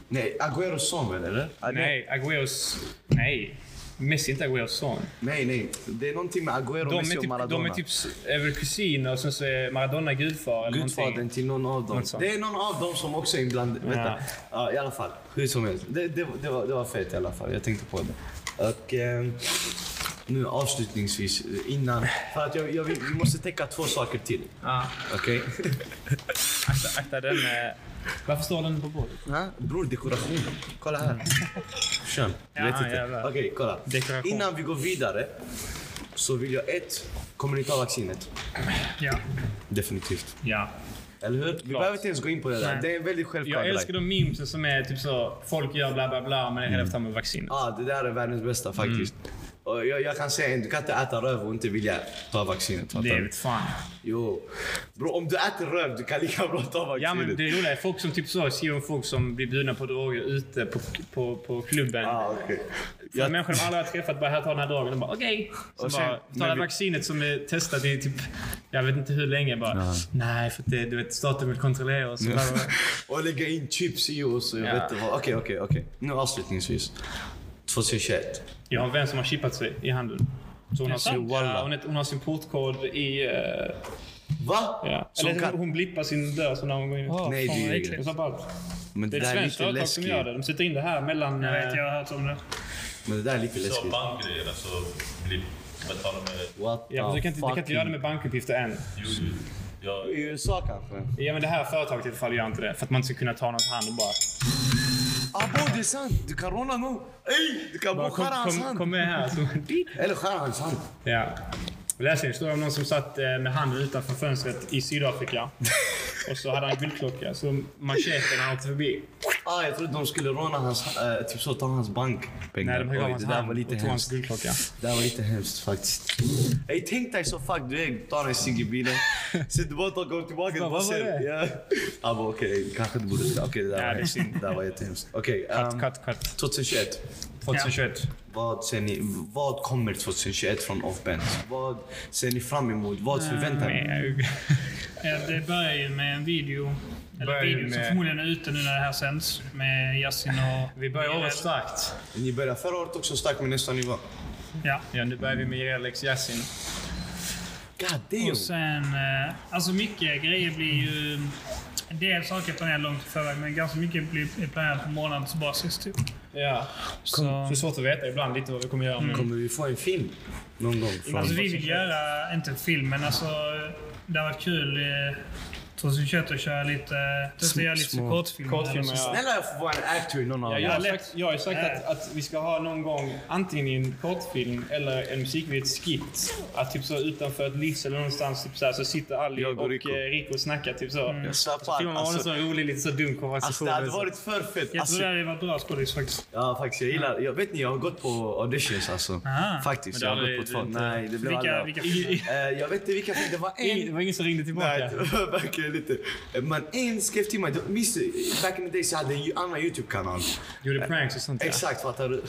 [SPEAKER 1] Nej, Agueros son väl, eller? Ah,
[SPEAKER 2] nej, Agüeros... Nej. Messi är inte Agüeros son.
[SPEAKER 1] Nej, nej. Det är någonting med Aguero,
[SPEAKER 2] De är,
[SPEAKER 1] Messi och
[SPEAKER 2] typ, de
[SPEAKER 1] Maradona.
[SPEAKER 2] är typ s- är väl kusiner och sen så är Maradona gudfar eller någonting.
[SPEAKER 1] Gudfadern till någon av dem.
[SPEAKER 2] Något sånt.
[SPEAKER 1] Det är någon av dem som också är inblandad.
[SPEAKER 2] Ja.
[SPEAKER 1] Vänta. Ja, I alla fall, hur som helst. Det, det, det, var, det var fett i alla fall. Jag tänkte på det. Och eh, nu avslutningsvis eh, innan. För att jag, jag, vill- vi måste täcka två saker till.
[SPEAKER 2] Ah,
[SPEAKER 1] Okej?
[SPEAKER 2] akta, akta den. eh, varför står den på bordet?
[SPEAKER 1] Okay? Bror, dekoration. Kolla här. Kön.
[SPEAKER 2] Ja,
[SPEAKER 1] Vet inte.
[SPEAKER 2] jävlar.
[SPEAKER 1] Okej, kolla.
[SPEAKER 2] Dekoration.
[SPEAKER 1] Innan vi går vidare så vill jag ett, kommer ni ta vaccinet?
[SPEAKER 4] ja.
[SPEAKER 1] Definitivt.
[SPEAKER 2] Ja.
[SPEAKER 1] Eller hur? Vi behöver inte ens gå in på det där.
[SPEAKER 4] Nej.
[SPEAKER 1] Det är väldigt självklart.
[SPEAKER 2] Jag älskar de memesen som är typ så, folk gör bla bla bla men är hela tiden med vaccin. Mm.
[SPEAKER 1] Ja, ah, det där är världens bästa faktiskt. Och jag, jag kan säga en, du kan inte äta röv och inte vilja ta vaccinet. fattar
[SPEAKER 2] Det
[SPEAKER 1] du?
[SPEAKER 2] vet fan.
[SPEAKER 1] Jo. Bro, om du äter röv, du kan lika bra ta vaccinet.
[SPEAKER 2] Ja men det roliga är folk som typ så skriver om folk som blir bjudna på droger ute på, på, på klubben.
[SPEAKER 1] Ah, okej.
[SPEAKER 2] Ja. Människor de aldrig har träffat bara här tar den här drogen och bara okej.
[SPEAKER 1] Och
[SPEAKER 2] Så
[SPEAKER 1] sen-
[SPEAKER 2] bara
[SPEAKER 1] men
[SPEAKER 2] tar det här
[SPEAKER 1] vi-
[SPEAKER 2] vaccinet som är testat i typ, jag vet inte hur länge bara. Nej för att det, du vet staten vill kontrollera och så bara,
[SPEAKER 1] Och lägga Oh, in chips i och så, jag
[SPEAKER 2] Ja.
[SPEAKER 1] vet inte vad. Okej, okej, okej. Nu avslutningsvis. 2021.
[SPEAKER 2] Jag har en vän som har chippat sig i handen. Så hon, har
[SPEAKER 4] sant?
[SPEAKER 2] sin, ja, hon, är- hon har sin portkod i... eh,
[SPEAKER 1] Va?
[SPEAKER 2] ja.
[SPEAKER 1] Som
[SPEAKER 2] Eller
[SPEAKER 1] kan-
[SPEAKER 2] hon blippar sin dörr så när hon går in.
[SPEAKER 4] Åh,
[SPEAKER 1] Nej,
[SPEAKER 4] fan,
[SPEAKER 1] det är
[SPEAKER 4] vad
[SPEAKER 1] ju-
[SPEAKER 2] Det är
[SPEAKER 4] äckligt.
[SPEAKER 2] så bara,
[SPEAKER 1] Men det
[SPEAKER 2] det är ett
[SPEAKER 1] där är
[SPEAKER 2] svenskt
[SPEAKER 1] lite
[SPEAKER 2] företag som
[SPEAKER 1] läskigt.
[SPEAKER 2] gör det. De sätter in det här mellan...
[SPEAKER 4] Jag vet,
[SPEAKER 2] eh,
[SPEAKER 4] jag har hört om det.
[SPEAKER 1] Men det där är lite
[SPEAKER 3] Så
[SPEAKER 1] läskigt.
[SPEAKER 3] bankgrejerna så blir betala med...
[SPEAKER 1] What
[SPEAKER 2] Ja, fast du kan inte, du kan inte göra det med bankuppgifter än.
[SPEAKER 3] Jo, jo. Jag,
[SPEAKER 1] I USA kanske?
[SPEAKER 2] Ja, men det här företaget i alla fall gör inte det. För att man ska kunna ta någons hand och bara...
[SPEAKER 1] Ah bro, det är sant! Du kan råna någon. Ey! Du kan bara
[SPEAKER 2] bara kom,
[SPEAKER 1] skära hans
[SPEAKER 2] kom,
[SPEAKER 1] hand.
[SPEAKER 2] kom med här. Så,
[SPEAKER 1] Eller skära hans hand.
[SPEAKER 2] ja. Jag läste en historia om någon som satt eh, med handen utanför fönstret i Sydafrika. Och så hade han en guldklocka. Så mancheten han åkte förbi.
[SPEAKER 1] Ah, jag trodde de skulle råna hans... eh, typ så, ta hans bankpengar.
[SPEAKER 2] Nej, de högg av
[SPEAKER 1] Oj,
[SPEAKER 2] hans
[SPEAKER 1] det där var
[SPEAKER 2] hand
[SPEAKER 1] lite
[SPEAKER 2] och tog
[SPEAKER 1] hemskt.
[SPEAKER 2] hans guldklocka.
[SPEAKER 1] Det där var lite hemskt faktiskt. Ey, tänk dig så fuck du är. Tar en cigg i bilen. Sitter bara och går tillbaka.
[SPEAKER 2] Vad
[SPEAKER 1] bara
[SPEAKER 2] var
[SPEAKER 1] ser.
[SPEAKER 2] det?
[SPEAKER 1] Ja. Ah, bara, okej, kanske du borde... Okej, det där
[SPEAKER 2] Ja,
[SPEAKER 1] var
[SPEAKER 2] det är
[SPEAKER 1] hemskt.
[SPEAKER 2] synd.
[SPEAKER 1] Det där var jättehemskt. Okej, ehm,
[SPEAKER 2] Cut, cut.
[SPEAKER 1] 2021.
[SPEAKER 2] 2021.
[SPEAKER 1] Vad ser ni, vad kommer 2021 från Offbent? Vad ser ni fram emot?
[SPEAKER 2] Ah,
[SPEAKER 1] Vad förväntar ni?
[SPEAKER 2] Nej,
[SPEAKER 4] Eh, Det börjar ju med en video. Eller
[SPEAKER 2] Börjar ju
[SPEAKER 4] video som
[SPEAKER 2] med-
[SPEAKER 4] förmodligen är ute nu när det här sänds. Med Yasin och...
[SPEAKER 2] Vi börjar året starkt.
[SPEAKER 1] Ni började förra året också starkt med nästa nivå.
[SPEAKER 4] Ja.
[SPEAKER 2] Ja, nu börjar vi med Jirelex Yasin.
[SPEAKER 1] God damn!
[SPEAKER 2] Oh,
[SPEAKER 4] Och sen, eh, alltså mycket grejer blir ju... En del saker är planerat långt i förväg, men ganska mycket blir är planerat på månadsbasis. Typ.
[SPEAKER 2] Ja.
[SPEAKER 4] Så,
[SPEAKER 1] Mm.
[SPEAKER 2] Så det är svårt att veta ibland lite vad vi kommer göra. Men
[SPEAKER 1] Kommer vi få en film någon gång? Från...
[SPEAKER 4] alltså, vi vill göra, inte film, men alltså, det har varit kul eh, 2021 att köra lite, testa
[SPEAKER 1] Sm-
[SPEAKER 4] göra lite
[SPEAKER 1] små-
[SPEAKER 4] kortfilmer.
[SPEAKER 2] kortfilmer,
[SPEAKER 4] eller så.
[SPEAKER 2] ja.
[SPEAKER 1] Snälla jag får vara en actor i någon av
[SPEAKER 2] Ja,
[SPEAKER 1] dem.
[SPEAKER 2] jag, har
[SPEAKER 4] lätt.
[SPEAKER 2] sagt, jag har ju sagt
[SPEAKER 4] Nej.
[SPEAKER 2] att, att vi ska ha någon gång antingen i en kortfilm eller en musikvideo, ett skit. Att typ så utanför ett livs eller någonstans typ så, här, så sitter Ali
[SPEAKER 1] Jag och
[SPEAKER 2] och, och
[SPEAKER 1] Rico. Mm.
[SPEAKER 2] Rico. Rico och snackar typ så.
[SPEAKER 1] Jag
[SPEAKER 2] Så
[SPEAKER 1] slappar.
[SPEAKER 2] filmar man
[SPEAKER 1] Alltså,
[SPEAKER 2] en sån rolig, lite så dum
[SPEAKER 1] alltså,
[SPEAKER 2] konversation.
[SPEAKER 1] det hade
[SPEAKER 2] med så.
[SPEAKER 1] varit för fett.
[SPEAKER 4] Jag tror
[SPEAKER 1] Alltså,
[SPEAKER 4] det hade varit bra skådis faktiskt.
[SPEAKER 1] ja, faktiskt, jag gillar... Jag vet ni, jag har gått på auditions alltså.
[SPEAKER 4] Ah.
[SPEAKER 1] Faktiskt,
[SPEAKER 2] Men
[SPEAKER 1] jag
[SPEAKER 2] det
[SPEAKER 1] har
[SPEAKER 2] hade
[SPEAKER 1] gått på
[SPEAKER 2] du
[SPEAKER 1] två.
[SPEAKER 2] inte-
[SPEAKER 1] Nej, det blev
[SPEAKER 4] Vilka,
[SPEAKER 1] alla.
[SPEAKER 4] vilka
[SPEAKER 1] Eh, Jag vet inte vilka film. Det var en
[SPEAKER 2] Ingen- Det var ingen som ringde tillbaka.
[SPEAKER 1] Nej, verkligen inte. Men en skrev till mig. Minns du, back in the days jag hade en annan YouTube-kanal.
[SPEAKER 2] Gjorde pranks och sånt ja.
[SPEAKER 1] Exakt, fattar du?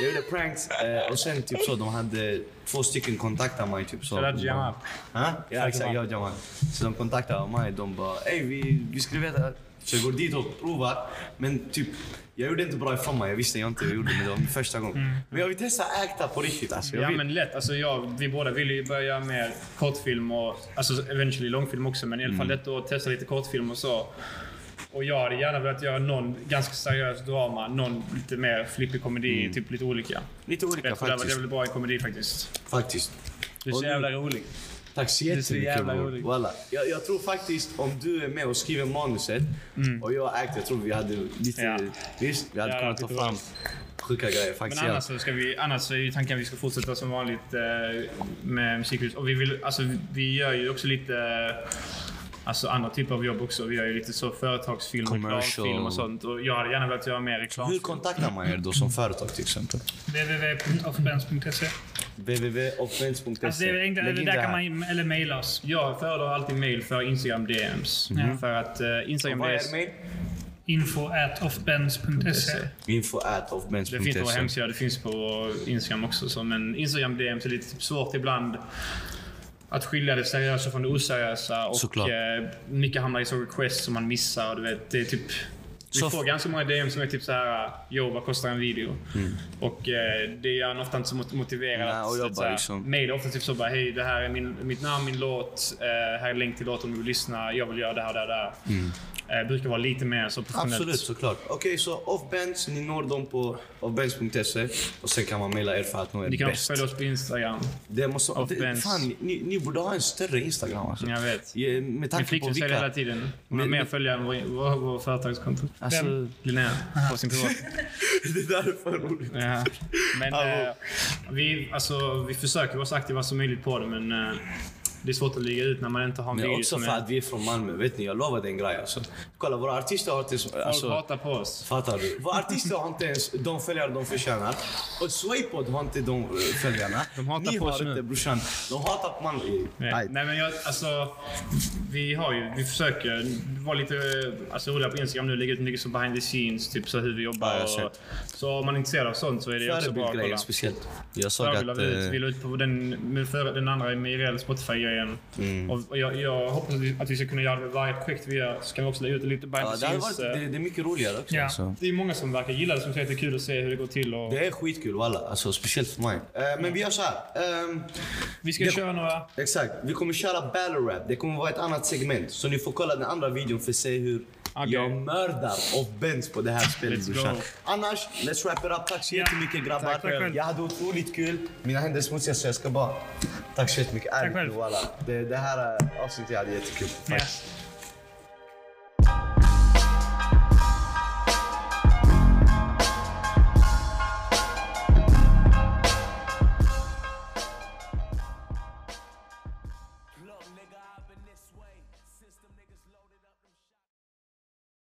[SPEAKER 1] Jag gjorde pranks eh, och sen typ så, de hade två stycken kontaktade mig typ så.
[SPEAKER 2] Shout out Jamal.
[SPEAKER 1] Ha? Ja,
[SPEAKER 2] out
[SPEAKER 1] exakt. Jag och Jamal. Så de kontaktade mig. De bara, ey vi, vi skulle veta. Så jag går dit och provar. Men typ, jag gjorde inte bra ifrån mig. Jag visste jag inte jag gjorde, men det var min första gång. Men jag vill testa acta på riktigt alltså. Jag
[SPEAKER 2] Mm. Ja
[SPEAKER 1] vill.
[SPEAKER 2] men lätt. Alltså jag, vi båda ville ju börja göra mer kortfilm och alltså eventually långfilm också. Men i alla fall
[SPEAKER 1] Mm.
[SPEAKER 2] detta år testa lite kortfilm och så. Och jag hade gärna velat göra någon ganska seriös drama, någon lite mer flippig komedi, typ lite olika.
[SPEAKER 1] Lite olika
[SPEAKER 2] Jag tror det var- det
[SPEAKER 1] Mm. faktiskt.
[SPEAKER 2] blev bra i komedi faktiskt.
[SPEAKER 1] faktiskt.
[SPEAKER 2] Du är
[SPEAKER 1] Och
[SPEAKER 2] så
[SPEAKER 1] nu-
[SPEAKER 2] jävla rolig.
[SPEAKER 1] Tack så
[SPEAKER 2] är så
[SPEAKER 1] jättemycket
[SPEAKER 2] jävla
[SPEAKER 1] bror.
[SPEAKER 2] rolig.
[SPEAKER 1] Voilà. Jag, jag tror faktiskt om du är med och skriver manuset och jag är act, jag tror vi hade lite...
[SPEAKER 2] Mm. Ja.
[SPEAKER 1] Visst, vi hade
[SPEAKER 2] Ja,
[SPEAKER 1] kunnat ta
[SPEAKER 2] lite
[SPEAKER 1] fram sjuka grejer
[SPEAKER 2] Men
[SPEAKER 1] faktiskt.
[SPEAKER 2] annars så, ska vi, annars så är ju tanken att vi ska fortsätta som vanligt eh, med musikhus. Och vi, vill, alltså, vi gör ju också lite eh, alltså, andra typer av jobb också. Vi gör ju lite så företagsfilm,
[SPEAKER 1] Commercial.
[SPEAKER 2] reklamfilm och sånt. Och jag hade gärna velat göra mer reklam.
[SPEAKER 1] Hur kontaktar man er då som företag till exempel?
[SPEAKER 4] www.offbens.se.
[SPEAKER 1] www.offense.se
[SPEAKER 4] Alltså, det är egentligen, eller där kan man, eller mejla oss.
[SPEAKER 2] Jag föredrar alltid mail för Instagram DMs. För att eh, Instagram
[SPEAKER 1] Mm. Vad är
[SPEAKER 2] DMs...
[SPEAKER 1] er mail?
[SPEAKER 4] Info at offbens.se.
[SPEAKER 1] Info
[SPEAKER 2] Det finns på vår hemsida, det finns på Instagram också. Så, men Instagram DMs är lite typ svårt ibland. Att skilja det seriösa från det oseriösa. Och
[SPEAKER 1] Såklart.
[SPEAKER 2] eh, mycket hamnar i så requests som man missar. och Du vet, det är typ, vi
[SPEAKER 1] Så-
[SPEAKER 2] får ganska många DM som är typ så här, Jo, vad kostar en video? Och eh, det är ofta inte så mot- motiverat.
[SPEAKER 1] Nej, Mm. och jag
[SPEAKER 2] Så att
[SPEAKER 1] bara
[SPEAKER 2] så här,
[SPEAKER 1] liksom-
[SPEAKER 2] Mail är ofta typ så bara, hej det här är min, mitt namn, min låt. Eh, här är länk till låten om du vill lyssna. Jag vill göra det här, det här, det här. Eh, brukar vara lite mer så professionellt.
[SPEAKER 1] Mm. Absolut, såklart. Okej, så offbench, ni når dem på offbench.se och sen kan man mejla er för att nå
[SPEAKER 2] Ni
[SPEAKER 1] er
[SPEAKER 2] kan också
[SPEAKER 1] bäst.
[SPEAKER 2] följa oss på Instagram.
[SPEAKER 1] Det måste, det,
[SPEAKER 2] Offbench.
[SPEAKER 1] fan, ni, ni borde ha en större Instagram alltså.
[SPEAKER 2] Jag vet.
[SPEAKER 1] Ja, Med
[SPEAKER 2] Min
[SPEAKER 1] tanke på
[SPEAKER 2] flickvän säger hela
[SPEAKER 1] vilka...
[SPEAKER 2] tiden. Hon har
[SPEAKER 1] Men-
[SPEAKER 2] mer följare än vår, vår, vår företagskonto.
[SPEAKER 1] Alltså,
[SPEAKER 2] Linnea. På sin privat.
[SPEAKER 1] det där är för roligt.
[SPEAKER 2] Ja. Men eh, vi, alltså, vi försöker vara så aktiva som möjligt på det, men eh, det är svårt att ligga ut när man inte har en
[SPEAKER 1] Men
[SPEAKER 2] video
[SPEAKER 1] också
[SPEAKER 2] som
[SPEAKER 1] för
[SPEAKER 2] är...
[SPEAKER 1] att vi är från Malmö. Vet ni, jag lovade en grej. Alltså. Kolla, våra artister har inte...
[SPEAKER 2] Folk
[SPEAKER 1] Alltså,
[SPEAKER 2] hatar på oss.
[SPEAKER 1] fattar du? Våra artister har inte ens de följare de förtjänar. Och Swaypod har inte de eh, följarna.
[SPEAKER 2] De hatar
[SPEAKER 1] ni
[SPEAKER 2] på oss
[SPEAKER 1] har
[SPEAKER 2] nu.
[SPEAKER 1] inte brorsan. De hatar på Malmö.
[SPEAKER 2] Nej, nej men jag, alltså, vi har ju, vi försöker vara lite eh, alltså, roliga på Instagram nu, lägga ut mycket så behind the scenes, typ så hur vi
[SPEAKER 1] Ja,
[SPEAKER 2] jobbar.
[SPEAKER 1] jag har
[SPEAKER 2] och,
[SPEAKER 1] sett.
[SPEAKER 2] så om man är intresserad av sånt så är det också bra att
[SPEAKER 1] Förebildgrejen
[SPEAKER 2] kolla.
[SPEAKER 1] speciellt. Jag såg
[SPEAKER 2] Förebilder
[SPEAKER 1] att...
[SPEAKER 2] vi ut, vi
[SPEAKER 1] eh,
[SPEAKER 2] la ut på den, med före, den andra med IRL Spotify-grejen. Och, och jag, jag hoppas att vi, att vi ska kunna göra det med varje projekt vi gör, så kan vi också lägga ut lite behind
[SPEAKER 1] Ja,
[SPEAKER 2] the
[SPEAKER 1] det, hade
[SPEAKER 2] scenes.
[SPEAKER 1] varit,
[SPEAKER 2] eh.
[SPEAKER 1] det, det är mycket roligare också.
[SPEAKER 4] Ja.
[SPEAKER 1] Så.
[SPEAKER 2] Det är många som verkar gilla det, som säger att det är kul att se hur det går till. Och
[SPEAKER 1] Det är skitkul, walla. Alltså, speciellt för mig. Eh, men vi gör så här. ehm,
[SPEAKER 2] vi ska
[SPEAKER 1] det-
[SPEAKER 2] köra några...
[SPEAKER 1] Exakt. Vi kommer köra battle rap. Det kommer vara ett annat segment. Så ni får kolla den andra videon för att se hur
[SPEAKER 2] Okej.
[SPEAKER 1] jag mördar och bends på det här spelet
[SPEAKER 2] Let's go.
[SPEAKER 1] brorsan. Annars, let's wrap it up. Tack så
[SPEAKER 4] Ja.
[SPEAKER 1] jättemycket grabbar.
[SPEAKER 4] Tack själv.
[SPEAKER 1] jag hade otroligt kul. Mina händer är smutsiga så jag ska bara... Tack så jättemycket. Ärligt
[SPEAKER 4] själv.
[SPEAKER 1] nu, walla. Det, det här eh, avsnittet jag hade jättekul. Tack.
[SPEAKER 4] Ja.